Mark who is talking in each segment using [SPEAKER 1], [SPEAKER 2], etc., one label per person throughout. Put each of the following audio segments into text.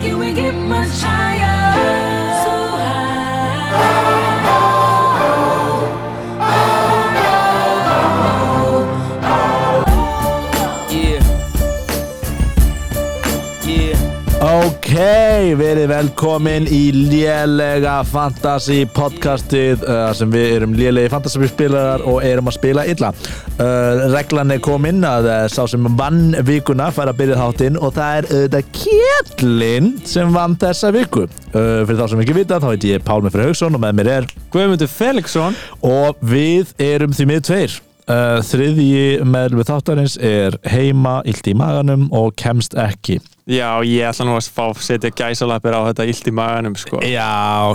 [SPEAKER 1] Can we get much higher? So high.
[SPEAKER 2] Yeah. Yeah.
[SPEAKER 3] Ok, verið velkomin í lélega fantasy podcastið uh, sem við erum lélegi fantasy spilarar og erum að spila illa uh, Reglan er komin að uh, sá sem vann vikuna fær að byrja þáttinn og það er auðvitað Kjellin sem vann þessa viku uh, Fyrir þá sem ekki vita þá heit ég Pálmi Frey Haugsson og með mér er
[SPEAKER 4] Guðmundur Felixson
[SPEAKER 3] og við erum því miður tveir uh, Þriðji meðlum þáttarins er heima, illt í maganum og kemst ekki
[SPEAKER 4] Já, ég ætla nú að fá setja gæsalapir á þetta illt í maganum sko.
[SPEAKER 3] Já,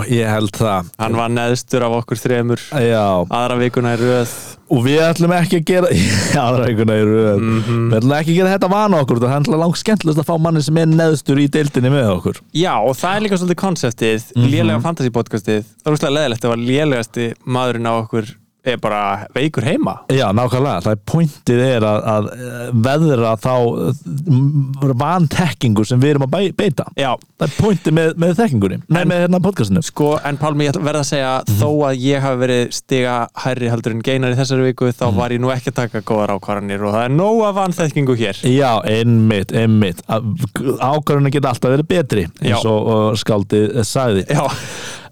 [SPEAKER 3] ég held það
[SPEAKER 4] Hann var neðstur af okkur þremur
[SPEAKER 3] Já,
[SPEAKER 4] aðra vikuna í röð
[SPEAKER 3] og við ætlum ekki að gera aðra einhverjum er við ætlum ekki að gera þetta vana okkur það er alltaf langt skemmtilegast að fá manni sem er neðstur í deildinni með okkur
[SPEAKER 4] Já, og það er líka svolítið konseptið
[SPEAKER 3] Mhm.
[SPEAKER 4] lélega fantasy podcastið það er úrslega leðilegt að var lélegasti maðurinn á okkur er bara veikur heima
[SPEAKER 3] Já, nákvæmlega, það er pointið er að, að eh, veðra þá eh, vantekkingu sem við erum að bæ- beita
[SPEAKER 4] Já,
[SPEAKER 3] það er pointið með, með þekkingunni Nei,
[SPEAKER 4] En-
[SPEAKER 3] með hérna podcastinu
[SPEAKER 4] sko, en Pálmi, ég ætla- verð að segja
[SPEAKER 3] Mhm.
[SPEAKER 4] þó að ég hafi verið stiga hærri heldur en geinar í þessari viku
[SPEAKER 3] Mhm.
[SPEAKER 4] þá var ég nú ekki að taka góðar ákvarðanir og það er nóg af vanþekkingu hér
[SPEAKER 3] Já, einmitt, einmitt Ákvarðunum geta alltaf verið betri eins
[SPEAKER 4] Já.
[SPEAKER 3] og uh, skaldið eh, sagði
[SPEAKER 4] Já,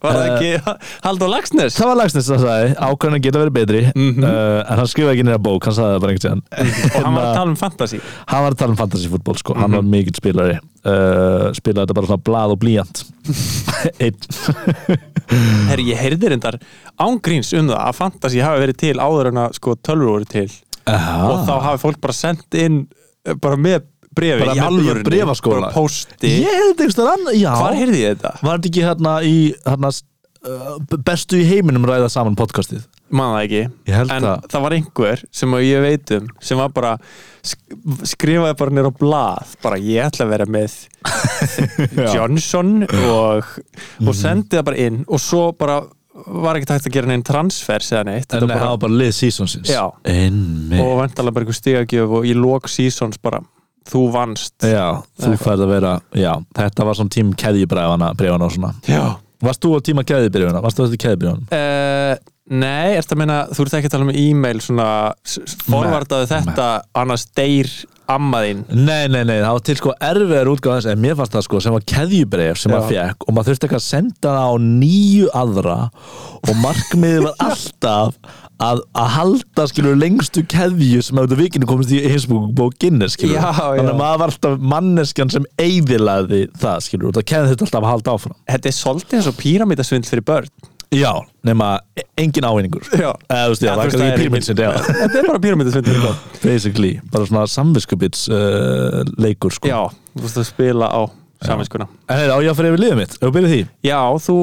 [SPEAKER 4] var það
[SPEAKER 3] Eh,
[SPEAKER 4] ekki Haldur Lagsnes?
[SPEAKER 3] Það var lagsnist að sagði, ákvarðunum geta verið betri uh, en hann skrifa ekki nýra bók, hann sagði það bara einhvern tíðan
[SPEAKER 4] Og hann var að tala um fantasy
[SPEAKER 3] hann var að tala um fantasyfútból sko. hann var mikill spilari uh, spilaði þetta bara svona blað og blíjant einn
[SPEAKER 4] Herri, ég heyrði reyndar ángríns um það að fantasy hafi verið til áður en að sko tölvur voru til og
[SPEAKER 3] Ah.
[SPEAKER 4] þá hafi fólk bara sendt inn eh, bara með brefi
[SPEAKER 3] Bara
[SPEAKER 4] í
[SPEAKER 3] með-
[SPEAKER 4] alvörunni,
[SPEAKER 3] í bréfaskóla.
[SPEAKER 4] bara pósti
[SPEAKER 3] ég hefði þetta einhvers þar annar já,
[SPEAKER 4] hvar heyrði ég þetta?
[SPEAKER 3] var þetta ekki hérna í hérna, uh, bestu í heiminum ræða saman podcastið
[SPEAKER 4] man það ekki
[SPEAKER 3] Ég held
[SPEAKER 4] en
[SPEAKER 3] það.
[SPEAKER 4] það var einhver sem að ég veit um sem var bara sk skrifaði bara nýra á blað bara ég ætla að vera með Johnson og,
[SPEAKER 3] Mhm.
[SPEAKER 4] og sendi það bara inn og svo bara var ekki tægt að gera neinn transfers eða neitt
[SPEAKER 3] en
[SPEAKER 4] Þetta
[SPEAKER 3] það var bara lið seasonsins
[SPEAKER 4] Já.
[SPEAKER 3] einmitt
[SPEAKER 4] og vantalega bara einhver stigagjöf og í lok seasons bara þú vannst
[SPEAKER 3] já, þú færð að vera já, þetta var svona tím keðjubræðana brefana og svona
[SPEAKER 4] Já.
[SPEAKER 3] varst þú á tíma keðjubrefana, varst þú á þetta keðjubrefana
[SPEAKER 4] Uh, nei, ertu að meina, þú ert ekki að tala um e-mail svona, s- s- forvardaðu þetta annars deyr ammaðinn
[SPEAKER 3] Nei, nei, nei, það var til sko erfiðar útgáð þess en mér fannst það sko sem var keðjubref sem maður
[SPEAKER 4] Já.
[SPEAKER 3] fekk og maður þurfti eitthvað að senda það á nýju aðra og markmiðið var alltaf að, að halda skilur lengstu keðju sem að þetta vikinu komist í hinsbúkinni skilur
[SPEAKER 4] Já, já.
[SPEAKER 3] þannig að maður var alltaf manneskjan sem eiðilaði það skilur og það keði þetta alltaf að halda áfram
[SPEAKER 4] Þetta er svolítið eins og píramítasvindl fyrir börn
[SPEAKER 3] Já, nema e- engin ávinningur
[SPEAKER 4] Já.
[SPEAKER 3] Eða, þú veist, já,
[SPEAKER 4] Já,
[SPEAKER 3] það er
[SPEAKER 4] þú veist,
[SPEAKER 3] kannski
[SPEAKER 4] það er
[SPEAKER 3] pyrmins já,
[SPEAKER 4] Þetta er bara píramítasvindl fyrir börn
[SPEAKER 3] basically, bara svona samviskubits uh, leikur sko
[SPEAKER 4] Já, þú veist að spila á saminskuna
[SPEAKER 3] En heyrðu, á ég að fyrir yfir liðið mitt, ef við byrjum því
[SPEAKER 4] Já, þú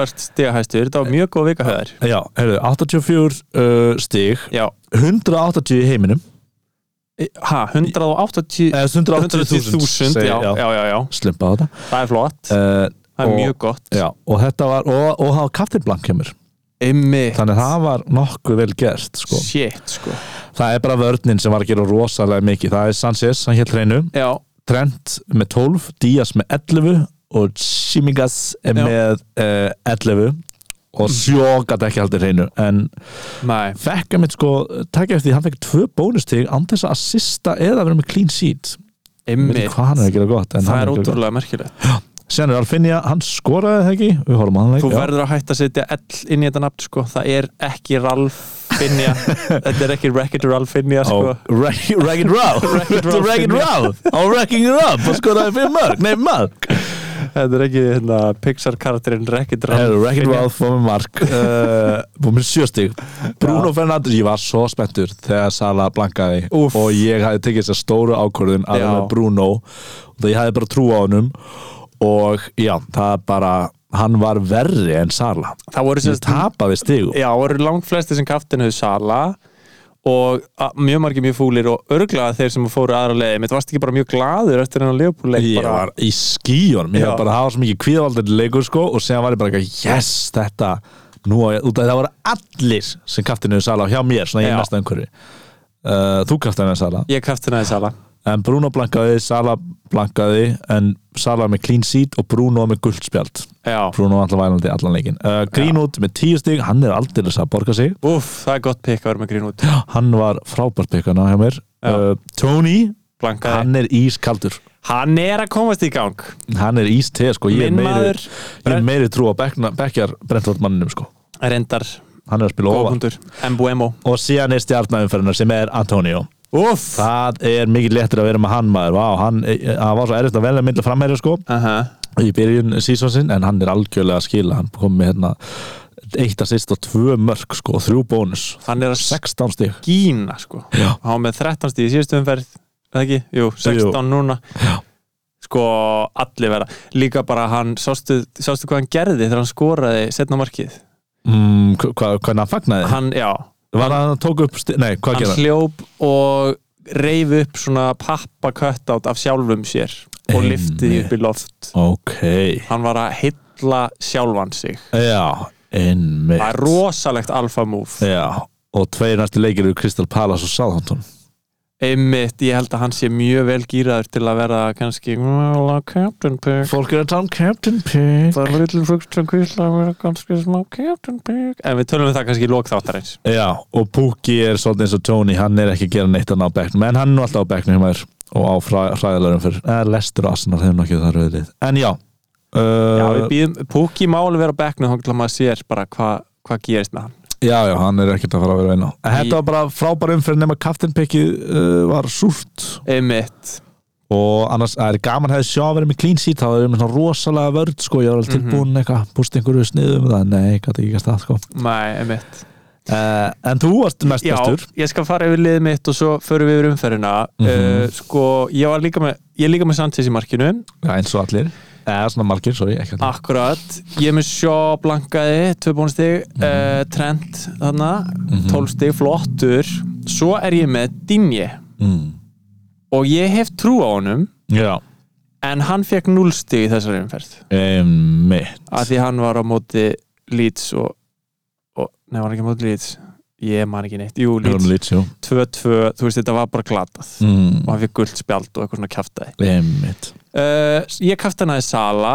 [SPEAKER 4] ert stigahæstur, þetta var mjög góð vika höður
[SPEAKER 3] Já, heyrðu, 84 uh, stig
[SPEAKER 4] Já,
[SPEAKER 3] 180 í heiminum
[SPEAKER 4] Í- ha, 180
[SPEAKER 3] eða 180.000
[SPEAKER 4] 180.000 já,
[SPEAKER 3] já.
[SPEAKER 4] já, já, já,
[SPEAKER 3] Slumpa á þetta
[SPEAKER 4] það er flott
[SPEAKER 3] uh,
[SPEAKER 4] Það er
[SPEAKER 3] og-
[SPEAKER 4] mjög gott
[SPEAKER 3] Já, og þetta var, og, og það var kaftin blank hjá mér
[SPEAKER 4] Einmitt.
[SPEAKER 3] Þannig að það var nokkuð vel gert sko.
[SPEAKER 4] Shit, sko
[SPEAKER 3] Það er bara vörnin sem var að gera rosalega mikið Það er Sanchez, hann hélt hreinu
[SPEAKER 4] Já,
[SPEAKER 3] Trent með 12, Díaz með 11 og Simigas er
[SPEAKER 4] Já.
[SPEAKER 3] með uh, 11 og sjókat ekki haldið hreinu en
[SPEAKER 4] næ
[SPEAKER 3] fekk að mitt sko, takk eftir því hann fekk tvö bónustig án þess að assista eða vera með clean sheet Ég veit
[SPEAKER 4] Einmitt,
[SPEAKER 3] ekki hvað hann er að gera gott en
[SPEAKER 4] það
[SPEAKER 3] hann
[SPEAKER 4] er
[SPEAKER 3] að gera
[SPEAKER 4] ótrúlega merkilegt
[SPEAKER 3] gott. Sen er Alfinja, hann skoraði það ekki Við horfum á hann leik
[SPEAKER 4] Þú
[SPEAKER 3] já.
[SPEAKER 4] verður að hætta að setja L inn í þetta nafn sko. Það er ekki Ralf Finja Þetta er ekki Wreck-It Ralf Finja
[SPEAKER 3] Ó,
[SPEAKER 4] sko.
[SPEAKER 3] Wreck- Wreck-It Ralph
[SPEAKER 4] Wreck-It Ralph,
[SPEAKER 3] Wreck-It
[SPEAKER 4] Finja.
[SPEAKER 3] Ralph Á Wrecking It Ralph og skoraði fyrir mörg Nei, mörg
[SPEAKER 4] Þetta er ekki hérna, Pixar karakterinn Wreck-It Ralf
[SPEAKER 3] Heyrðu, Wreck-It
[SPEAKER 4] Finja.
[SPEAKER 3] Ralph fór með mark uh, Fór með sjöstig Bruno Fernandes, ég var svo spenntur þegar Sala blankaði
[SPEAKER 4] Úff.
[SPEAKER 3] og ég hafði tekið þess að stóru ákvörðun að
[SPEAKER 4] Já.
[SPEAKER 3] vera með Bruno og ég hafði bara trú á honum og já, það er bara hann var verri en Sala
[SPEAKER 4] Það voru
[SPEAKER 3] Ég
[SPEAKER 4] sérst
[SPEAKER 3] tapaði stigum
[SPEAKER 4] Já, voru langt flesti sem kaftin höfðu sala og a, mjög margir mjög fúlir og örglaða þeir sem fóru aðra leiði mitt varst ekki bara mjög glaður eftir hennar leifbúleik
[SPEAKER 3] ég
[SPEAKER 4] bara,
[SPEAKER 3] var í skíunum ég
[SPEAKER 4] Já.
[SPEAKER 3] var bara að hafa svo mikið kvíðavaldandi leikur sko, og séðan var ég bara eitthvað, yes, þetta nú, á ég- út af það voru allir sem kaftinu sala hjá mér, svona í
[SPEAKER 4] Já.
[SPEAKER 3] næsta umhverfi uh, þú kaftinu sala
[SPEAKER 4] Ég kaftin aðeins sala
[SPEAKER 3] en Bruno blankaði, Sala blankaði en Sala var með clean seat og Bruno var með guldspjald
[SPEAKER 4] Já,
[SPEAKER 3] Bruno var alltaf vælandi allan leikin uh, Greenwood með 10 stig, hann er aldrei að borga sig
[SPEAKER 4] úff, það er gott pikk að vera með grín út
[SPEAKER 3] hann var frábært pikkana hjá mér
[SPEAKER 4] Já.
[SPEAKER 3] uh, Tony,
[SPEAKER 4] Blankaði,
[SPEAKER 3] hann er ískaldur
[SPEAKER 4] hann er að komast í gang
[SPEAKER 3] hann er ísteg sko, ég er
[SPEAKER 4] Minn
[SPEAKER 3] meiri,
[SPEAKER 4] maður,
[SPEAKER 3] ég er meiri trú á bekkna- bekkjar Brentford manninum sko,
[SPEAKER 4] reyndar,
[SPEAKER 3] hann er að spila ofan
[SPEAKER 4] góðkundur Mbuemo,
[SPEAKER 3] og síðan er stjarnæðumferðina sem er Antonio
[SPEAKER 4] úff
[SPEAKER 3] það er mikið léttir að vera með hann maður Vá, hann, hann var svo erfitt að velja myndla framherja sko
[SPEAKER 4] Aha.
[SPEAKER 3] í byrjun sísonsinn en hann er algjörlega að skila hann kom með hérna eitt að sýst og tvö mörg sko og þrjú bónus
[SPEAKER 4] Hann er að
[SPEAKER 3] 16 stík
[SPEAKER 4] skína sko
[SPEAKER 3] Já.
[SPEAKER 4] Há með 13 stíð í síðustu umferð er það ekki? Jú, 16 núna
[SPEAKER 3] Já.
[SPEAKER 4] sko allir vera líka bara hann, sástu, sástu hvað hann gerði þegar hann skoraði setna markið
[SPEAKER 3] mm, hva- hva- hvernig hann fagnaði
[SPEAKER 4] hann, já,
[SPEAKER 3] var hann að tók upp sti- nei hvað Eh.
[SPEAKER 4] hann
[SPEAKER 3] gerði hann
[SPEAKER 4] hljóp og reyf upp svona pappa kött átt af sjálfum sér og
[SPEAKER 3] Einmitt.
[SPEAKER 4] lyfti því upp í loft
[SPEAKER 3] ok
[SPEAKER 4] hann var að hylla sjálfan sig
[SPEAKER 3] já einmitt Eh.
[SPEAKER 4] það er rosalegt alfa move
[SPEAKER 3] já og tveir næstu leikir eru Crystal Palace og Southampton
[SPEAKER 4] einmitt, ég held að hann sé mjög vel gýraður til að vera kannski well, a captain pick
[SPEAKER 3] fólk er að tala um Captain Pitt
[SPEAKER 4] Það er lítið frukt sem kvísla að vera ganski smá Captain Pig En við tölum við það kannski í lók þáttarins
[SPEAKER 3] já og Pukki er svolítið eins og Tony hann er ekki að gera neitt hann á bekknum en hann er nú alltaf á bekknum hjá mér og á fræðalarum fyrir eða lestur og Arsenal hefur nokkið þar auðvitað en já
[SPEAKER 4] Já,
[SPEAKER 3] uh,
[SPEAKER 4] við býðum, Pukki má alveg vera á bekknu þá til að maður sér bara hvað hva gerist með hann
[SPEAKER 3] Já, já, hann er ekkert að fara að vera einn á En Þetta var bara frábær umferð nema kaftinpikið uh, var súrt
[SPEAKER 4] Einmitt
[SPEAKER 3] og annars það er gaman hefði sjá að vera með clean seat þá er með svona rosalega vörd sko ég var
[SPEAKER 4] Mhm.
[SPEAKER 3] alveg tilbúin eitthvað, búst einhverju sniðum um það nei, gæti ekki að stað sko
[SPEAKER 4] Nei, einmitt
[SPEAKER 3] uh, En þú varst mest
[SPEAKER 4] Já,
[SPEAKER 3] bestur
[SPEAKER 4] ég skal fara yfir liðið mitt og svo förum við yfir umferðina
[SPEAKER 3] Mhm.
[SPEAKER 4] uh, Sko, ég var líka með Ég er líka með Sanchez í markinu
[SPEAKER 3] Já, eins og allir Eða Eh, svona margir, sorry, ekki allir
[SPEAKER 4] Akkurat, ég er með Sjó Blankaði, tvö bónustig uh, Trent, þarna,
[SPEAKER 3] Mhm.
[SPEAKER 4] tólstig, flottur Svo er ég með Dinje
[SPEAKER 3] mm.
[SPEAKER 4] Og ég hef trú á honum
[SPEAKER 3] Já,
[SPEAKER 4] en hann fekk núlstig í þessari umferð
[SPEAKER 3] einmitt
[SPEAKER 4] af því hann var á móti Leeds og, og nei, var hann ekki á móti Leeds ég man ekki neitt, jú,
[SPEAKER 3] Jón
[SPEAKER 4] Leeds
[SPEAKER 3] Lítsjó
[SPEAKER 4] 2-2, þú veist, þetta var bara glatað
[SPEAKER 3] mm.
[SPEAKER 4] og hann fekk gult spjald og eitthvað svona kjaftaði
[SPEAKER 3] Einmitt
[SPEAKER 4] uh, ég kaftanaði Sala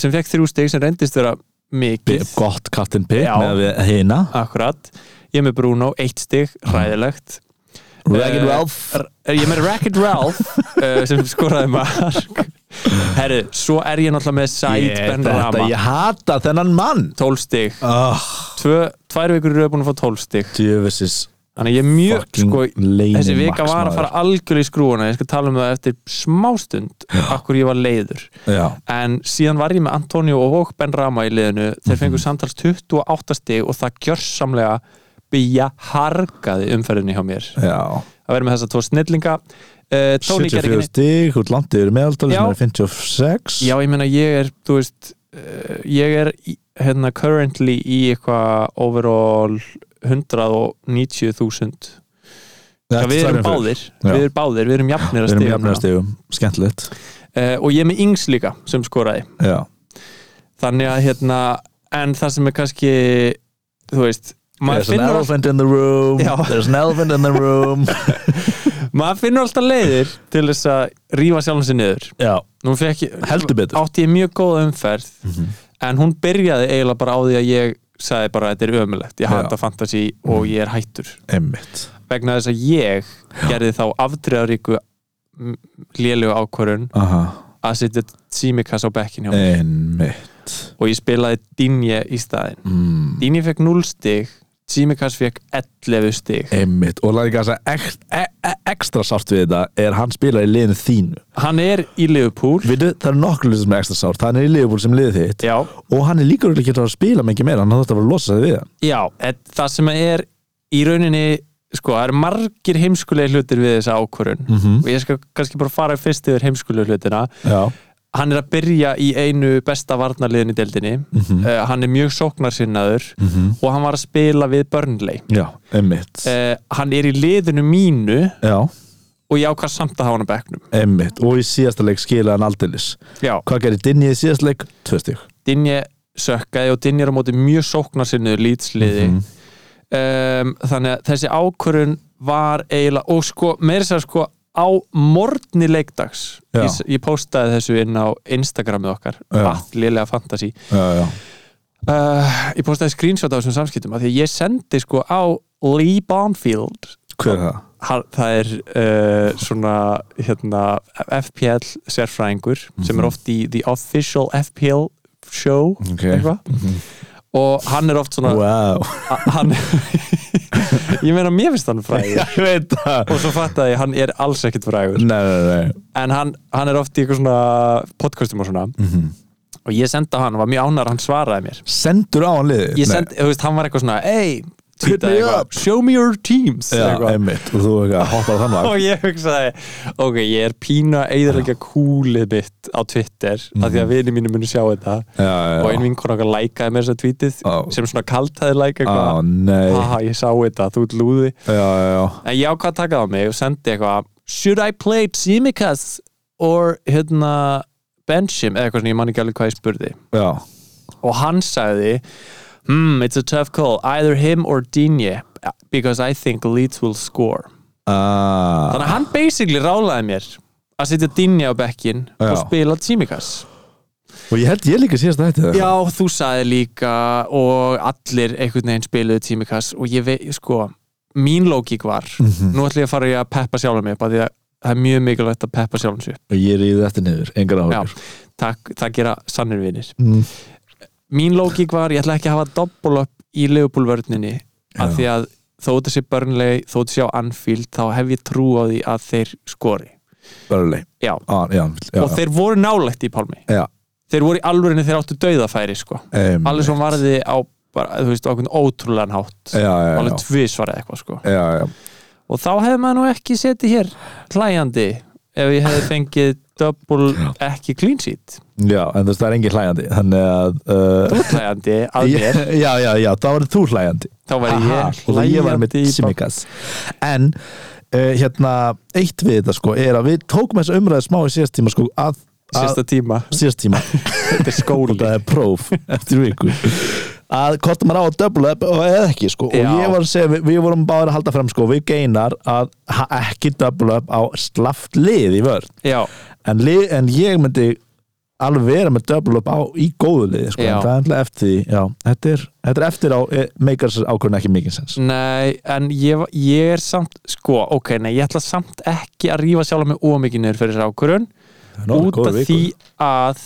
[SPEAKER 4] sem fekk þrjú stig sem reyndist vera
[SPEAKER 3] P
[SPEAKER 4] mikið
[SPEAKER 3] Gott Captain Pitt
[SPEAKER 4] Já.
[SPEAKER 3] með við hina
[SPEAKER 4] akkurat, ég er með Bruno, eitt stig ræðilegt
[SPEAKER 3] Ragged
[SPEAKER 4] Eh,
[SPEAKER 3] Ralph
[SPEAKER 4] R- ég er með Racket Ralph uh, sem skoraði mark herru, svo er ég náttúrulega með Said
[SPEAKER 3] Ég-
[SPEAKER 4] Ben
[SPEAKER 3] þetta-
[SPEAKER 4] Rama
[SPEAKER 3] Ég hata þennan mann
[SPEAKER 4] 12 stig
[SPEAKER 3] oh.
[SPEAKER 4] tvö, tvær vikur eru búin að fá 12 stig
[SPEAKER 3] Djöfisins
[SPEAKER 4] þannig ég er mjög,
[SPEAKER 3] fucking
[SPEAKER 4] sko,
[SPEAKER 3] leynimax,
[SPEAKER 4] þessi vika var að
[SPEAKER 3] maður.
[SPEAKER 4] fara algjörlega í skrúuna, ég skal tala um það eftir smástund, akkur ég var leiður
[SPEAKER 3] Já,
[SPEAKER 4] en síðan var ég með Antonio og Ben Rama í liðinu, þeir
[SPEAKER 3] Mhm.
[SPEAKER 4] fengur samtals 28 stig og það gjörsamlega býja hargaði umferðinni hjá mér,
[SPEAKER 3] já
[SPEAKER 4] að vera með þessa tvo snillinga uh, Tony gerði
[SPEAKER 3] 74
[SPEAKER 4] ekki neitt
[SPEAKER 3] stík, út landið eru meðaltali
[SPEAKER 4] Já.
[SPEAKER 3] sem er 56
[SPEAKER 4] já, ég meina ég er, þú veist uh, ég er í- hérna currently í eitthvað overall 190.000 Já,
[SPEAKER 3] Þetta sagði
[SPEAKER 4] við erum
[SPEAKER 3] hann fyrir.
[SPEAKER 4] báðir,
[SPEAKER 3] Já.
[SPEAKER 4] við erum báðir, við erum jafnir að
[SPEAKER 3] Við erum
[SPEAKER 4] stiga
[SPEAKER 3] jafnir að stíðum, skemmtilegt
[SPEAKER 4] uh, og ég er með yngs líka sem skoraði
[SPEAKER 3] Já,
[SPEAKER 4] þannig að hérna, en það sem er kannski þú veist
[SPEAKER 3] there's
[SPEAKER 4] maður
[SPEAKER 3] an
[SPEAKER 4] finnur,
[SPEAKER 3] elephant in the room
[SPEAKER 4] Já.
[SPEAKER 3] There's an elephant in the room
[SPEAKER 4] alltaf, maður finnur alltaf leiðir til þess að rífa sjálfum sér niður
[SPEAKER 3] Já,
[SPEAKER 4] nú fekk ég,
[SPEAKER 3] heldur betur
[SPEAKER 4] átti ég mjög góða umferð
[SPEAKER 3] Mhm.
[SPEAKER 4] en hún byrjaði eiginlega bara á því að ég sagði bara að þetta er ömulegt,
[SPEAKER 3] Já.
[SPEAKER 4] ég hata fantasy og ég er hættur
[SPEAKER 3] Einmitt
[SPEAKER 4] vegna þess að ég gerði þá afdreðaríku lélegu ákvörun
[SPEAKER 3] Aha,
[SPEAKER 4] að setja tímikas á bekkin hjá mér
[SPEAKER 3] einmitt
[SPEAKER 4] og ég spilaði Dinje í staðin
[SPEAKER 3] mm.
[SPEAKER 4] Dinje fekk 0 stig Tsimikas fekk 11 stig
[SPEAKER 3] Einmitt, og læri ekki að segja e- ekstra sárt við þetta er hann spilar í liðinu þínu
[SPEAKER 4] hann er í Liverpool
[SPEAKER 3] Vitið, það er nokkur liðið sem er ekstra sárt Hann er í liðbúl sem liðið þitt
[SPEAKER 4] já,
[SPEAKER 3] og hann er líka örugglega ekki að fara að spila mikið meira hann þátt að fara að losa sig við hann
[SPEAKER 4] já en það sem er í rauninni sko, það eru margir heimskulegi hlutir við þessa ákvörun
[SPEAKER 3] Mhm.
[SPEAKER 4] og ég skal kannski bara fara fyrst yfir heimskulegi hlutina
[SPEAKER 3] Já,
[SPEAKER 4] hann er að byrja í einu besta varnarliðin í deildinni uh, hann er mjög sóknarsinnaður og hann var að spila við Burnley
[SPEAKER 3] já, emmitt
[SPEAKER 4] uh, hann er í liðinu mínu
[SPEAKER 3] Já,
[SPEAKER 4] og ég ákast samt að hafa hann á bekknum
[SPEAKER 3] emmitt og í síðasta leik skilaði hann aldeilis
[SPEAKER 4] já,
[SPEAKER 3] Hvað gerir Dinni í síðasta leik? Tvö stík
[SPEAKER 4] Dinje sökkaði og Dinje er á móti mjög sóknarsinnu lýtsliði
[SPEAKER 3] Mhm.
[SPEAKER 4] mm þannig að þessi ákvörun var eiginlega og sko, meira sér sko á morgni leikdags
[SPEAKER 3] Já.
[SPEAKER 4] ég, ég postaði þessu inn á Instagramið okkar,
[SPEAKER 3] Já.
[SPEAKER 4] allilega fantasy
[SPEAKER 3] já, já,
[SPEAKER 4] uh, ég postaði screenshot af þessum samskiptum af því að ég sendi sko á Lee Bonfield
[SPEAKER 3] hver er það?
[SPEAKER 4] Hann- það er uh, svona hérna, FPL sérfræðingur sem er oft í The Official FPL Show
[SPEAKER 3] Mhm. Ok. Mhm.
[SPEAKER 4] eitthvað og hann er oft svona
[SPEAKER 3] Wow
[SPEAKER 4] a- hann, ég meina mér finnst hann frægur
[SPEAKER 3] Ég veit það
[SPEAKER 4] og svo fattaði ég hann er alls ekkit frægur
[SPEAKER 3] Nei, nei, nei
[SPEAKER 4] en hann, hann er oft í eitthvað svona podcastum og svona
[SPEAKER 3] Mhm.
[SPEAKER 4] og ég sendi á hann, hann var mjög ánar, hann svaraði mér
[SPEAKER 3] Sendur á hann liðið?
[SPEAKER 4] ég sendi, þú veist, hann var eitthvað svona ey,
[SPEAKER 3] Hit me
[SPEAKER 4] tweetaði eitthvað,
[SPEAKER 3] up."
[SPEAKER 4] show me your teams
[SPEAKER 3] Nei, já,
[SPEAKER 4] eitthvað.
[SPEAKER 3] einmitt Og þú eitthvað hoppar þann
[SPEAKER 4] og
[SPEAKER 3] vagn
[SPEAKER 4] ég hugsaði ok, ég er pína eðalega kúlið mitt á Twitter af því að vini mínu muni sjá þetta
[SPEAKER 3] Mhm. Já, já,
[SPEAKER 4] og ein
[SPEAKER 3] já
[SPEAKER 4] vinkona okkar lækaði mér þess að tweetið
[SPEAKER 3] Á.
[SPEAKER 4] sem svona kaltaði læka
[SPEAKER 3] Á,
[SPEAKER 4] eitthvað
[SPEAKER 3] nei
[SPEAKER 4] haha, ég sá þetta, þú ert lúði
[SPEAKER 3] Já, já, já
[SPEAKER 4] en ég ákvað að taka það á mig og sendi eitthvað should I play Tsimikas or hérna bench him eða eitthvað svona, ég man ekki alveg hvað ég spurði
[SPEAKER 3] Já,
[SPEAKER 4] og hann sagði hmm, it's a tough call, either him or Digne because I think Leeds will score
[SPEAKER 3] Ah,
[SPEAKER 4] Þannig að hann basically rálaði mér að setja Dinja á bekkin og
[SPEAKER 3] Já.
[SPEAKER 4] spila Tsimikas
[SPEAKER 3] Og ég held ég líka síðast þetta
[SPEAKER 4] Já, þú saði líka og allir einhvern veginn spiluðu Tsimikas og ég veit, sko, mín lógík var
[SPEAKER 3] Mm. Mhm.
[SPEAKER 4] nú ætlum ég að fara í að peppa sjálfum mig því að það er mjög mikilvægt að peppa sjálfum sig upp.
[SPEAKER 3] Og ég ríði þetta niður, engar
[SPEAKER 4] Já,
[SPEAKER 3] áhugur
[SPEAKER 4] það, það gera sannir vinir
[SPEAKER 3] Mm.
[SPEAKER 4] Mín lógík var, ég ætla ekki að hafa doppul upp í leifbúlvörninni
[SPEAKER 3] Já.
[SPEAKER 4] af því að þó þetta sé börnleg, þó þetta sé á Anfield þá hef ég trú á því að þeir skori
[SPEAKER 3] Börjuleg
[SPEAKER 4] Já,
[SPEAKER 3] Já, já,
[SPEAKER 4] og þeir voru nálægt í Pálmi
[SPEAKER 3] já Mm,
[SPEAKER 4] þeir voru í alvörinni þeir áttu dauðafæri sko.
[SPEAKER 3] Em,
[SPEAKER 4] alveg svo varði á bara, þú veist, okkur ótrúlegan hátt
[SPEAKER 3] Já, já, já
[SPEAKER 4] alveg tvísvarað eitthvað sko.
[SPEAKER 3] Já, já
[SPEAKER 4] og þá hefði maður nú ekki setið hér hlæjandi ef ég hefði fengið double ekki clean sheet
[SPEAKER 3] Já, en þú veist það er engin hlæjandi Þannig að uh,
[SPEAKER 4] þú ert hlæjandi að mér
[SPEAKER 3] ég, Já, já, já, þá var þú hlæjandi
[SPEAKER 4] þá var ég
[SPEAKER 3] Aha,
[SPEAKER 4] hlæjandi
[SPEAKER 3] og það ég var með
[SPEAKER 4] í bak-
[SPEAKER 3] Simikas en uh, hérna eitt við þetta sko er að við tókum þessu umræðu smá í síðast tíma sko að, að
[SPEAKER 4] sérsta tíma,
[SPEAKER 3] síðast tíma
[SPEAKER 4] þetta er
[SPEAKER 3] og
[SPEAKER 4] skóli
[SPEAKER 3] það er próf eftir viku að hvort maður á að döbla eða ekki sko og
[SPEAKER 4] Já.
[SPEAKER 3] ég var að segja, við, við vorum báðir að halda fram sko við geinar að ha- ekki döbla upp á slaft lið í vörn
[SPEAKER 4] já,
[SPEAKER 3] en, lið, en ég myndi alveg vera með döbla upp á í góðu lið sko,
[SPEAKER 4] Já.
[SPEAKER 3] en það er alltaf eftir því, já, þetta er, þetta er eftir á, eh, meikar ákvörðin ekki mikið sens
[SPEAKER 4] nei en ég, var- ég er samt, sko, ok nei, ég ætla samt ekki að rífa sjálf með ómikið fyrir þess ákvörun út af því að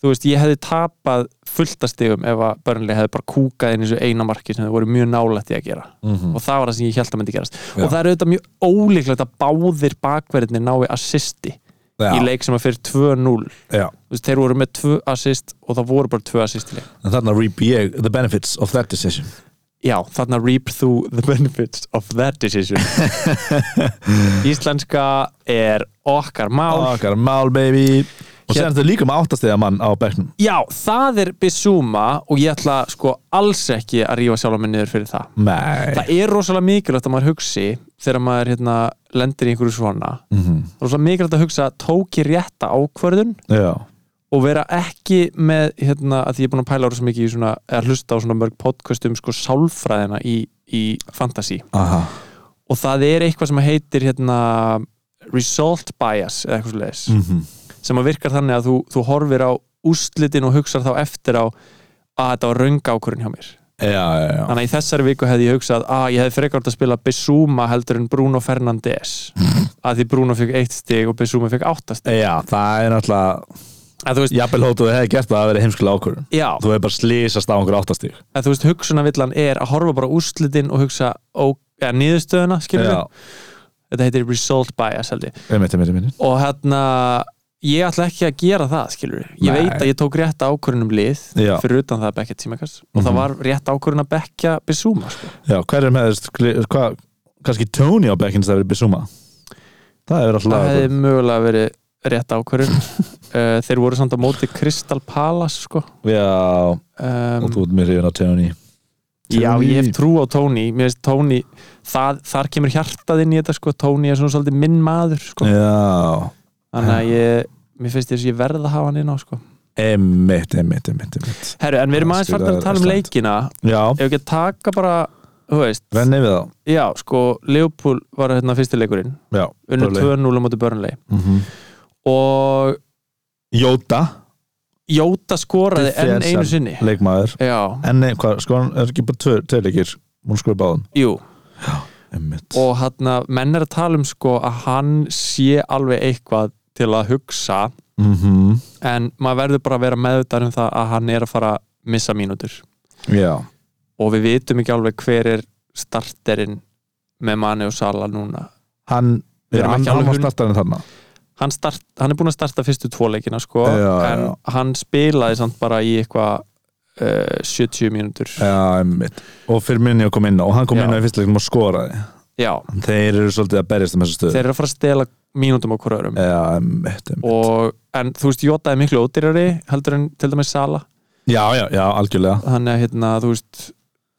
[SPEAKER 4] þú veist, ég hefði tapað fullt að stigum ef að Burnley hefði bara kúkað inn í þessu eina marki sem þau voru mjög nálætti að gera
[SPEAKER 3] Mhm.
[SPEAKER 4] og það var það sem ég held að myndi gerast
[SPEAKER 3] Já.
[SPEAKER 4] og það er auðvitað mjög ólíklegt að báðir bakverðinni nái assisti
[SPEAKER 3] já,
[SPEAKER 4] í leik sem að fyrir 2-0
[SPEAKER 3] já.
[SPEAKER 4] Þú veist, þeir voru með 2 assist og það voru bara 2 assist í leik
[SPEAKER 3] en þarna reap ég the benefits of that decision
[SPEAKER 4] Já, þarna reap through the benefits of that decision Íslenska er okkar mál
[SPEAKER 3] okkar mál baby og
[SPEAKER 4] Hér-
[SPEAKER 3] sér þetta líka með áttastegja mann á bekknum
[SPEAKER 4] Já, það er Bissúma og ég ætla sko alls ekki að rífa sjálf minn niður fyrir það.
[SPEAKER 3] nei
[SPEAKER 4] Það er rosalega mikilvægt að maður hugsi þegar maður hérna, lendir í einhverju svona.
[SPEAKER 3] mm
[SPEAKER 4] Rosalega mikilvægt að hugsa tók ég rétta ákvörðun
[SPEAKER 3] já,
[SPEAKER 4] og vera ekki með, hérna, að því ég er búin að pæla rosa mikið í svona, eða hlusta á svona mörg podcast um sko sálfræðina í, í fantasy.
[SPEAKER 3] aha
[SPEAKER 4] Og það er eitthvað sem heitir hérna result bias eða eitthvað svo leiðis
[SPEAKER 3] mm
[SPEAKER 4] sem að virkar þannig að þú, þú horfir á úslitin og hugsar þá eftir á að þetta var röng ákvörun hjá mér
[SPEAKER 3] já, já, já
[SPEAKER 4] þannig að í þessari viku hefði ég hugsað að ég hefði frekar átt að spila Bissúma heldur en Bruno Fernandes að því Bruno fekk eitt stig og Bissúma fekk áttast
[SPEAKER 3] Já, það er náttúrulega
[SPEAKER 4] Eh, að þú veist,
[SPEAKER 3] jafnvel hóttu þau hefði gert það að vera heimskulega ákvörðun
[SPEAKER 4] já,
[SPEAKER 3] þú hefur bara slísast á einhver áttastík
[SPEAKER 4] að þú veist hugsunavillan er að horfa bara á úslitin og hugsa ó, eða niðurstöðuna, skilur
[SPEAKER 3] Já,
[SPEAKER 4] við þetta heitir result bias held ég
[SPEAKER 3] einmitt, einmitt, einmitt
[SPEAKER 4] og hérna ég ætla ekki að gera það skilur ég
[SPEAKER 3] Nei.
[SPEAKER 4] veit að ég tók rétt ákvörunum lið
[SPEAKER 3] Já. Mhm.
[SPEAKER 4] fyrir utan það að bekja tímakast og það var rétt ákvörun að bekja Bissúma sko.
[SPEAKER 3] Já, hverjum hefði, hvað, kannski Tony á bekkinn sem það verið Bissúma Það hefur alltaf
[SPEAKER 4] það hefði mögulega verið rétt ákvörun uh, þeir voru samt á móti Crystal Palace sko.
[SPEAKER 3] Já,
[SPEAKER 4] um,
[SPEAKER 3] og þú ert mér hrifin á Tony
[SPEAKER 4] já
[SPEAKER 3] Tony.
[SPEAKER 4] ég hef trú á Tony mér finnst Tony það, þar kemur hjartað inn í þetta sko. Tony er svona svolítið minn maður sko.
[SPEAKER 3] Eh. Já,
[SPEAKER 4] þannig að ég mér finnst þess að ég verð að hafa hann inn á sko.
[SPEAKER 3] einmitt, einmitt, einmitt, einmitt
[SPEAKER 4] Herru, en við erum
[SPEAKER 3] Það
[SPEAKER 4] aðeins
[SPEAKER 3] spilaði
[SPEAKER 4] farin að tala um
[SPEAKER 3] Ísland.
[SPEAKER 4] leikina
[SPEAKER 3] Já,
[SPEAKER 4] ef ekki að taka bara þú veist,
[SPEAKER 3] renni við þá
[SPEAKER 4] já, sko Leopold var hérna fyrsti leikurinn
[SPEAKER 3] Já,
[SPEAKER 4] unnu
[SPEAKER 3] Burnley.
[SPEAKER 4] 2-0 á móti Burnley
[SPEAKER 3] Mhm.
[SPEAKER 4] og
[SPEAKER 3] Jóta,
[SPEAKER 4] Jóta skoraði enn einu sinni
[SPEAKER 3] leikmaður
[SPEAKER 4] já,
[SPEAKER 3] en nei, hvað, sko, hann er ekki bara tvö, tvö leikir múl skoði báðum
[SPEAKER 4] jú
[SPEAKER 3] Einmitt.
[SPEAKER 4] og hann að menn er að tala um sko að hann sé alveg eitthvað til að hugsa
[SPEAKER 3] Mhm.
[SPEAKER 4] en maður verður bara að vera meðvitað um það að hann er að fara að missa mínútur
[SPEAKER 3] Já,
[SPEAKER 4] og við vitum ekki alveg hver er starterinn með Mani og Sala núna
[SPEAKER 3] hann
[SPEAKER 4] Við
[SPEAKER 3] Já,
[SPEAKER 4] erum
[SPEAKER 3] hann,
[SPEAKER 4] ekki
[SPEAKER 3] hann
[SPEAKER 4] alveg
[SPEAKER 3] var
[SPEAKER 4] hund-
[SPEAKER 3] startarinn þarna
[SPEAKER 4] hann, start, hann er búin að starta fyrstu tvo leikina sko,
[SPEAKER 3] Já,
[SPEAKER 4] en
[SPEAKER 3] já.
[SPEAKER 4] hann spilaði samt bara í eitthvað uh, 70 mínútur
[SPEAKER 3] Já, einmitt Og fyrir minni að koma inn á og hann kom
[SPEAKER 4] Já.
[SPEAKER 3] inn á í fyrst leikum og skoraði
[SPEAKER 4] já,
[SPEAKER 3] Þeir eru svolítið að berjast um þessu stöðu
[SPEAKER 4] þeir eru að fara að stela mínútum á hverjum
[SPEAKER 3] Já, einmitt, einmitt.
[SPEAKER 4] og, en þú veist, Jota er miklu ódýrari heldur en til dæmis Sala
[SPEAKER 3] Já, já, já, algjörlega
[SPEAKER 4] þannig að hérna, þú veist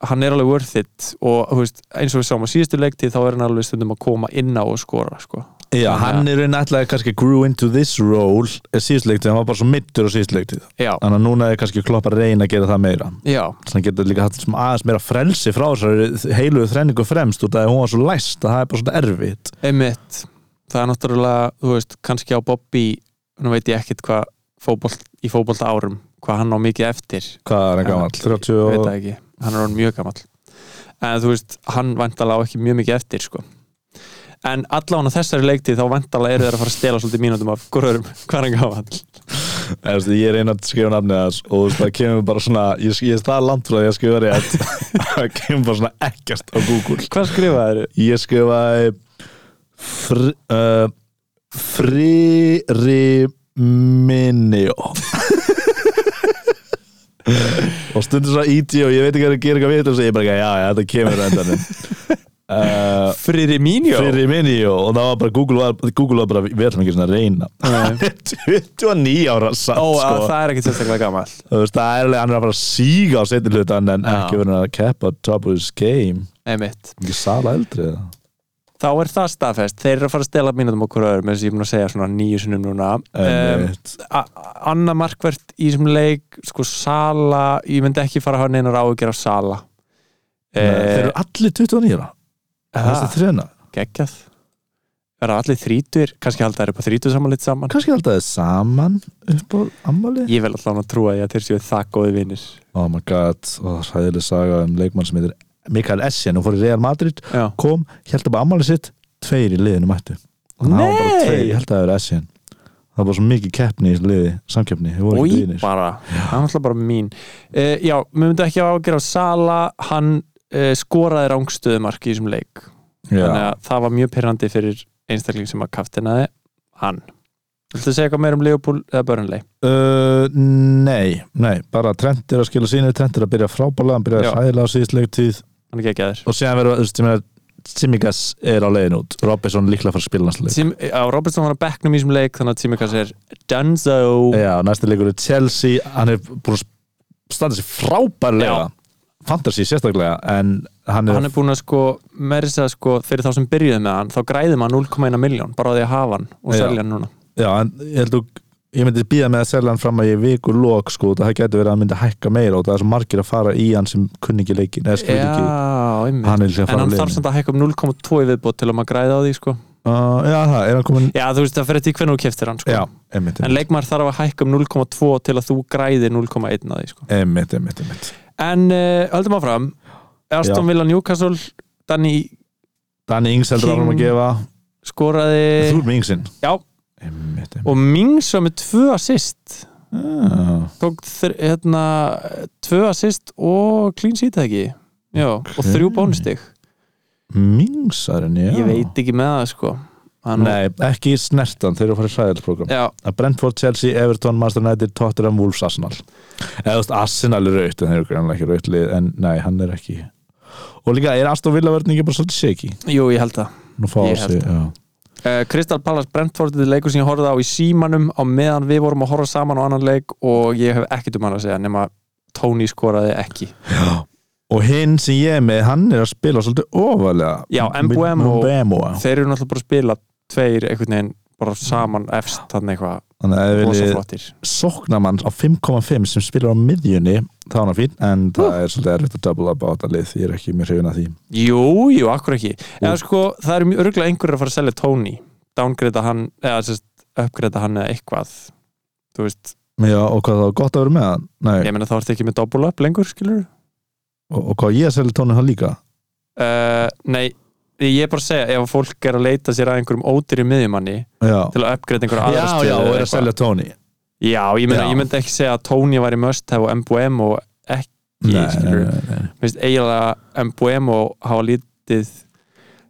[SPEAKER 4] hann er alveg worth it og þú veist, eins og við sáum á síðustu leiktíð þá er hann alveg stundum að koma inn á og skora sko.
[SPEAKER 3] Já, hann er einn ætlaði kannski grew into this role síðustleiktið, hann var bara svo mittur á síðustleiktið
[SPEAKER 4] já,
[SPEAKER 3] Þannig að núna er kannski klopp að reyna að gera það meira
[SPEAKER 4] já,
[SPEAKER 3] Þannig að geta líka hatt sem aðeins meira frelsi frá þessari heiluðu þrenningu fremst út af því að hún var svo læst að það er bara svona erfitt
[SPEAKER 4] einmitt það er náttúrulega, þú veist, kannski á Bobby nú veit ég ekkit hvað fótbolt, í fótbolta árum, hvað hann á mikið eftir
[SPEAKER 3] Hvað er hann
[SPEAKER 4] Já,
[SPEAKER 3] gammal? 30
[SPEAKER 4] ég veit
[SPEAKER 3] og...
[SPEAKER 4] það ekki, hann er hann mjög gamall en þú veist, hann væntalega á ekki mjög mikið eftir sko. en allavega á þessari leiktíð þá væntalega eru þeir að fara að stela svolítið mínútum af hverjum, hvað hann gamall
[SPEAKER 3] Þú veist, Ég er einn að skrifa nafnið hans og þú veist, það kemur bara svona ég, ég er það langt frá því að skrifa rétt það kemur bara svona ekkert á Google
[SPEAKER 4] hvað skrifaði þeir?
[SPEAKER 3] Ég skrifaði fr, uh, Fririminio og stundur svo íti og ég veit ekki hvað að gera eitthvað við þetta og ég bara ekki, já, já, þetta kemur á endanum uh,
[SPEAKER 4] Friri Mínjó?
[SPEAKER 3] Fririminio og það var bara, Google var, Google var bara við ætlum ekki svona að reyna 29 ára satt
[SPEAKER 4] Ó,
[SPEAKER 3] sko.
[SPEAKER 4] að það er ekkert sérstaklega gammal
[SPEAKER 3] Þú veist, það er alveg hann er að fara að síga á setjum hlutan en
[SPEAKER 4] Já.
[SPEAKER 3] ekki verið að keppa top of his game
[SPEAKER 4] Einmitt.
[SPEAKER 3] ekki sala eldri eða?
[SPEAKER 4] Þá er það staðfest, þeir eru að fara að stela mínútum okkur öðrum eins og ég er búin að segja svona nýju sinnum núna um,
[SPEAKER 3] Einmitt.
[SPEAKER 4] Anna Markvert í sem leik sko Sala, ég myndi ekki fara að hafa neinar áhugjur af Sala
[SPEAKER 3] Nei, þeir eru allir 29 ára
[SPEAKER 4] Eh,
[SPEAKER 3] þessi þrjöna,
[SPEAKER 4] geggjað Verða allir þrítur, kannski halda þeir upp á þrítur saman litt saman
[SPEAKER 3] kannski alltaf þeir saman upp á ammali
[SPEAKER 4] Ég vil alltaf að trúa því að þeir séu það góði vinnir
[SPEAKER 3] oh my god, og hræðileg saga um leikmann sem heitir Mikael Essien hún fór í Real Madrid,
[SPEAKER 4] Já,
[SPEAKER 3] kom, held upp á ammali sitt tveir í liðinu mættu hann hafa bara
[SPEAKER 4] Nei!
[SPEAKER 3] tveir, ég held að það er Essien það var bara svo mikið keppni í þessu liði samkeppni, þau voru ekki
[SPEAKER 4] Í
[SPEAKER 3] vinir
[SPEAKER 4] bara, hann ætla bara mín uh, Já, mér myndi ekki að ágjöra á Sala hann uh, skoraði rángstöðumark í þessum leik þannig
[SPEAKER 3] Já.
[SPEAKER 4] að það var mjög pyrrandi fyrir einstakling sem að kaftinaði hann Viltu segja eitthvað meira um Leopold eða Börnley?
[SPEAKER 3] Uh, nei, nei, bara Trent er að skila sínu, Trent er að byrja frábæla hann byrjaði
[SPEAKER 4] Já.
[SPEAKER 3] hæðilega á síðust leiktíð
[SPEAKER 4] Hann er ekki að þér
[SPEAKER 3] og síðan verður, þú veist, ég meina Simikas er á leiðin út, Robinson líklega fara að spila næsta leik
[SPEAKER 4] Tim, á Robertson var að bekknum í þessum leik þannig að Tímikas er Dunzo
[SPEAKER 3] Já, næsta leikur er Chelsea hann er búin að standa sér frábælega fantasy sérstaklega en hann er,
[SPEAKER 4] hann er búin að sko, meiri segja sko fyrir þá sem byrjuðu með hann, þá græðum hann 0,1 miljón bara á því að hafa hann og
[SPEAKER 3] Já.
[SPEAKER 4] selja hann núna
[SPEAKER 3] já, en ég held að ég myndi býða með að selja hann fram að ég viku lok sko, það getur verið að hann myndi hækka meira og það er svo margir að fara í hann sem kunni ekki leikin eða skilur ekki,
[SPEAKER 4] Já, einmitt
[SPEAKER 3] hann er líklega að
[SPEAKER 4] En
[SPEAKER 3] fara
[SPEAKER 4] hann
[SPEAKER 3] á
[SPEAKER 4] þarf
[SPEAKER 3] leiðin
[SPEAKER 4] samt að hækka um 0,2 í viðbót til að maður græði á því sko
[SPEAKER 3] uh, Já, það, er hann komin
[SPEAKER 4] Já, þú veist það fyrir því hvernig þú keftir hann sko
[SPEAKER 3] Já, einmitt,
[SPEAKER 4] En leikmar þarf að hækka um 0,2 til að þú græði 0,1 að því sko
[SPEAKER 3] einmitt, einmitt, einmitt.
[SPEAKER 4] En uh, höldum áfram Aston
[SPEAKER 3] Já.
[SPEAKER 4] Villa Newcastle Danny
[SPEAKER 3] Danny Ings heldur
[SPEAKER 4] King.
[SPEAKER 3] áfram að gefa
[SPEAKER 4] skoraði
[SPEAKER 3] Þú er með Ingsinn
[SPEAKER 4] Já,
[SPEAKER 3] Einmitt, einmitt.
[SPEAKER 4] og Mings var með tvö assist
[SPEAKER 3] Ah,
[SPEAKER 4] tók þr, hérna, tvö assist og clean sheet eða ekki Já, og
[SPEAKER 3] Ok.
[SPEAKER 4] þrjú bónstig
[SPEAKER 3] Mingsarinn, já
[SPEAKER 4] Ég veit ekki með það sko Hann,
[SPEAKER 3] Nei, ekki snertan, þeir eru að fara í hræðilsprogram
[SPEAKER 4] Já,
[SPEAKER 3] Brentford, Chelsea, Everton, Master United, Tottenham, Wolves, Arsenal Eða þú veist, Arsenal er raut en þeir eru grannlega ekki raut lið en nei, hann er ekki Og líka, er Aston Villa verðin ekki bara svolítið shaky?
[SPEAKER 4] jú, ég held það
[SPEAKER 3] Nú fá
[SPEAKER 4] Ég
[SPEAKER 3] þessi,
[SPEAKER 4] held
[SPEAKER 3] já
[SPEAKER 4] Uh, Crystal Palace Brentford þetta er leikur sem ég horfði á í símanum á meðan við vorum að horfa saman á annan leik og ég hef ekkert um hann að segja nema Tony skoraði ekki
[SPEAKER 3] Og hinn sem ég er með, hann er að spila svolítið ofalega
[SPEAKER 4] Já, Mbeumo.
[SPEAKER 3] Mbemo
[SPEAKER 4] þeir eru náttúrulega bara að spila tveir einhvern veginn bara saman efst þannig eitthvað
[SPEAKER 3] Þannig að ef
[SPEAKER 4] rosa
[SPEAKER 3] við
[SPEAKER 4] flottir
[SPEAKER 3] sóknamann á 5,5 sem spilar á miðjunni þá er hann fín, en það er svolítið erfitt að double up á þetta lið, ég er ekki mjög hrifin að því
[SPEAKER 4] Jú, jú, akkur ekki eða sko, það eru örgulega einhverjir að fara að selja Tony downgrada hann, eða sérst uppgrada hann eða eitthvað þú veist,
[SPEAKER 3] Já, og hvað það var gott að vera með hann Nei,
[SPEAKER 4] ég meina þá ertu ekki með double up lengur, skilur
[SPEAKER 3] og, og hvað ég að selja tónum hann líka
[SPEAKER 4] uh, Nei, ég er bara að segja ef að fólk er að leita sér að einhverjum ódýri miðjumanni
[SPEAKER 3] Já,
[SPEAKER 4] til að uppgrada
[SPEAKER 3] já,
[SPEAKER 4] einhverja aðra
[SPEAKER 3] já, og
[SPEAKER 4] stöðu eða
[SPEAKER 3] er að
[SPEAKER 4] eitthvað.
[SPEAKER 3] selja tóni
[SPEAKER 4] Já, ég meina,
[SPEAKER 3] Já.
[SPEAKER 4] ég myndi ekki segja að Tony var í must hef og MBM og ekki
[SPEAKER 3] Nei, nei,
[SPEAKER 4] skilur,
[SPEAKER 3] nei, nei.
[SPEAKER 4] minnst eiginlega MBM og hafa lítið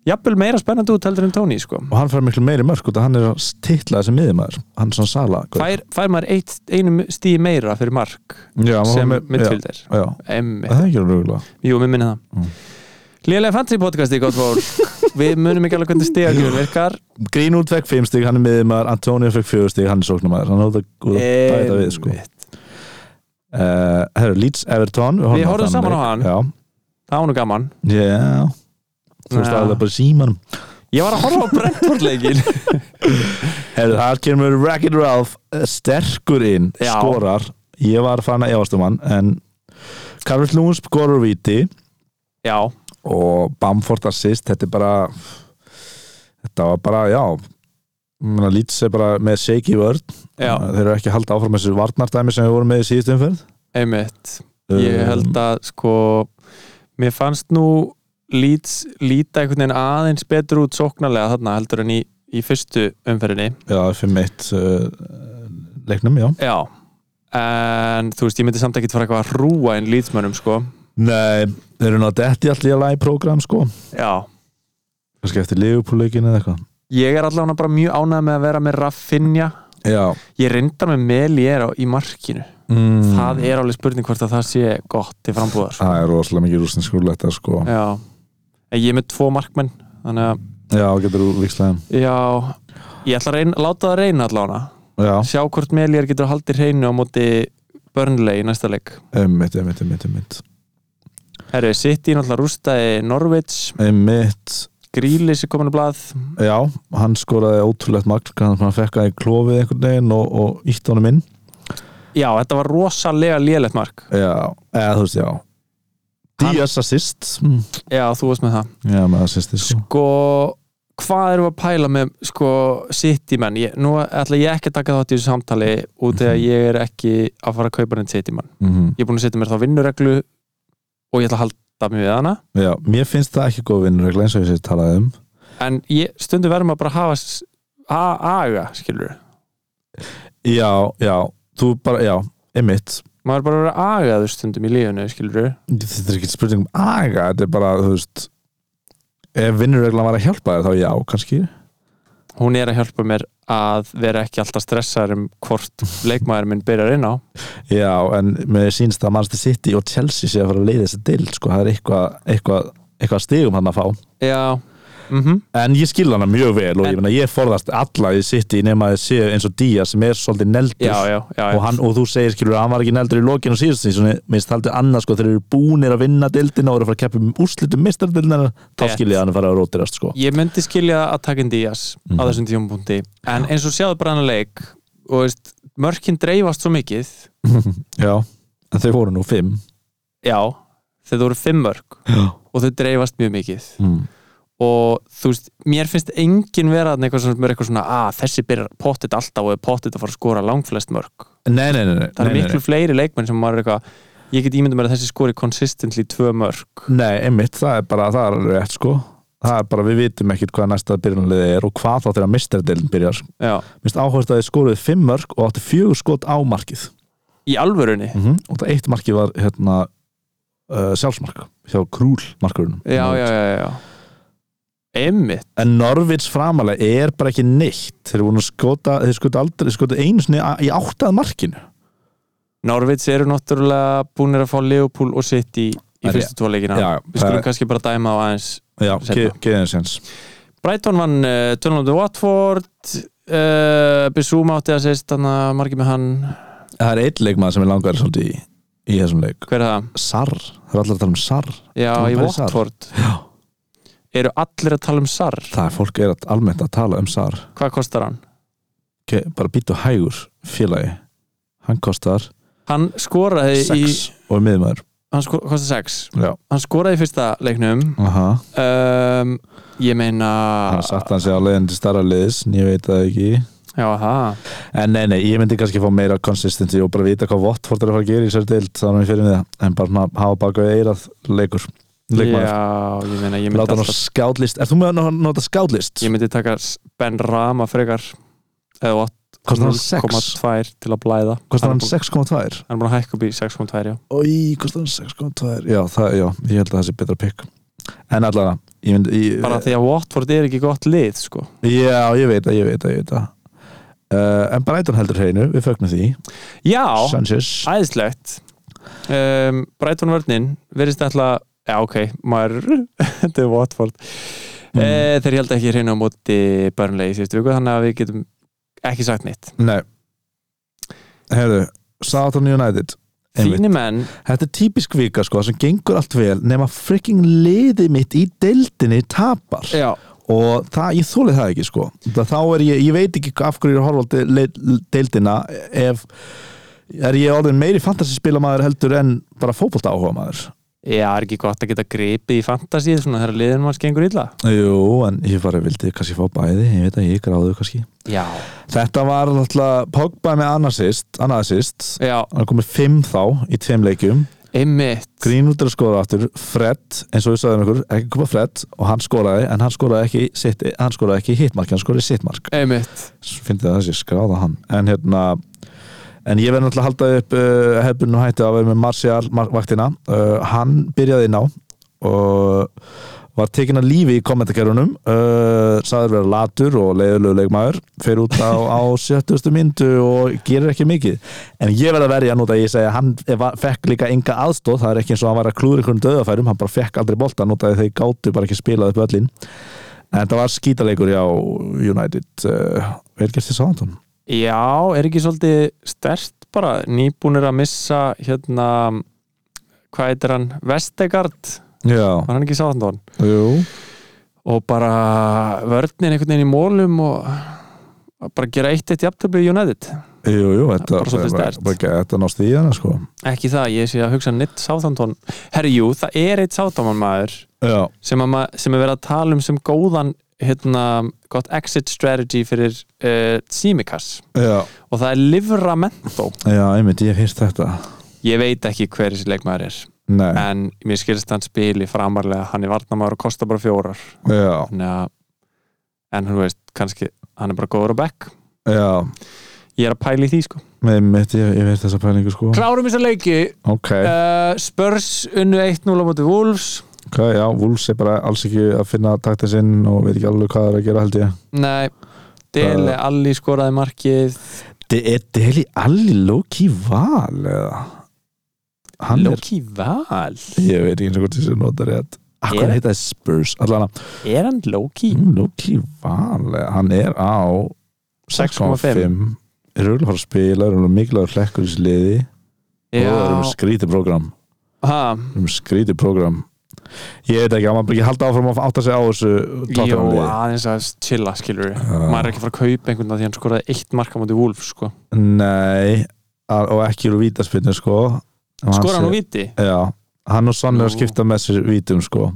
[SPEAKER 4] jafnvel meira spennandi út heldur en Tony sko.
[SPEAKER 3] Og hann fær miklu meiri mörg út að hann er að titla þessi miðumæður Hann er svona sala gaur.
[SPEAKER 4] fær, fær maður eitt, einu stíð meira fyrir mark
[SPEAKER 3] já, hann var
[SPEAKER 4] sem
[SPEAKER 3] með-
[SPEAKER 4] midfylgir
[SPEAKER 3] Já, já,
[SPEAKER 4] Emmi,
[SPEAKER 3] það er ekki rúgulega
[SPEAKER 4] jú, mér minna það
[SPEAKER 3] Mm.
[SPEAKER 4] mm. Lélega fantasy podcasti, gott fólk Við munum ekki alveg hvernig stíðagjörn virkar
[SPEAKER 3] Grínúld fekk 5 stík, hann er miðumæður Antonio fekk 4 stík, hann er sóknumæður Hann hóði að
[SPEAKER 4] Eh,
[SPEAKER 3] bæta við sko.
[SPEAKER 4] Einmitt.
[SPEAKER 3] uh, Herru, Leeds Everton
[SPEAKER 4] Við horfum saman á hann.
[SPEAKER 3] Já,
[SPEAKER 4] Það var nú gaman
[SPEAKER 3] já Þú veist
[SPEAKER 4] Já.
[SPEAKER 3] aðlega bara símanum
[SPEAKER 4] Ég var að horfa á Brentford-leikin
[SPEAKER 3] Herru, það kemur Racket Ralph eh, sterkur inn,
[SPEAKER 4] Já.
[SPEAKER 3] skorar Ég var farin að efast um hann En Karvel Lúns skorur viti
[SPEAKER 4] Já,
[SPEAKER 3] Og Bamford assist, þetta er bara Þetta var bara, já Menna, Leeds er bara með shaky vörd
[SPEAKER 4] já,
[SPEAKER 3] Þeir eru ekki að halda áfram þessu varnardæmi sem við vorum með í síðustu umferð Um,
[SPEAKER 4] einmitt
[SPEAKER 3] Eh,
[SPEAKER 4] Ég held að sko Mér fannst nú Leeds líta einhvern veginn aðeins betur út sóknarlega þarna heldur en í, í fyrstu umferðinni
[SPEAKER 3] Já, 5-1 uh, leiknum, já
[SPEAKER 4] Já En þú veist, ég myndi samt ekki fara eitthvað að rúa inn Leedsmönnum sko
[SPEAKER 3] Nei, þeir eru náttúrulega detti allir í að læg program sko
[SPEAKER 4] Já
[SPEAKER 3] kannski eftir Liverpool-leikin eða eitthvað
[SPEAKER 4] Ég er allavega bara mjög ánægð með að vera með Raffinja
[SPEAKER 3] Já
[SPEAKER 4] Ég reyndar með Melier á- í markinu
[SPEAKER 3] mm.
[SPEAKER 4] Það er alveg spurning hvort að það sé gott til frambúðar sko.
[SPEAKER 3] Það er rosalega mikið rústin skrúletta sko
[SPEAKER 4] Já En Ég er með tvo markmenn Þannig að,
[SPEAKER 3] Já, getur þú vikslaðum
[SPEAKER 4] já Ég ætla að reyna, láta það reyna allavega
[SPEAKER 3] Já,
[SPEAKER 4] sjá hvort Melier getur haldið hreinu á móti Burnley í næsta leik
[SPEAKER 3] einmitt, einmitt, einmitt einmitt,
[SPEAKER 4] Herru, City náttúrulega rústaði Norvits
[SPEAKER 3] einmitt.
[SPEAKER 4] Grílis er kominu blað
[SPEAKER 3] Já, hann skoraði ótrúlegt magl hann hann fekk að í klófið einhvern veginn og, og ítt honum inn
[SPEAKER 4] Já, þetta var rosalega lélegt mark
[SPEAKER 3] Já, eða þú veist, já
[SPEAKER 4] Hann-
[SPEAKER 3] Díaz assist mm.
[SPEAKER 4] Já, þú varst með það
[SPEAKER 3] Já, með assistir sko
[SPEAKER 4] Sko, hvað erum við að pæla með sko, City menn? Ég, nú ætla ég ekki að taka þátt í þessu samtali út
[SPEAKER 3] Mhm.
[SPEAKER 4] eða ég er ekki að fara að kaupa neitt City mann
[SPEAKER 3] mm
[SPEAKER 4] Ég er búin að setja mér þá vinnureglu og ég ætla að halda mig við hana
[SPEAKER 3] Já, mér finnst það ekki góð vinnuregla eins og ég sér talaði um
[SPEAKER 4] En ég, stundum verðum að bara hafa s- a- aga, skilur
[SPEAKER 3] Já, já, þú bara, já, einmitt
[SPEAKER 4] maður er bara að vera agaður stundum í lífinu skilur
[SPEAKER 3] þetta er ekki spurning um aga þetta er bara, þú veist ef vinnureglan var að hjálpa þér þá já, kannski
[SPEAKER 4] hún er að hjálpa mér að vera ekki alltaf stressaður um hvort leikmaður minn byrjar inn á
[SPEAKER 3] já, en mér sýnst að Manchester City og Chelsea sé að fara að leiða þessi dild sko, það er eitthvað, eitthvað, eitthvað stigum hann að fá
[SPEAKER 4] já mm -hmm.
[SPEAKER 3] en ég skil hana mjög vel og ég,
[SPEAKER 4] En-
[SPEAKER 3] meina, ég forðast alla í City nema að þið séu eins og Díaz sem er svolítið neldur
[SPEAKER 4] já, já, já,
[SPEAKER 3] Og, hann, og þú segir skilur að hann var ekki neldur í lokinu síðust síðan, minnst haldið annað sko, þeir eru búnir að vinna dildina og eru að fara að keppa um úrslitum mistardildina, þá
[SPEAKER 4] Rétt.
[SPEAKER 3] skilja hann að fara að rótirast sko.
[SPEAKER 4] ég myndi skilja að taka inn Díaz
[SPEAKER 3] Mhm.
[SPEAKER 4] á þessum tímapunkti en eins og sjáðu bara hann að leik og veist, mörkin dreifast svo mikið
[SPEAKER 3] já, en þau voru nú fimm
[SPEAKER 4] já, þetta voru fimm mörk
[SPEAKER 3] já,
[SPEAKER 4] og þau dreifast mjög mikið
[SPEAKER 3] mm.
[SPEAKER 4] og þú veist, mér finnst engin vera þarna eitthvað sem er eitthvað svona að þessi byrjar pottit alltaf og er pottit að fara að skora langflest mörk
[SPEAKER 3] Nei, nei, nei, nei
[SPEAKER 4] það
[SPEAKER 3] nei,
[SPEAKER 4] er
[SPEAKER 3] nei,
[SPEAKER 4] miklu fleiri leikmenn sem maður er eitthvað ég get ímyndað mér að þessi skori consistently tvö mörg
[SPEAKER 3] nei. nei, einmitt, það er bara, það er alveg rétt sko Það er bara, við vitum ekkert hvað næsta byrjunarliði er og hvað þá þegar misterdelin byrjar sko.
[SPEAKER 4] já.
[SPEAKER 3] Minnst áhverst að þið skoruðu fimm mörg og áttu fjögur skot á markið
[SPEAKER 4] í alvörunni
[SPEAKER 3] og það eitt markið var hérna uh, sjálfsmark hjá Krúl markurunum
[SPEAKER 4] já, já, já, já, já. emmitt,
[SPEAKER 3] En Norvits framalega er bara ekki neitt Þeir eru búin að skota, þeir skota aldrei þeir skota einu sinni a- í áttað markinu
[SPEAKER 4] Norvits eru náttúrulega búinir að fá Leopool og City í
[SPEAKER 3] Það er
[SPEAKER 4] fyrstu tvo leikina
[SPEAKER 3] Já,
[SPEAKER 4] við skulum kannski bara dæma á aðeins
[SPEAKER 3] já,
[SPEAKER 4] Seinna.
[SPEAKER 3] geðin sens
[SPEAKER 4] Brighton vann uh, Tönlandi Watford uh, Bissúma átti að segist þannig að margir með hann
[SPEAKER 3] Það er eitt leikmaður sem er langar svolítið í, í þessum leik
[SPEAKER 4] hver er það?
[SPEAKER 3] Sar, það er allir að tala um Sar
[SPEAKER 4] Já,
[SPEAKER 3] Þú
[SPEAKER 4] í
[SPEAKER 3] pælir Sar?
[SPEAKER 4] Watford
[SPEAKER 3] Já
[SPEAKER 4] eru allir að tala um Sar
[SPEAKER 3] Það er fólk er að, almennt að tala um SAR
[SPEAKER 4] hvað kostar hann?
[SPEAKER 3] ok, bara býttu hægur félagi, hann kostar
[SPEAKER 4] hann skoraði í
[SPEAKER 3] 6 og er miðmaður
[SPEAKER 4] hann sko, kosti 6
[SPEAKER 3] já,
[SPEAKER 4] hann skoraði í fyrsta leiknum
[SPEAKER 3] aha,
[SPEAKER 4] um, ég meina
[SPEAKER 3] hann satt hann sig á leiðin til starra liðs en ég veit það ekki
[SPEAKER 4] já það
[SPEAKER 3] en nei, nei, ég myndi kannski fá meira consistency og bara vita hvað Watford er að fara að gera í sér deild þá erum við fyrir með það, en bara svona hafa baka við eirað leikur, leikmaður
[SPEAKER 4] Já, ég meina, ég myndi,
[SPEAKER 3] láta hann á
[SPEAKER 4] alltaf,
[SPEAKER 3] skátlist, er þú með að nota skátlist?
[SPEAKER 4] ég myndi taka Ben Rama frekar eða
[SPEAKER 3] Kostar hann 6?
[SPEAKER 4] 8,2 til að blæða
[SPEAKER 3] Kostar hann Eh,
[SPEAKER 4] búinn-
[SPEAKER 3] 6,2?
[SPEAKER 4] hann er búin að hækka upp í 6,2 já.
[SPEAKER 3] Í, kostar hann 6,2 Já, það, já, ég held að það sé betra pikk En allavega, ég mynd ég,
[SPEAKER 4] bara því að Watford er ekki gott lið sko.
[SPEAKER 3] Já, ég veit að, ég veit að, ég veit að uh, En Brighton heldur hreinu, við fögnum því
[SPEAKER 4] já,
[SPEAKER 3] Sanchez
[SPEAKER 4] æðislegt um, Brighton vörninn verðist ætla já ok, maður þetta er Watford mm. þeir held ekki hreinu á móti Burnley í síðustu viku þannig að við getum ekki sagt neitt
[SPEAKER 3] Nei Herðu, Southern United Einmitt.
[SPEAKER 4] þínu menn,
[SPEAKER 3] Þetta er típisk vika sko, sem gengur allt vel nema frikking liði mitt í deildinni tapar
[SPEAKER 4] já,
[SPEAKER 3] og það, ég þólið það ekki sko það, þá er ég, ég veit ekki af hverju ég er að horfa á de- le- deildina ef er ég orðin meiri fantasyspilamaður heldur en bara fótbolta áhuga maður
[SPEAKER 4] já, er ekki gott að geta gripið í fantasíð svona þegar liðin manns gengur illa
[SPEAKER 3] jú, en ég bara vildi kannski fá bæði ég veit að ég gráðu kannski
[SPEAKER 4] já,
[SPEAKER 3] þetta var alltaf Pogba með annarsist annarsist,
[SPEAKER 4] já,
[SPEAKER 3] hann er komið fimm þá í tveim leikjum
[SPEAKER 4] einmitt
[SPEAKER 3] Greenwood er að skora aftur, Fred eins og við sagðum ykkur, ekki koma Fred og hann skoraði, en hann skoraði ekki, sitt, hann skoraði ekki hittmark, hann skoraði sittmark
[SPEAKER 4] einmitt,
[SPEAKER 3] finnst það að sé skráða hann en hérna en ég verði náttúrulega að halda upp uh, hefbunum hætti að vera með Martial Mar- vaktina uh, hann byrjaði inn á og var tekin að lífi í kommentarkerunum uh, sagður vera latur og leiðulegu leikmaður fer út á, á 70. myndu og gerir ekki mikið en ég verði að verja nút að ég segja hann var- fekk líka enga aðstóð, það er ekki eins og hann var að klúður einhvern döðafærum, hann bara fekk aldrei boltan nút að þeir gátu bara ekki spilað upp öllin En það var skítaleikur hjá United uh, Vel gert í Southampton
[SPEAKER 4] já, er ekki svolítið stert bara, nýbúnir að missa hérna hvað heitir hann, Vestegard
[SPEAKER 3] Já,
[SPEAKER 4] var hann ekki sáðan
[SPEAKER 3] jú
[SPEAKER 4] og bara vörninn einhvern veginn í mólum og bara gera eitt eitt jafntöfli í United
[SPEAKER 3] Jú, jú, þetta,
[SPEAKER 4] Bara svolítið
[SPEAKER 3] bara-
[SPEAKER 4] sterkt.
[SPEAKER 3] bara ekki- þetta nást í hana sko
[SPEAKER 4] ekki það, ég sé að hugsa neitt sáðantón herri, jú, það er eitt sáðanmann maður
[SPEAKER 3] Já,
[SPEAKER 4] sem, að, ma- sem er verið að tala um sem góðan hérna, gott exit strategy fyrir uh, Simikas
[SPEAKER 3] já,
[SPEAKER 4] og það er Livramento
[SPEAKER 3] já, einmitt, ég hef hýrt þetta
[SPEAKER 4] ég veit ekki hver þessi leikmaður er
[SPEAKER 3] Nei,
[SPEAKER 4] en mér skilst hann spili framarlega hann er varnamaður og kostar bara fjórar
[SPEAKER 3] já,
[SPEAKER 4] Þannig að- en hann veist, kannski hann er bara góður á bekk
[SPEAKER 3] já
[SPEAKER 4] ég er að pæla í því sko
[SPEAKER 3] Einmitt, ég, ég hef hýrt þessa pælingu sko
[SPEAKER 4] klárum þess að leiki
[SPEAKER 3] Ok,
[SPEAKER 4] uh, Spurs unnu 1-0 á móti Wolves
[SPEAKER 3] ok, já, Wolves er bara alls ekki að finna taktið sinn og veit ekki alveg hvað það er að gera held ég
[SPEAKER 4] nei,
[SPEAKER 3] Eh.
[SPEAKER 4] Dele Alli skoraði markið
[SPEAKER 3] Þetta er Deli Alli Loki Val eða Hann er,
[SPEAKER 4] Loki Val
[SPEAKER 3] ég veit ekki eins og hvort þessi notar rétt Akkur
[SPEAKER 4] Er-
[SPEAKER 3] heita Spurs, allan
[SPEAKER 4] er hann Loki?
[SPEAKER 3] Mm, Loki Val hann er á 6,5 er
[SPEAKER 4] 6,5.
[SPEAKER 3] auðvitað að fara að spila er auðvitað mikilvægur hlekkur í þessu liði og það er um
[SPEAKER 4] já,
[SPEAKER 3] skrítið program
[SPEAKER 4] ha,
[SPEAKER 3] um skrítið program ég veit ekki, hann maður ekki halda áfram að átta sig á þessu
[SPEAKER 4] jó,
[SPEAKER 3] tóttanum liði
[SPEAKER 4] aðeins að chilla skilur við maður er ekki að fara að kaupa einhvern veginn því hann skoraði eitt marka móti Wolves sko.
[SPEAKER 3] nei, að- og ekki úr vítaspinnu sko
[SPEAKER 4] skora hann og viti?
[SPEAKER 3] víti já, hann og Sonn er að
[SPEAKER 4] Jú.
[SPEAKER 3] skipta með sér vítum sko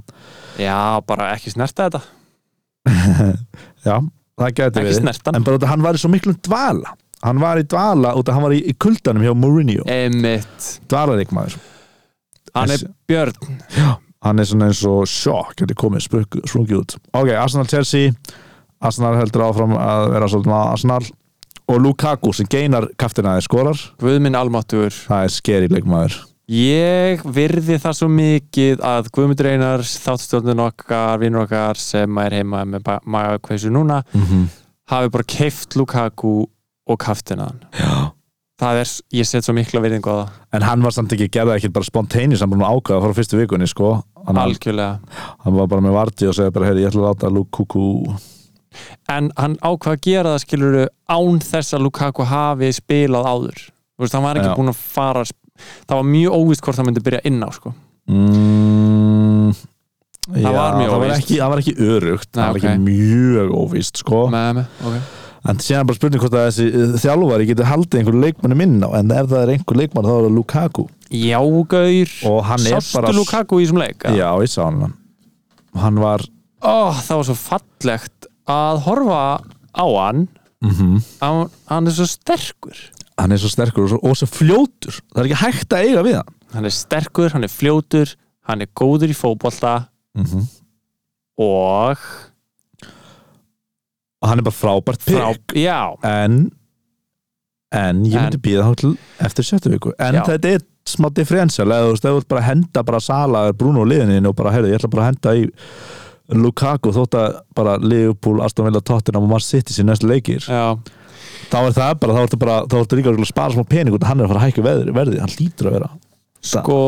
[SPEAKER 4] já, bara ekki snerta þetta
[SPEAKER 3] já, það gæti
[SPEAKER 4] ekki
[SPEAKER 3] verið
[SPEAKER 4] snerta
[SPEAKER 3] en
[SPEAKER 4] hann
[SPEAKER 3] bara út af hann var í svo miklum dvala hann var í dvala út af hann var í, í kuldanum hjá
[SPEAKER 4] Eh.
[SPEAKER 3] Mourinho, sko.
[SPEAKER 4] emitt,
[SPEAKER 3] dvalaríkmaður
[SPEAKER 4] hann er Björn
[SPEAKER 3] hann er svona eins og sjokk þetta er komið sprung- sprungið út ok, Arsenal Chelsea Arsenal heldur áfram að vera svolítið með Arsenal og Lukaku sem geinar kaftinaði skorar
[SPEAKER 4] Guðminn Almáttur
[SPEAKER 3] það er skeri leikmaður
[SPEAKER 4] Ég virði það svo mikið að Guðmundur Einar, þáttstjórnun okkar, vinnur okkar sem er heima með magakveysu núna,
[SPEAKER 3] mm -hmm.
[SPEAKER 4] hafi bara keift Lukaku og kaftinaðan.
[SPEAKER 3] Já.
[SPEAKER 4] Það er, ég set svo mikla virðingu á það,
[SPEAKER 3] en hann var samt ekki gerða ekkert bara spontaneous hann búin að ákvaða frá fyrstu vikunni sko hann,
[SPEAKER 4] algjörlega.
[SPEAKER 3] hann var bara með varti og segja bara heyri ég ætla að láta Lukaku
[SPEAKER 4] En hann ákvað að gera það skiluru án þess að Lukaku hafi spilað áður. Þú veist, hann var ekki
[SPEAKER 3] Já.
[SPEAKER 4] búinn að fara, að sp- það var mjög óvist hvort hann myndi byrja inn á, sko.
[SPEAKER 3] mm,
[SPEAKER 4] var mjög
[SPEAKER 3] það var
[SPEAKER 4] óvíst.
[SPEAKER 3] ekki, það var ekki örugt
[SPEAKER 4] Nei,
[SPEAKER 3] það var
[SPEAKER 4] ok.
[SPEAKER 3] ekki mjög óvíst sko
[SPEAKER 4] Með, með, ok.
[SPEAKER 3] en síðan er bara spurning hvort að þessi eh, þjálfari getur haldið einhver leikmanni minna en ef það er einhver leikmann þá er það Lukaku
[SPEAKER 4] Já, gaur
[SPEAKER 3] Og hann er
[SPEAKER 4] Sástu
[SPEAKER 3] bara-
[SPEAKER 4] Lukaku í þessum leik?
[SPEAKER 3] já, ég sá hann og hann var
[SPEAKER 4] Ó, það var svo fallegt að horfa á hann Mhm. hann, hann er svo sterkur
[SPEAKER 3] hann er svo sterkur og svo, og svo fljótur það er ekki hægt að eiga við hann
[SPEAKER 4] hann er sterkur, hann er fljótur hann er góður í fótbolta Mhm. og
[SPEAKER 3] og hann er bara frábært
[SPEAKER 4] frá,
[SPEAKER 3] pikk
[SPEAKER 4] já,
[SPEAKER 3] en en ég
[SPEAKER 4] En-
[SPEAKER 3] myndi býða þá til eftir sjöttu viku en
[SPEAKER 4] Já.
[SPEAKER 3] þetta er smá differential eða þú veist, ef þú vilt bara henda bara Sala eða Bruno liðinni og bara, heyrðu, ég ætla bara að henda í Lukaku þótt að bara Liverpool, Aston Villa, Tottenham og Man City sér næstu leikir
[SPEAKER 4] já
[SPEAKER 3] þá er það bara, þá ertu bara, þá ertu líka örugglega að spara smá pening út, hann er að fara að hækka veðri, verði hann lítur að vera
[SPEAKER 4] sko,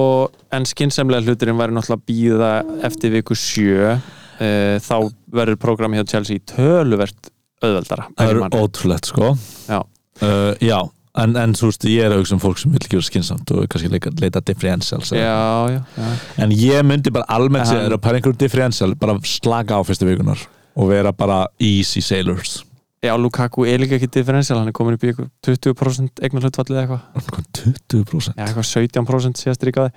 [SPEAKER 4] en skinsamlega hluturinn væri náttúrulega að býða eftir viku sjö uh, þá verður program hjá Chelsea töluvert auðveldara
[SPEAKER 3] það
[SPEAKER 4] ekki
[SPEAKER 3] er
[SPEAKER 4] mann.
[SPEAKER 3] ótrúlegt sko
[SPEAKER 4] Já.
[SPEAKER 3] uh, já, en, en þú veist, ég er að hugsa um fólk sem vil gera skinsamt og kannski leika, leita differentials eða-
[SPEAKER 4] já, já, já
[SPEAKER 3] En ég myndi bara almennt
[SPEAKER 4] En-
[SPEAKER 3] sér að pæla einhverjum differential, bara slaka á fyrstu vikunar og vera bara easy sailors
[SPEAKER 4] Já, Lukaku er líka ekki differential, hann er komin upp í eitthvað 20% eignar eða eitthvað
[SPEAKER 3] Hvað, 20%
[SPEAKER 4] Já, eitthvað 17% síðast ríkaði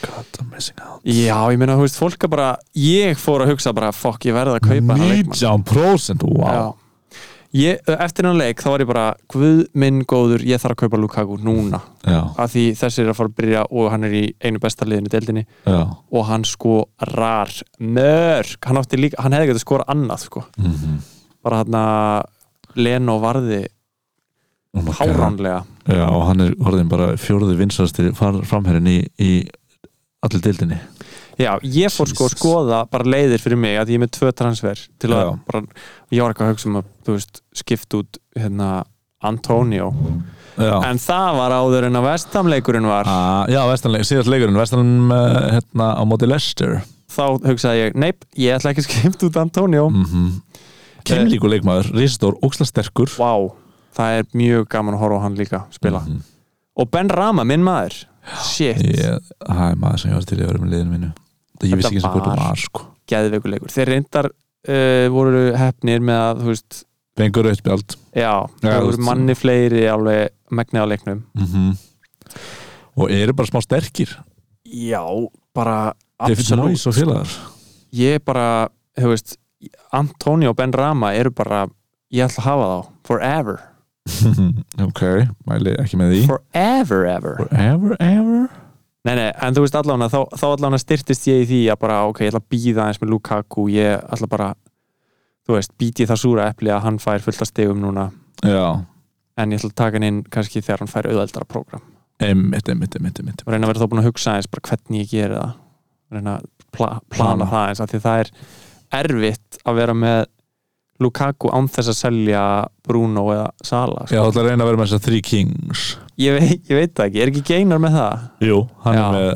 [SPEAKER 3] God, I'm missing out
[SPEAKER 4] Já, ég meina, þú veist, fólk er bara ég fór að hugsa bara, fokk, ég verði að kaupa hann
[SPEAKER 3] 19% wow.
[SPEAKER 4] ég, Eftir hann leik, þá var ég bara Guð minn góður, ég þarf að kaupa Lukaku núna
[SPEAKER 3] já,
[SPEAKER 4] af því þessi er að fara að byrja og hann er í einu besta liðinu í deildinni
[SPEAKER 3] já.
[SPEAKER 4] og hann sko rar mörg, hann átti líka, hann hefði getið skora annað sko,
[SPEAKER 3] Mm
[SPEAKER 4] bara hann að Leno varði
[SPEAKER 3] oh my God.
[SPEAKER 4] háránlega
[SPEAKER 3] já, og hann er orðin bara fjórði vinsasti framherrin í, í allir deildinni
[SPEAKER 4] Já, ég fór sko að
[SPEAKER 3] Jesus.
[SPEAKER 4] skoða bara leiðir fyrir mig að ég er með tvö transfer til að
[SPEAKER 3] Já.
[SPEAKER 4] bara, ég var eitthvað að hugsa um að þú veist, skipt út hérna Antonio,
[SPEAKER 3] já,
[SPEAKER 4] en það var áður en að vestamleikurinn var,
[SPEAKER 3] Ah, já vestanleik, síðast leikurinn vestanleik uh, hérna á móti Lester
[SPEAKER 4] þá hugsaði ég neip, ég ætla ekki að skipt út Antonio
[SPEAKER 3] mm -hmm. kynlíku leikmaður, risastór, ógslasterkur
[SPEAKER 4] Vá, það er mjög gaman að horfa á hann líka spila,
[SPEAKER 3] Mhm.
[SPEAKER 4] og Ben Rama, minn maður shit,
[SPEAKER 3] Ég- Það er maður sem ég var til í öðrum liðinu mínu Það ég vissi ekki
[SPEAKER 4] Þetta
[SPEAKER 3] sem hvort það
[SPEAKER 4] var-
[SPEAKER 3] var sko
[SPEAKER 4] geðveikuleikur þeir reyndar uh, voru hefnir með að, þú veist,
[SPEAKER 3] Fengur auðspjald
[SPEAKER 4] já,
[SPEAKER 3] Já,
[SPEAKER 4] það
[SPEAKER 3] þú
[SPEAKER 4] voru
[SPEAKER 3] veist.
[SPEAKER 4] manni fleiri alveg megnið á leiknum
[SPEAKER 3] mm Og eru bara smá sterkir
[SPEAKER 4] Já, bara
[SPEAKER 3] David
[SPEAKER 4] absolutt
[SPEAKER 3] Moyes og félagar
[SPEAKER 4] Ég bara, þú veist Antonio og Ben Rama eru bara ég ætla að hafa þá, forever
[SPEAKER 3] Ok, mæli ekki með því
[SPEAKER 4] forever ever
[SPEAKER 3] Forever, ever
[SPEAKER 4] Nei, nei, en þú veist allan að þá, þá allan að styrtist ég í því að bara, ok, ég ætla að býða eins með Lukaku, ég ætla bara þú veist, býti það súra epli að hann fær fullt að stegum núna,
[SPEAKER 3] Já,
[SPEAKER 4] en ég ætla að taka hann inn kannski þegar hann fær auðveldara prógram
[SPEAKER 3] einmitt, einmitt, einmitt, einmitt.
[SPEAKER 4] og reyna að vera þá búin að hugsa eins bara hvernig ég geri það reyna að pla plana
[SPEAKER 3] Plana.
[SPEAKER 4] það eins af því það er erfitt að vera með Lukaku án þess að selja Bruno eða Sala
[SPEAKER 3] Já,
[SPEAKER 4] sko.
[SPEAKER 3] þú ætla að reyna að vera með þess að three kings
[SPEAKER 4] ég, veit, ég veit það ekki, er ekki geinar með það
[SPEAKER 3] Jú, hann
[SPEAKER 4] Já.
[SPEAKER 3] er með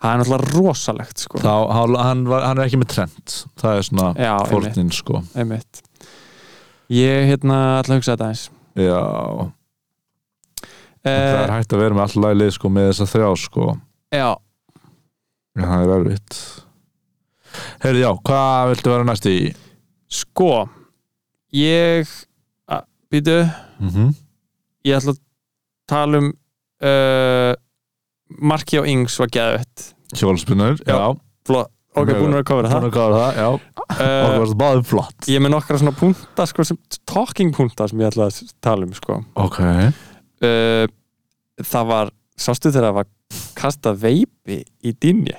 [SPEAKER 4] það er náttúrulega rosalegt sko.
[SPEAKER 3] þá, hann, hann, var, hann er ekki með trend Það er svona
[SPEAKER 4] Já, einmitt.
[SPEAKER 3] fórnin sko
[SPEAKER 4] einmitt ég hérna ætla að hugsa þetta eins
[SPEAKER 3] Já, það er
[SPEAKER 4] eh,
[SPEAKER 3] hægt að vera með alltaf lagið sko með þess að þrjá sko
[SPEAKER 4] já,
[SPEAKER 3] Já, það er erfitt Heyrðu, já, hvað viltu vera næst í?
[SPEAKER 4] sko ég a- býtu,
[SPEAKER 3] Mm -hmm.
[SPEAKER 4] ég ætla að tala um uh, Marki og Ings var geðvett
[SPEAKER 3] Hjólspunnar, já,
[SPEAKER 4] Já. Flott, ok,
[SPEAKER 3] Mjög
[SPEAKER 4] búin að vera að kofra
[SPEAKER 3] hún
[SPEAKER 4] það
[SPEAKER 3] er gáður það, já Og
[SPEAKER 4] uh,
[SPEAKER 3] varst báðum flott
[SPEAKER 4] Ég er með nokkra svona punta sko, sem, talking punta sem ég ætla að tala um sko.
[SPEAKER 3] Ok,
[SPEAKER 4] uh, Það var sástu þegar það var kastað veipi í dýnji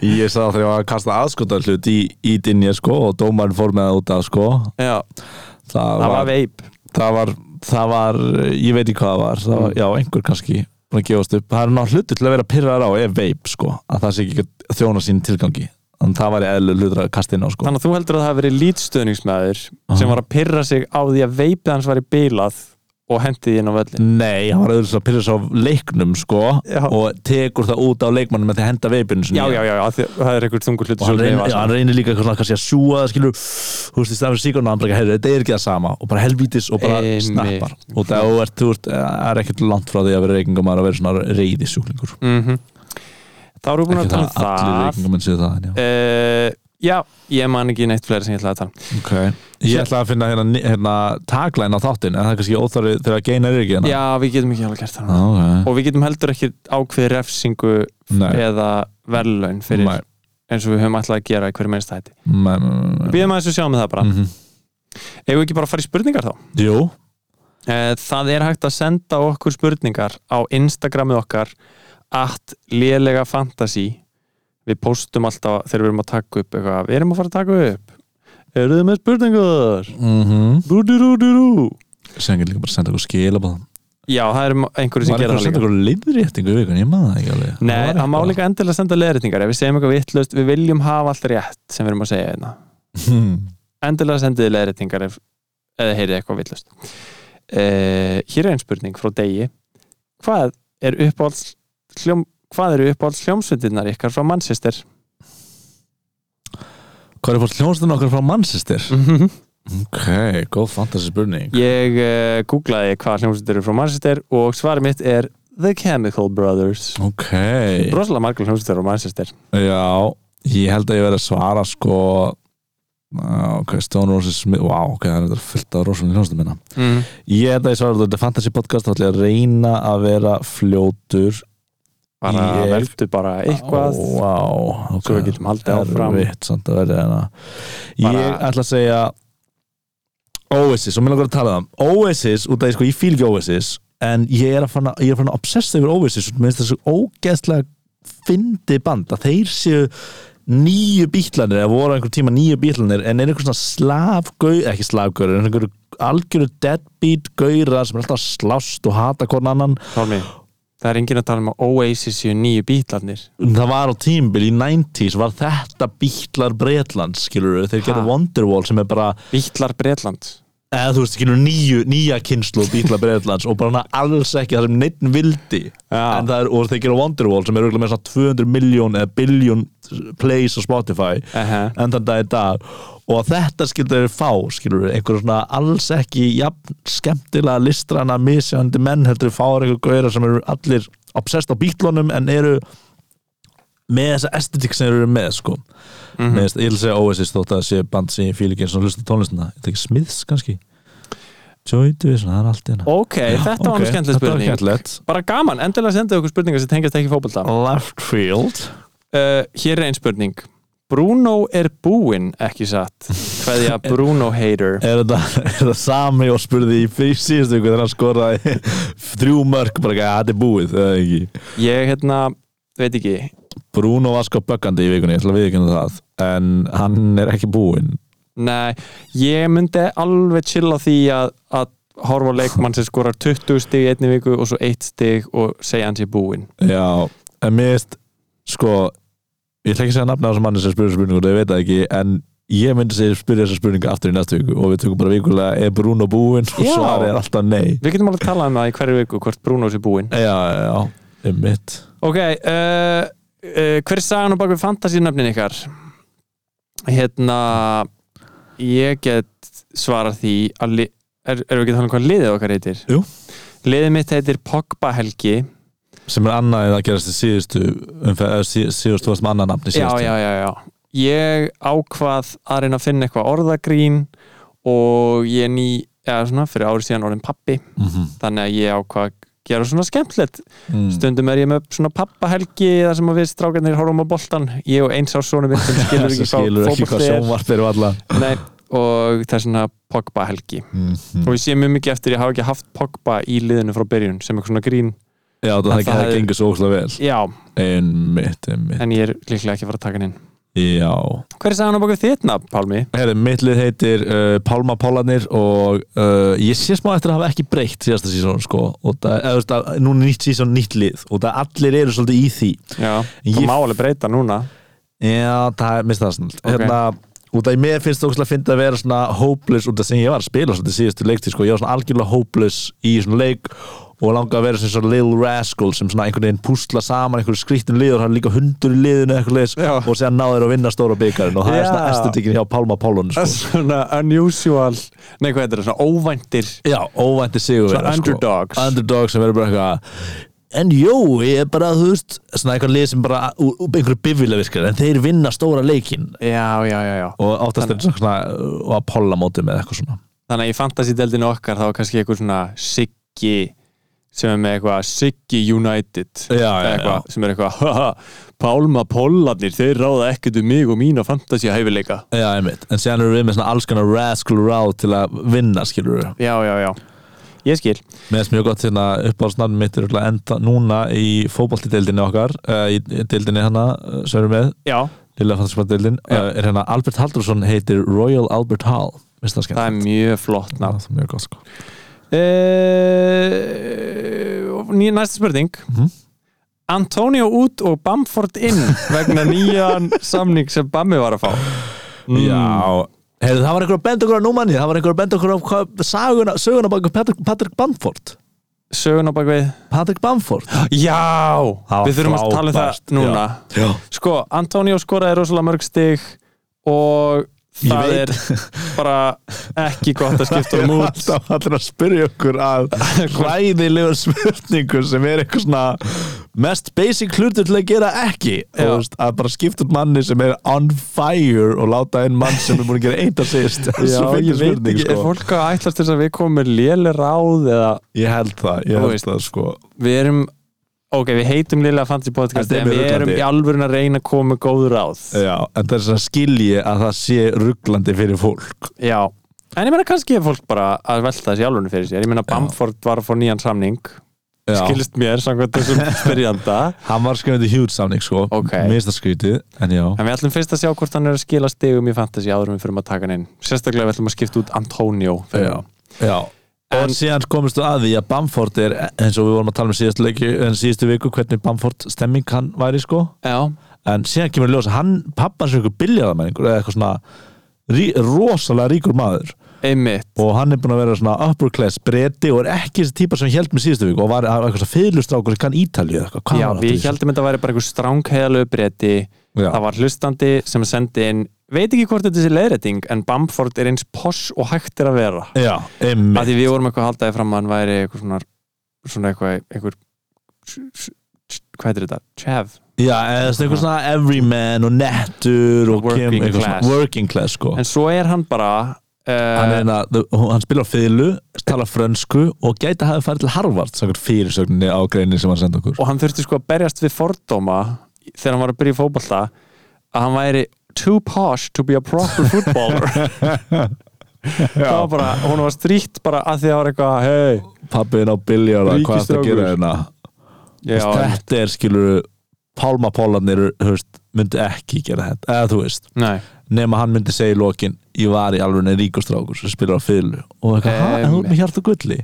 [SPEAKER 3] ég sagði þegar ég var að kasta aðskotar hlut í, í dinja sko og dómarinn fór með það út að sko
[SPEAKER 4] Já,
[SPEAKER 3] Það,
[SPEAKER 4] það var veip
[SPEAKER 3] það var, það var, ég veit ekki hvað það var, það var
[SPEAKER 4] Mm.
[SPEAKER 3] Já, einhver kannski búin að gefast upp Það er náttúrulega hlutur til að vera pyrrar á ef veip sko að það sé ekki að þjóna sín tilgangi Þannig það var ég eðlu hlutur að kasta inn á sko
[SPEAKER 4] Þannig að þú heldur að það hafi verið lítstöðningsmaður sem
[SPEAKER 3] Aha.
[SPEAKER 4] var að pyrra sig á því að veipið hans var í bílað og hendi því inn á völlin
[SPEAKER 3] Nei, hann var auðvitað að pyrra sig á leiknum sko
[SPEAKER 4] Já.
[SPEAKER 3] og tekur það út á leikmannum með því að henda veipinu sinni
[SPEAKER 4] Já, já, já, já af því, það er einhver þungur hlutur
[SPEAKER 3] og hann
[SPEAKER 4] sem
[SPEAKER 3] reynir,
[SPEAKER 4] veifast.
[SPEAKER 3] já, hann reynir líka eitthvað svona kannski að sjúa það skilur, þú veist, í staðan fyrir síkona hann bara, heyrðu, þetta er ekki það sama og bara helvítis og bara
[SPEAKER 4] Einmitt.
[SPEAKER 3] snappar og það er, þú veist, það er ekkert langt frá því að vera reykingamaður að vera svona reyði sjúklingur
[SPEAKER 4] Mhm. Þá erum við búin
[SPEAKER 3] ekki
[SPEAKER 4] að tala um
[SPEAKER 3] það, allir
[SPEAKER 4] það
[SPEAKER 3] reykingamenn séu það en já.
[SPEAKER 4] uh, Já, ég man ekki neitt fleiri sem ég ætla að tala um.
[SPEAKER 3] Ok, ég ætla að finna hérna, ni- hérna taglæn á þáttin en það er kannski óþarfi þegar geinar er ekki hérna
[SPEAKER 4] Já, við getum ekki alveg gert það núna.
[SPEAKER 3] Ah, Ok,
[SPEAKER 4] Og við getum heldur ekki ákveði refsingu
[SPEAKER 3] nei,
[SPEAKER 4] eða verðlaun fyrir
[SPEAKER 3] nei,
[SPEAKER 4] eins og við höfum alltaf að gera í hverju minnst þætti.
[SPEAKER 3] nei, nei, nei.
[SPEAKER 4] Býðum aðeins og sjáum það bara. Mm.
[SPEAKER 3] Mhm.
[SPEAKER 4] Eigum við ekki bara að fara í spurningar þá?
[SPEAKER 3] Jú,
[SPEAKER 4] Eh, Það er hægt að senda okkur spurningar á Instagramið okkar at lélega fantasy við postum alltaf þegar við erum að taka upp eitthvað, við erum að fara að taka upp eru þið með spurningar?
[SPEAKER 3] mhm
[SPEAKER 4] Rú, rú, rú, rú, rú.
[SPEAKER 3] sem ekki líka bara senda okkur skilabóð
[SPEAKER 4] Já, það er einhverju sem
[SPEAKER 3] Var eitthvað
[SPEAKER 4] gera
[SPEAKER 3] að
[SPEAKER 4] það
[SPEAKER 3] senda
[SPEAKER 4] líka
[SPEAKER 3] okkur liðréttingu í vikun, ég maður það ekki alveg
[SPEAKER 4] Nei,
[SPEAKER 3] var
[SPEAKER 4] það má
[SPEAKER 3] eitthvað.
[SPEAKER 4] líka endilega senda leðritingar ef við segjum eitthvað vittlust, við viljum hafa allt rétt sem við erum að segja hérna
[SPEAKER 3] Hmm.
[SPEAKER 4] endilega sendiði leiðréttingar ef, eða heyrið eitthvað villust uh, hér er einn spurning frá degi hvað er uppáhalds hljóm, hvað eru uppáhalds hljómsveitinnar ykkar frá Manchester
[SPEAKER 3] Hvað er fórst hljónstun okkar frá Manchester?
[SPEAKER 4] -hmm.
[SPEAKER 3] Ok, góð fantasy spurning
[SPEAKER 4] ég uh, googlaði hvað hljómsveitir eru frá Manchester og svarið mitt er The Chemical Brothers
[SPEAKER 3] Ok,
[SPEAKER 4] rosalega margar hljómsveitir frá Manchester
[SPEAKER 3] já Ég held að ég verið að svara sko Ah, Ok, Stone Roses Smith Wow, ok, það er þetta fullt af rosum hljónstum minna
[SPEAKER 4] mm.
[SPEAKER 3] Ég held að ég svara að þetta er fantasy podcast Þá ætla ég að reyna að vera fljótur
[SPEAKER 4] bara
[SPEAKER 3] Ég-
[SPEAKER 4] veldu bara
[SPEAKER 3] Ó,
[SPEAKER 4] eitthvað
[SPEAKER 3] Wow, ok
[SPEAKER 4] svo við getum haldið áfram
[SPEAKER 3] Erfitt, samt að verða hérna
[SPEAKER 4] Bara-
[SPEAKER 3] Ég ætla að segja Oasis, og mér langar að tala um það Oasis, út af því sko, ég fíl ekki Oasis en ég er að fann að, ég er að, fann að obsessa yfir Oasis og minnst þessu ógeðslega fyndi band, að þeir séu nýju bítlanir, eða voru einhver tíma nýju bítlanir, en er einhver svona slafgau, ekki slafgau, en einhver algjöru deadbeat gaurar sem er alltaf að slást og hata hvern annan
[SPEAKER 4] Tormi, það er enginn að tala um að Oasis séu nýju bítlarnir
[SPEAKER 3] það var á tímbil í 90s var þetta bítlar Breitlands skilur þeir
[SPEAKER 4] Ha.
[SPEAKER 3] gerðu Wonderwall sem er bara
[SPEAKER 4] bítlar Bretland
[SPEAKER 3] eða þú veist skilur nýju, nýja kynslu bítlar Breitlands og bara hana alls ekki það sem neitt vildi
[SPEAKER 4] Já.
[SPEAKER 3] En það er, og þeir gerðu Wonderwall sem er örugglega með svona 200 miljón eða biljón plays á Spotify
[SPEAKER 4] Aha.
[SPEAKER 3] enn þann dag í dag og þetta skildur þeir fá skilur einhverjum svona alls ekki jafn skemmtilega listrana misjandi menn heldur fá einhverjum gauðra sem eru allir obsessed á bítlunum en eru með þessa estetik sem þeir eru með sko
[SPEAKER 4] Mhm.
[SPEAKER 3] mm -hmm. ég vil segja Oasis þótt að það sé band sem ég fíl ekki eins og hlusta á tónlistina þetta er ekki Smiths kannski Joy Division, það er allt hérna
[SPEAKER 4] Ok, þetta var nú
[SPEAKER 3] Ok,
[SPEAKER 4] skemmtileg
[SPEAKER 3] þetta var
[SPEAKER 4] spurning
[SPEAKER 3] skemmtilegt.
[SPEAKER 4] Bara gaman, endilega sendið okkur spurningar sem tengast ekki fótbolta uh,
[SPEAKER 3] Left Field
[SPEAKER 4] Hér er einn spurning Bruno er búinn, ekki satt Hveðja Bruno hater
[SPEAKER 3] er þetta, er þetta sami og spurði í fyrir síðustu ykkur þegar hann skoraði þrjú mörg, bara ekki, "Ja, þetta er búið það er ekki,
[SPEAKER 4] Ég hérna, veit ekki
[SPEAKER 3] Bruno var sko böggandi í vikunni, ég ætla að viðkynna það en hann er ekki búinn
[SPEAKER 4] Nei, ég myndi alveg chill á því að, að horfa á leikmann sem skorar 20 stig í einni viku og svo 1 stig og segja hans í búinn
[SPEAKER 3] já, en mér veist sko, ég ætla ekki að segja nafna á þessum manni sem spurði þessa spurningu, það veit það ekki en ég myndi segja spurði þessa spurningu aftur í næstu viku og við tökum bara vikulega, er Bruno búinn og
[SPEAKER 4] Já.
[SPEAKER 3] svarið er alltaf nei
[SPEAKER 4] Við getum alveg talað um það í hverju viku hvort Bruno sé búinn
[SPEAKER 3] já, já, já, um mitt
[SPEAKER 4] Ok, uh, uh, hver er sagan á bakvið fantasínöfnin ykkar? Hérna, ég get svarað því að li- er, erum við ekki að tala um hvað liðið okkar heitir?
[SPEAKER 3] Jú.
[SPEAKER 4] Liðið mitt heitir Pogba Helgi
[SPEAKER 3] sem er annað en það gerast í síðustu um umferð, síðustu, síðustu varst með annað nafn í
[SPEAKER 4] Já,
[SPEAKER 3] síðustu
[SPEAKER 4] já, já, já Ég ákvað að reyna að finna eitthvað orðagrín og ég er ný, eða svona, fyrir ári síðan orðin pappi
[SPEAKER 3] Mhm.
[SPEAKER 4] þannig að ég ákvað að gera svona skemmtilegt
[SPEAKER 3] Mm.
[SPEAKER 4] stundum er ég með svona pappahelgi þar sem að við strákarnir horfum á boltan ég og eins á sonu minn sem skilur
[SPEAKER 3] sem
[SPEAKER 4] ekki
[SPEAKER 3] skilur ekki hvað
[SPEAKER 4] fótbolti
[SPEAKER 3] sjónvarp Mm. eru alla
[SPEAKER 4] er Nei, og það er svona Pogba helgi og ég sé mjög mikið eftir ég hafa ekki haft Pogba í liðinu frá byrjun sem eitthvað svona grín
[SPEAKER 3] já það,
[SPEAKER 4] En
[SPEAKER 3] það,
[SPEAKER 4] það
[SPEAKER 3] það
[SPEAKER 4] er-
[SPEAKER 3] gengur svo óslega vel
[SPEAKER 4] já,
[SPEAKER 3] einmitt, einmitt
[SPEAKER 4] en ég er líklega ekki að fara að taka hann inn
[SPEAKER 3] já
[SPEAKER 4] hver er sagðan á bakið þitt nafn, Pálmi?
[SPEAKER 3] Herri, mitt lið heitir uh, Pálma Pálanir og uh, ég sé smá eftir að hafa ekki breytt síðasta sísón sko og það, eða, þú veist, að, núna er nýtt sísón nýtt lið og það allir eru svolítið í því
[SPEAKER 4] Já,
[SPEAKER 3] Ég-
[SPEAKER 4] það má alveg breyta núna
[SPEAKER 3] Já, það er mist það snart
[SPEAKER 4] Ok.
[SPEAKER 3] hérna, Út af mér finnst það ógæslega að finna að vera svona hopeless út af sem ég var að spila svolítið síðustu leikti sko. ég var svona algjörlega hopeless í svona leik og langa að vera sem svona Lil Rascal sem svona einhvern veginn púsla saman einhverju skrýttum liður, hann er líka hundur í liðinu eða eitthvað leis
[SPEAKER 4] Já.
[SPEAKER 3] og séðan náður að vinna stóra byggarinn og það er
[SPEAKER 4] Já.
[SPEAKER 3] svona estetikin hjá Pálma Pálun sko.
[SPEAKER 4] svona unusual nei, hvað heitir það, svona óvæntir
[SPEAKER 3] Já, óvænti sigur
[SPEAKER 4] Svona underdogs.
[SPEAKER 3] sko. Underdogs sem verður bara eitthvað en jú, ég er bara, þú veist svona eitthvað lið sem bara úr, úr einhverju bifilega virkar en þeir vinna stóra leikin
[SPEAKER 4] já, já, já, já
[SPEAKER 3] og áttast er svona og að polla móti með eitthvað svona
[SPEAKER 4] þannig að í fantasy-deldinu okkar þá er kannski eitthvað svona Siggi sem er með eitthvað Siggi United
[SPEAKER 3] Já, já,
[SPEAKER 4] Eða eitthvað,
[SPEAKER 3] já.
[SPEAKER 4] sem er eitthvað haha, Pálma Pollarnir, þeir ráða ekkert um mig og mína fantasy-hæfileika
[SPEAKER 3] Já, einmitt, en séðan eru við með svona alls konar rascal route til að vinna, skilur við
[SPEAKER 4] já, já, já, ég skil
[SPEAKER 3] Mér finnst mjög gott hérna uppáhaldsnafn mitt er örugglega enda núna í fótboltideildinni okkar uh, í í deildinni hana uh, sem við erum með,
[SPEAKER 4] já,
[SPEAKER 3] Lilla Fantasmadeildin
[SPEAKER 4] Já.
[SPEAKER 3] uh, er hérna Albert Haldursson heitir Royal Albert Hall Mér finnst það
[SPEAKER 4] það
[SPEAKER 3] skemmt
[SPEAKER 4] er mjög flott
[SPEAKER 3] Já,
[SPEAKER 4] nafn
[SPEAKER 3] það er mjög gott sko
[SPEAKER 4] uh, Eh, næsta spurning Antonio út og Bamford inn vegna nýjan samning sem Bammi var að fá
[SPEAKER 3] Mm. Já, heyrðu það var einhver að benda okkur á númanni það var einhver að benda okkur á hvað, saguna, söguna baka Patrick, Patrick Bamford
[SPEAKER 4] sögun á bakvið
[SPEAKER 3] Patrick Bamford
[SPEAKER 4] Já,
[SPEAKER 3] Það var
[SPEAKER 4] við þurfum að tala um
[SPEAKER 3] frábært,
[SPEAKER 4] það núna
[SPEAKER 3] Já,
[SPEAKER 4] Sko, Antonio skoraði rosalega mörg stig og
[SPEAKER 3] Ég
[SPEAKER 4] það
[SPEAKER 3] veit.
[SPEAKER 4] er bara ekki gott að skipta um út
[SPEAKER 3] alltaf allir að spyrja okkur að hræðilegur spurningu sem er eitthvað svona mest basic hlutur til að gera ekki Þú
[SPEAKER 4] Já.
[SPEAKER 3] veist, að bara skipta út manni sem er on fire og láta einn mann sem er búin að gera eitt að sýst
[SPEAKER 4] Já, ég veit ekki,
[SPEAKER 3] sko.
[SPEAKER 4] er fólk að ætlast til þess að við komum með léle ráð eða
[SPEAKER 3] ég held það,
[SPEAKER 4] Þú
[SPEAKER 3] ég held
[SPEAKER 4] veist.
[SPEAKER 3] það sko
[SPEAKER 4] við erum ok, við heitum lélega fantasy podcast
[SPEAKER 3] Þetta er Eh.
[SPEAKER 4] en
[SPEAKER 3] mjög
[SPEAKER 4] við erum
[SPEAKER 3] ruglandi.
[SPEAKER 4] í alvörun að reyna að koma með góð ráð
[SPEAKER 3] Já, en það er svona skilji að það sé rugglandi fyrir fólk
[SPEAKER 4] Já, en ég meina kannski er fólk bara að velta þessi alvörun fyrir sér ég meina Bamford var að fá nýjan samning
[SPEAKER 3] Já.
[SPEAKER 4] skilst mér samkvæmt þessum spyrjanda
[SPEAKER 3] Hann var skrifandi huge samning sko
[SPEAKER 4] Ok.
[SPEAKER 3] Mér finnst það skrítið, en já
[SPEAKER 4] En við ætlum fyrst að sjá hvort hann er að skila stigum í fantasy áður en við fyrir að taka hann inn. Sérstaklega við ætlum að skipta út Antonio. fyrir
[SPEAKER 3] Já,
[SPEAKER 4] hann.
[SPEAKER 3] já. En,
[SPEAKER 4] En-
[SPEAKER 3] síðan komist þú að því að Bamford er eins og við vorum að tala um síðast leiki en síðustu viku hvernig Bamford stemming hann væri sko
[SPEAKER 4] Já,
[SPEAKER 3] en síðan kemur í ljós að hann pappan sem ykkur biljaðamæningur eða eitthvað svona rí, rosalega ríkur maður
[SPEAKER 4] einmitt.
[SPEAKER 3] og hann er búin að vera svona upper class breyti og er ekki þessi típa sem held með síðustu viku og var hann var eitthvað svona fyrirlustrákur sem kann Ítalíu eða eitthvað Hvað
[SPEAKER 4] Já,
[SPEAKER 3] var aftur
[SPEAKER 4] við
[SPEAKER 3] í þessu?
[SPEAKER 4] heldum þetta væri bara einhver strángheðalögu breyti.
[SPEAKER 3] Já.
[SPEAKER 4] Það var hlustandi sem sendi inn, veit ekki hvort þetta sé leiðræting, en Bamford er eins poss og hægt er að vera.
[SPEAKER 3] Já,
[SPEAKER 4] Af
[SPEAKER 3] einmitt
[SPEAKER 4] því við vorum eitthvað að haldaði fram að hann væri eitthvað svona, svona eitthvað, einhver, hvað heitir þetta? Chev.
[SPEAKER 3] Já, eða svona eitthvað svona everyman og nettur og
[SPEAKER 4] Working
[SPEAKER 3] kemur eitthvað
[SPEAKER 4] class.
[SPEAKER 3] svona working class sko
[SPEAKER 4] En svo er hann bara...
[SPEAKER 3] hann, er
[SPEAKER 4] Uh,
[SPEAKER 3] hérna, þú- hann spilar á fiðlu, talar frönsku og gæti að hafa farið til Harvard samkvæmt fyrirsögninni á greinin sem hann senda okkur
[SPEAKER 4] og hann þurfti sko að berjast við fordóma þegar hann var að byrja í fótballta að hann væri too posh to be a proper footballer það var bara, hún var stríkt bara að því að það var eitthvað hei,
[SPEAKER 3] pappin á biljára, hvað er þetta að
[SPEAKER 4] Ríkisstrákur.
[SPEAKER 3] gera hérna
[SPEAKER 4] já, en-
[SPEAKER 3] þetta er skilur pálmapólanir myndi ekki gera þetta, eða þú veist
[SPEAKER 4] nei
[SPEAKER 3] nema hann myndi segja í lokin ég var í alveg ríkustrákur sem spilar á fiðlu og eitthvað, hæ, en þú ert með hjart og gulli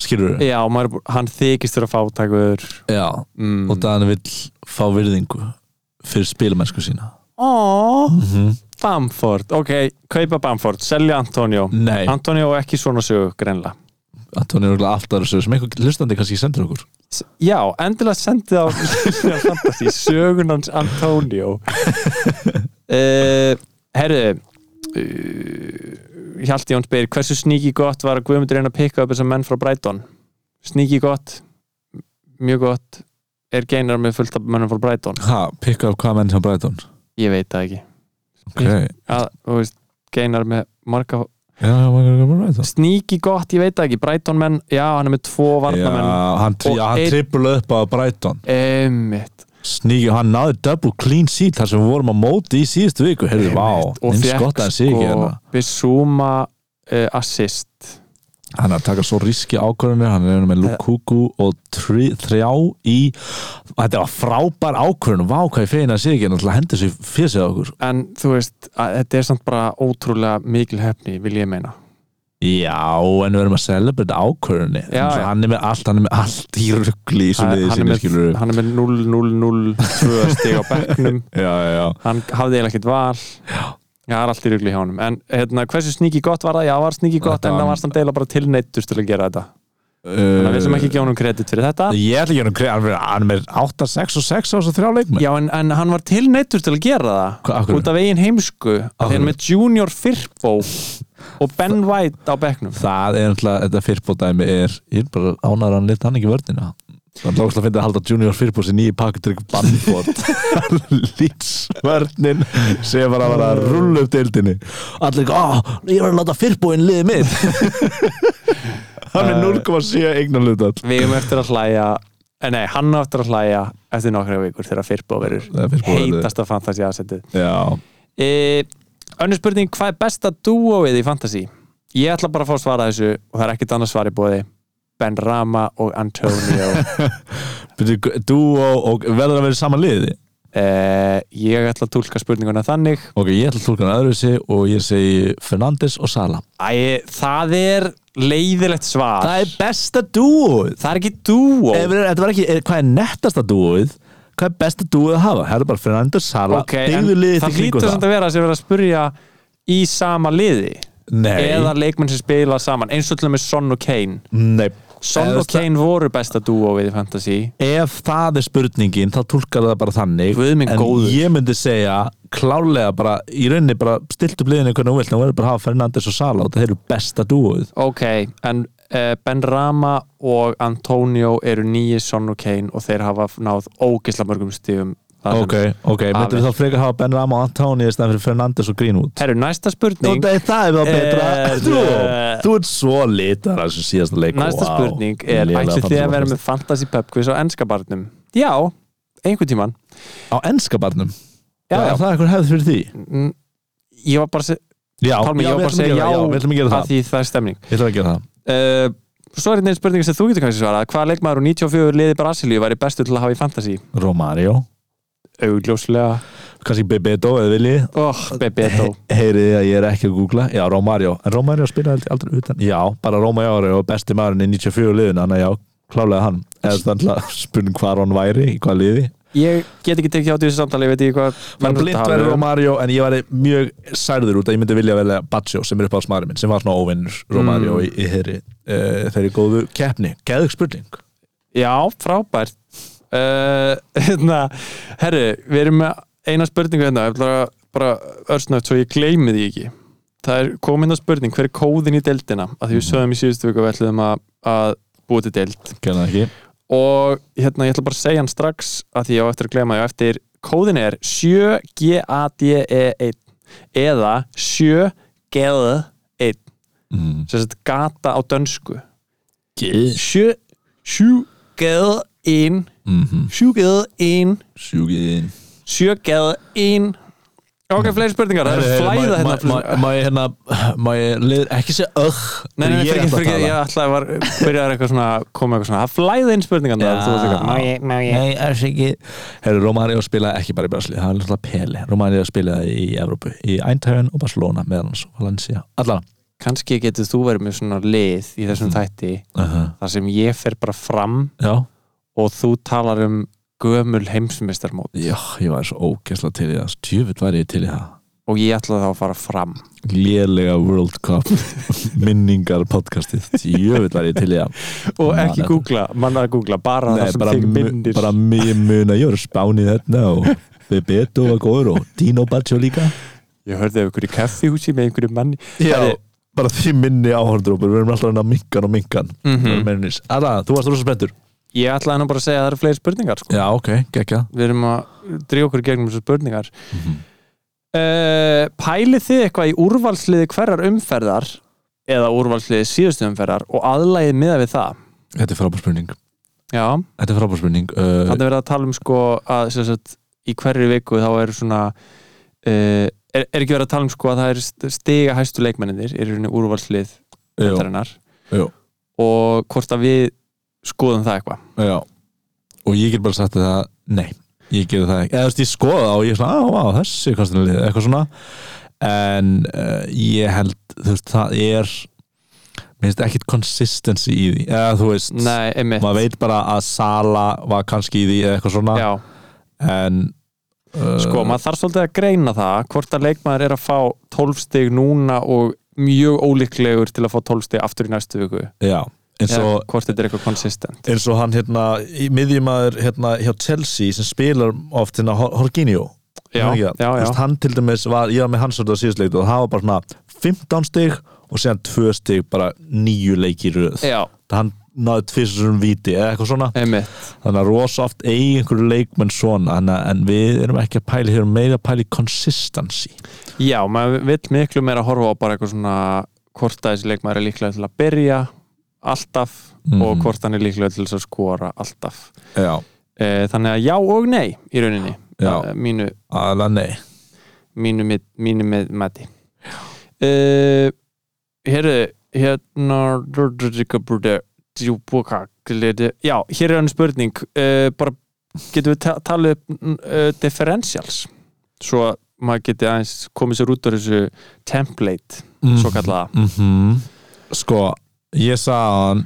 [SPEAKER 3] skilur
[SPEAKER 4] já, maður, er bú- hann þykist þurfa fátækur
[SPEAKER 3] já, og
[SPEAKER 4] mm.
[SPEAKER 3] þannig vill fá virðingu fyrir spilamennsku sína
[SPEAKER 4] oh,
[SPEAKER 3] Mhm.
[SPEAKER 4] Bamford, ok, kaupa Bamford selja Antonio,
[SPEAKER 3] nei,
[SPEAKER 4] Antonio er ekki svona sög greinlega
[SPEAKER 3] Antoni er örugglega alltaf þessu sem einhver hlustandi kannski sendur okkur
[SPEAKER 4] S- Já, endilega sendið á Lilja Fantasy sögunans Antonio uh, Herðu uh, Hjalti Jón spyr hversu sníki gott var að Guðmundur reyna að pikka upp þessar menn frá Brighton sníki gott, m- mjög gott er geinar með fullt af mönnum frá Brighton
[SPEAKER 3] Ha, pikka upp hvað menn hjá Brighton
[SPEAKER 4] ég veit það ekki
[SPEAKER 3] Ok, já,
[SPEAKER 4] að, þú veist, geinar með marga
[SPEAKER 3] já, maður er gaman Brighton
[SPEAKER 4] sníki gott, ég veit það ekki, Brighton menn já, hann er með tvo
[SPEAKER 3] Já,
[SPEAKER 4] varnamenn
[SPEAKER 3] hann, tri-
[SPEAKER 4] Og
[SPEAKER 3] já, hann
[SPEAKER 4] einn-
[SPEAKER 3] trippula upp á Brighton
[SPEAKER 4] Einmitt.
[SPEAKER 3] Sníki, hann náði double clean sheet þar sem við vorum að móti í síðustu viku Heyrðu, vá,
[SPEAKER 4] og
[SPEAKER 3] eins
[SPEAKER 4] fekk
[SPEAKER 3] gott að hann sé ekki
[SPEAKER 4] sko
[SPEAKER 3] hérna
[SPEAKER 4] Bissúma uh, assist
[SPEAKER 3] Hann er að taka svo riski ákvörðunir Hann er hérna með
[SPEAKER 4] Eh.
[SPEAKER 3] Lukuku og tri, þrjá í Þetta var frábær ákvörðun Vá, hvað ég fegin að hann sé ekki hérna til að henda sér fyrir sig á okkur
[SPEAKER 4] en þú veist, að, þetta er samt bara ótrúlega mikil hefni, vil ég meina
[SPEAKER 3] Já, en við erum að celebrate ákvörðunni
[SPEAKER 4] Já, já.
[SPEAKER 3] Hann er með allt, hann er með allt í rugli í svo
[SPEAKER 4] hann,
[SPEAKER 3] liðið
[SPEAKER 4] hann, er
[SPEAKER 3] sinni,
[SPEAKER 4] með,
[SPEAKER 3] skilur
[SPEAKER 4] hann er með 0-0-0-2 stig á bekknum
[SPEAKER 3] Já, já, já
[SPEAKER 4] hann hafði eiginlega ekkert val já það er allt í rugli hjá honum en hérna, hversu sníki gott var það? Já, var sníki gott
[SPEAKER 3] Þetta
[SPEAKER 4] en
[SPEAKER 3] var-
[SPEAKER 4] það var samt deila bara tilneittur til að gera þetta þannig að við sem ekki
[SPEAKER 3] Uh,
[SPEAKER 4] ekki honum kredit fyrir þetta
[SPEAKER 3] Ég ætla ekki að gera hann verið- hann er með 8, 6 og 6 á þessu þrjá leikmenn
[SPEAKER 4] Já, en, en hann var tilneittur til að gera það
[SPEAKER 3] Hva- af hverju?
[SPEAKER 4] út af eigin heimsku
[SPEAKER 3] Af
[SPEAKER 4] þegar
[SPEAKER 3] hverju?
[SPEAKER 4] með Junior Firpo og Ben White á bekknum
[SPEAKER 3] Það er náttúrulega, þetta fyrrbótæmi er ég er bara ánar að hann leta hann ekki vörðina Það er lókslega að finna að halda Junior Firpus í nýju Patrick Bamford Lítsvörnin sem var að vera að rulla upp deildinni Allir ekki, áh, ég var að láta Firpúin liðið mitt Hann er 0,7 eignan hlutall
[SPEAKER 4] Við hefum eftir að hlæja eh, Nei, hann á eftir að hlæja eftir nokkra vikur þegar Firbo verður
[SPEAKER 3] Þegar Firpo verður-
[SPEAKER 4] heitasta fantasy aðsendið
[SPEAKER 3] Já,
[SPEAKER 4] e, Önnur spurning, hvað er besta dúóið í fantasy? Ég ætla bara að fá að svara þessu og það er ekkit annað svar í bóði Ben Rama og Antonio
[SPEAKER 3] Byrju, þú og, og verður að vera í sama liði
[SPEAKER 4] Uh, ég ætla að tólka spurninguna þannig
[SPEAKER 3] Ok, ég ætla að tólka hann öðruvísi og ég segi Fernandes og Sala
[SPEAKER 4] Æ, það er leiðilegt svar
[SPEAKER 3] Það er besta dúoð
[SPEAKER 4] Það er ekki dúo
[SPEAKER 3] Ef við- Þetta var ekki, er, hvað er nettasta dúoð Hvað er besta dúoð að hafa? Það er bara Fernandes, Sala,
[SPEAKER 4] Ok, en
[SPEAKER 3] byggðu liðið
[SPEAKER 4] það
[SPEAKER 3] til kringu
[SPEAKER 4] hlýtur samt
[SPEAKER 3] það
[SPEAKER 4] að vera að sem vera að spurja í sama liði
[SPEAKER 3] Nei,
[SPEAKER 4] eða leikmenn sem spila saman eins og til og með Son og Kane
[SPEAKER 3] nei
[SPEAKER 4] Son
[SPEAKER 3] Eða
[SPEAKER 4] og Kane voru besta dúo við í Fantasy
[SPEAKER 3] Ef það er spurningin, þá tólkar það bara þannig
[SPEAKER 4] Guð minn
[SPEAKER 3] En
[SPEAKER 4] góður.
[SPEAKER 3] ég myndi segja klálega bara, í rauninni bara stilt upp liðinu hvernig þú vilt, þá verður bara að hafa Fernandes og Sala og það eru besta dúoð
[SPEAKER 4] Ok, en uh, Ben Rama og Antonio eru nýji Son og Kane og þeir hafa náð ógisla mörgum stífum
[SPEAKER 3] Ok, ok, myndir þá frekar hafa Ben Rama og Antoni í stæðan fyrir Fernandes og Greenwood
[SPEAKER 4] Herru, næsta
[SPEAKER 3] Nú,
[SPEAKER 4] spurning
[SPEAKER 3] það, það er það betra
[SPEAKER 4] Eh,
[SPEAKER 3] Þú,
[SPEAKER 4] eh.
[SPEAKER 3] þú ert svo litar að þessu síðasta leik
[SPEAKER 4] Næsta
[SPEAKER 3] Vá.
[SPEAKER 4] spurning er
[SPEAKER 3] Lélega
[SPEAKER 4] ætlið þið að vera
[SPEAKER 3] fantasy
[SPEAKER 4] með fantasy pub quiz á ennska barnum? Já, einhvern tíman
[SPEAKER 3] podcast. Á enska barnum
[SPEAKER 4] Já,
[SPEAKER 3] Það
[SPEAKER 4] já.
[SPEAKER 3] er það eitthvað hefð fyrir því
[SPEAKER 4] Mm, Ég var bara að segja
[SPEAKER 3] Já,
[SPEAKER 4] Pálmi,
[SPEAKER 3] já,
[SPEAKER 4] ég var
[SPEAKER 3] við ætlum
[SPEAKER 4] bara að segja
[SPEAKER 3] gera það,
[SPEAKER 4] já,
[SPEAKER 3] já, við ætlum að gera
[SPEAKER 4] að
[SPEAKER 3] það
[SPEAKER 4] því það er stemning
[SPEAKER 3] Við ætlum að gera það
[SPEAKER 4] uh, Svo er einn spurning sem þú getur kannski svarað Hvaða leikmaður úr 94 liði Brasilíu væri bestu til að hafa í fantasy?
[SPEAKER 3] Romario,
[SPEAKER 4] Augljóslega
[SPEAKER 3] kannski Bebeto eða vilji
[SPEAKER 4] Oh, Bebeto
[SPEAKER 3] Heyrið þið að ég er ekki að googla Já, Romario, en Romario spilaði aldrei utan Já, bara Romario og besti maðurinn í 94 liðin Þannig að já, klálega hann Eða þannig að spurning hvar hann væri, í hvað liði
[SPEAKER 4] Ég get ekki tekið á því þessu samtali, ég veit ekki hvað
[SPEAKER 3] Menn blind
[SPEAKER 4] þetta
[SPEAKER 3] verður
[SPEAKER 4] hafa.
[SPEAKER 3] Romario en ég var mjög særður út að ég myndi vilja velja Baccio sem er upp á smarið minn sem var svona óvinnur Romario í, í þeirri, uh, þeirri góðu keppni Geðug spurning
[SPEAKER 4] Já, frábært uh, hérna, Herru, við erum með eina spurningu hérna Ég ætla að bara örsnögt svo ég gleymi því ekki Það er komin að spurning, hver er kóðin í deildina? Að því við sögum í síðustu viku að við ætlum að, að búa til deild
[SPEAKER 3] Gerða ekki
[SPEAKER 4] Og hérna, ég ætla bara að segja hann strax að því ég á eftir að gleyma ég á eftir Kóðin er 7GADE1 E eða 7GADE1
[SPEAKER 3] mm.
[SPEAKER 4] sem sagt gata á dönsku
[SPEAKER 3] Geð
[SPEAKER 4] 7 7GADE1
[SPEAKER 3] Mhm.
[SPEAKER 4] sjúkið inn
[SPEAKER 3] Sjúkiðin
[SPEAKER 4] sjökið inn ok, fleiri spurningar, það er flæða hérna
[SPEAKER 3] Má ég hérna Má ég lið, ekki segja ögh
[SPEAKER 4] Nei, nei, fyrir
[SPEAKER 3] ég
[SPEAKER 4] ekki,
[SPEAKER 3] ætla að
[SPEAKER 4] fyrir ekki, ég
[SPEAKER 3] tala.
[SPEAKER 4] ætlaði var byrjaði eitthvað svona, koma eitthvað svona það flæða inn spurningarna
[SPEAKER 3] Já.
[SPEAKER 4] þú veist eitthvað, má ég- má ég-
[SPEAKER 3] Nei, er ekki Herru, Romario spilaði ekki bara í Brasli Það er alltaf peli Romario spilaði í Evrópu Í Eindhaven og Barcelona meðan hans og Valencia Allan
[SPEAKER 4] kannski getur þú verið með svona lið í þessum þætti
[SPEAKER 3] uh
[SPEAKER 4] þar sem ég fer bara fram
[SPEAKER 3] Já
[SPEAKER 4] og þú talar um gömul heimsmeistarmót
[SPEAKER 3] Já, ég var svo ógæsla til í það Tjöfitt var ég til í það
[SPEAKER 4] og ég ætlaði þá að fara fram
[SPEAKER 3] Lélega World Cup Minningar podcastið Tjöfitt var ég til í það
[SPEAKER 4] og
[SPEAKER 3] Man,
[SPEAKER 4] ekki
[SPEAKER 3] þetta-
[SPEAKER 4] googla, manna að googla bara það
[SPEAKER 3] Nei,
[SPEAKER 4] sem
[SPEAKER 3] bara,
[SPEAKER 4] þig
[SPEAKER 3] mu-
[SPEAKER 4] myndir
[SPEAKER 3] bara mjög mun að ég var spánið þarna og Bebeto var góður og Dino Baccio líka
[SPEAKER 4] ég hörði af einhverju kaffihúsi með einhverju manni
[SPEAKER 3] Já,
[SPEAKER 4] Herri,
[SPEAKER 3] bara því minni áhörndrópur Við erum alltaf að reyna minkan og minkan
[SPEAKER 4] Mhm.
[SPEAKER 3] Alla, þú varst rosa spenntur
[SPEAKER 4] ég ætlaði nú bara að segja að það eru fleiri spurningar sko.
[SPEAKER 3] Já, ok, gekkja
[SPEAKER 4] við erum að dríja okkur í gegnum þessu spurningar mm
[SPEAKER 3] Mhm.
[SPEAKER 4] pælið þið eitthvað í úrvalsliði hverjar umferðar eða úrvalsliði síðustu umferðar og aðlæðið miða við það
[SPEAKER 3] Þetta er frábær spurning
[SPEAKER 4] já,
[SPEAKER 3] Þetta er frábær spurning uh,
[SPEAKER 4] þannig verið að tala um sko að sem sagt, í hverju viku þá er svona uh, er, er ekki verið að tala um sko að það er st- stiga hæstu leikmenninir er í úrvalslið
[SPEAKER 3] jú,
[SPEAKER 4] umferðarinnar
[SPEAKER 3] jú,
[SPEAKER 4] og hvort að við skoðum það eitthvað
[SPEAKER 3] já. Og ég get bara sagt það Nei, ég gerði það ekki Eða þú veist, ég skoða það og ég er svona Á, á, þessi kostinu liðið Eitthvað svona En uh, ég held, þú veist, það er Minnst ekkit consistency í því Eða þú veist
[SPEAKER 4] nei, einmitt
[SPEAKER 3] Maður veit bara að Sala var kannski í því eða eitthvað svona
[SPEAKER 4] já
[SPEAKER 3] En uh,
[SPEAKER 4] Sko, maður þarf svolítið að greina það hvort að leikmaður er að fá 12 stig núna og mjög ólíklegur til að fá 12 stig aftur í næstu viku
[SPEAKER 3] Já, eins
[SPEAKER 4] Eða
[SPEAKER 3] og,
[SPEAKER 4] hvort þetta er eitthvað konsistent
[SPEAKER 3] eins og hann hérna í miðjumæður hérna hjá Chelsea sem spilar oft hérna Hor- Jorginho
[SPEAKER 4] Já,
[SPEAKER 3] Hann ekki það?
[SPEAKER 4] já,
[SPEAKER 3] Þú
[SPEAKER 4] já.
[SPEAKER 3] veist, Hann til dæmis var, ég var með hans orðið á síðusleik og það var bara svona 15 stig og síðan 2 stig bara nýju leikir
[SPEAKER 4] Já,
[SPEAKER 3] hann náðu tvissurum víti eða eitthvað svona
[SPEAKER 4] einmitt
[SPEAKER 3] þannig að rosa oft eigi einhverju leikmenn svona þannig að- en við erum ekki að pæli hér meira að pæli consistency
[SPEAKER 4] Já, maður vill miklu meira horfa á bara eitthvað svona hvort að þessi leikmaður er líklega til að byrja alltaf og hvort hann er líklega til þess að skora alltaf
[SPEAKER 3] já,
[SPEAKER 4] Eh, Þannig að já og nei í rauninni
[SPEAKER 3] Já.
[SPEAKER 4] Eh, mínu,
[SPEAKER 3] alveg nei
[SPEAKER 4] mínu, mit- mínu með mati uh, Herðu hérna Já, hér er hann spurning uh, bara getum við ta talið upp uh, differentials svo að maður geti aðeins komið sér út á þessu template svo kallaða
[SPEAKER 3] mm sko, ég sagði á hann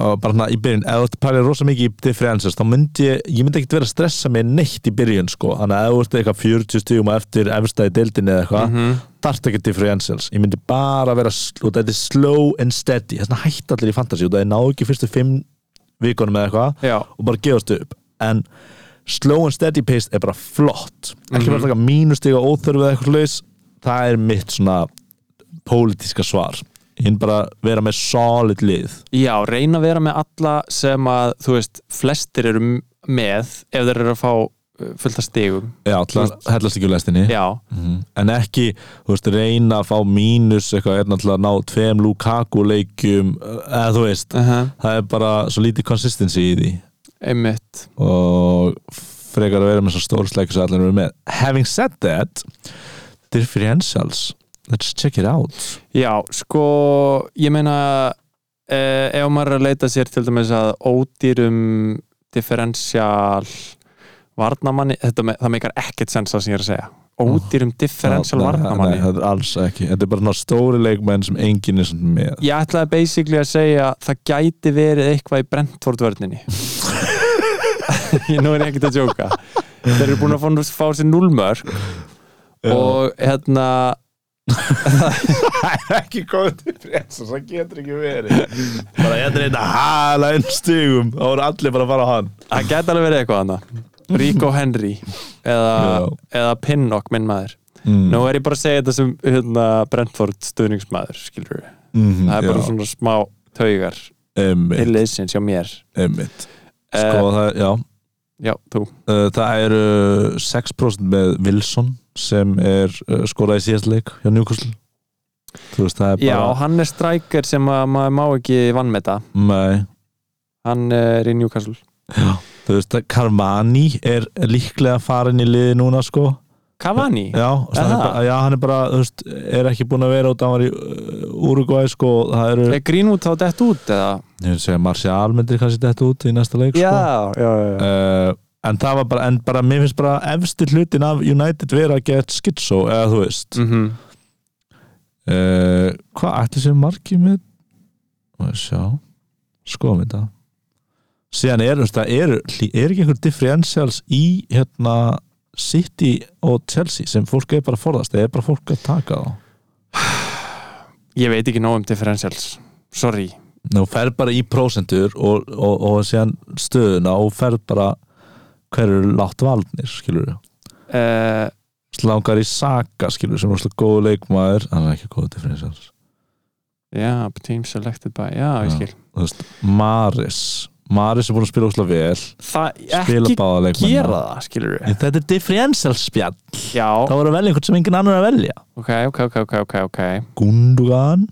[SPEAKER 3] og bara hérna í byrjun, ef þú ert að pæla rosa mikið í differences, þá myndi ég, ég myndi ekkert vera að stressa mig neitt í byrjun, sko þannig að ef þú ert eitthvað 40 stígum á eftir efstæði deildinni eða eitthvað, mm -hmm. þarft ekki differentials ég myndi bara vera, sl- og þetta er slow and steady, þess vegna hætt allir í fantasy og það er náðu ekki fyrstu fimm vikunum eða eitthvað
[SPEAKER 4] Já,
[SPEAKER 3] og bara gefast upp en slow and steady pace er bara flott ekki bara taka mínustiga óþörfið eða eitthvað laus það er mitt svona pólitíska svar hinn bara vera með solid lið
[SPEAKER 4] já, reyna að vera með alla sem að, þú veist, flestir eru m- með ef þeir eru að fá uh, fullt af stigum
[SPEAKER 3] Já, til að hellast ekki úr lestinni
[SPEAKER 4] Já,
[SPEAKER 3] Mhm. en ekki, þú veist, reyna að fá mínus eitthvað, einn alltaf að ná tveim Lukaku leikjum, eða þú veist
[SPEAKER 4] uh
[SPEAKER 3] það er bara svo lítið consistency í því
[SPEAKER 4] einmitt
[SPEAKER 3] og frekar að vera með svo stór slækjus að allir eru með having said that differentials, let's check it out
[SPEAKER 4] Já, sko, ég meina eh, ef maður er að leita sér til dæmis að ódýrum differential varnamanni, þetta me, það meikar ekkert sens það sem ég er að segja, ódýrum differential
[SPEAKER 3] Já, nei,
[SPEAKER 4] varnamanni
[SPEAKER 3] nei, þetta er alls ekki, þetta er bara svona stóri leikmenn sem enginn er svona með
[SPEAKER 4] Ég ætlaði basically að segja að það gæti verið eitthvað í brentfordvörninni Ég nú er ég ekkert að djóka Þeir eru búin að fá, fá sér núlmörk og hérna
[SPEAKER 3] það er ekki komið til frens og það getur ekki verið bara ég er eitthvað hala einn stigum þá voru allir bara að fara á hann
[SPEAKER 4] það gæti alveg verið eitthvað annað Rico Henry
[SPEAKER 3] Ah,
[SPEAKER 4] eða, eða Pinnock minn maður
[SPEAKER 3] mm.
[SPEAKER 4] Nú er ég bara að segja þetta sem hérna, Brentford stuðningsmaður, skilur við
[SPEAKER 3] mm,
[SPEAKER 4] Það er bara svona smá taugar til
[SPEAKER 3] einmitt,
[SPEAKER 4] liðsins hjá mér
[SPEAKER 3] einmitt.
[SPEAKER 4] Eh,
[SPEAKER 3] sko það, já
[SPEAKER 4] Já, þú
[SPEAKER 3] uh, það eru 6% með Wilson sem er uh, skorað í síðast leik hjá Newcastle þú veist það er
[SPEAKER 4] Já,
[SPEAKER 3] bara
[SPEAKER 4] hann er strækir sem að maður má ekki vannmeta
[SPEAKER 3] nei,
[SPEAKER 4] Hann er í Newcastle
[SPEAKER 3] þú veist að Carmani er líklega farin í liði núna sko
[SPEAKER 4] Cavani?
[SPEAKER 3] Já,
[SPEAKER 4] Er
[SPEAKER 3] hann er,
[SPEAKER 4] það?
[SPEAKER 3] bara, já, hann er bara þú veist, er ekki búin að vera út hann var í uh, Uruguay sko, og það eru,
[SPEAKER 4] Er Greenwood þá dett út eða?
[SPEAKER 3] ég vil segja Martial myndir kannski þetta út í næsta leik sko.
[SPEAKER 4] já, já.
[SPEAKER 3] uh, en það var bara, en bara mér finnst bara efsti hlutin af United vera að geta skitso, eða þú veist mm.
[SPEAKER 4] Mm -hmm.
[SPEAKER 3] uh, hvað ætli sem marki með Má ég sjá, skoðum þetta síðan er, þú veist, það eru er ekki einhver differentials í hérna City og Chelsea sem fólk er bara að forðast, það er bara fólk að taka þá
[SPEAKER 4] Ég veit ekki nóg um differentials Sorry
[SPEAKER 3] Nú ferð bara í prósentur og, og, og síðan stöðuna og ferð bara hverju eru látt valdnir, skilur við
[SPEAKER 4] uh,
[SPEAKER 3] slangar í Saka, skilur við, sem er slúið góð leikmaður hann er ekki góð differentials
[SPEAKER 4] Já, team selected by Já, ég
[SPEAKER 3] Já.
[SPEAKER 4] skil
[SPEAKER 3] Þú veist, Maris, Maris er búin að spila óslega vel
[SPEAKER 4] Það
[SPEAKER 3] spila
[SPEAKER 4] ekki
[SPEAKER 3] báða leikmaður
[SPEAKER 4] gera það, skilur við
[SPEAKER 3] Þetta er differentials spjall
[SPEAKER 4] Já,
[SPEAKER 3] Það voru að velja einhvern sem enginn annar er að velja
[SPEAKER 4] ok, ok, ok, ok, ok, ok
[SPEAKER 3] Gundogan,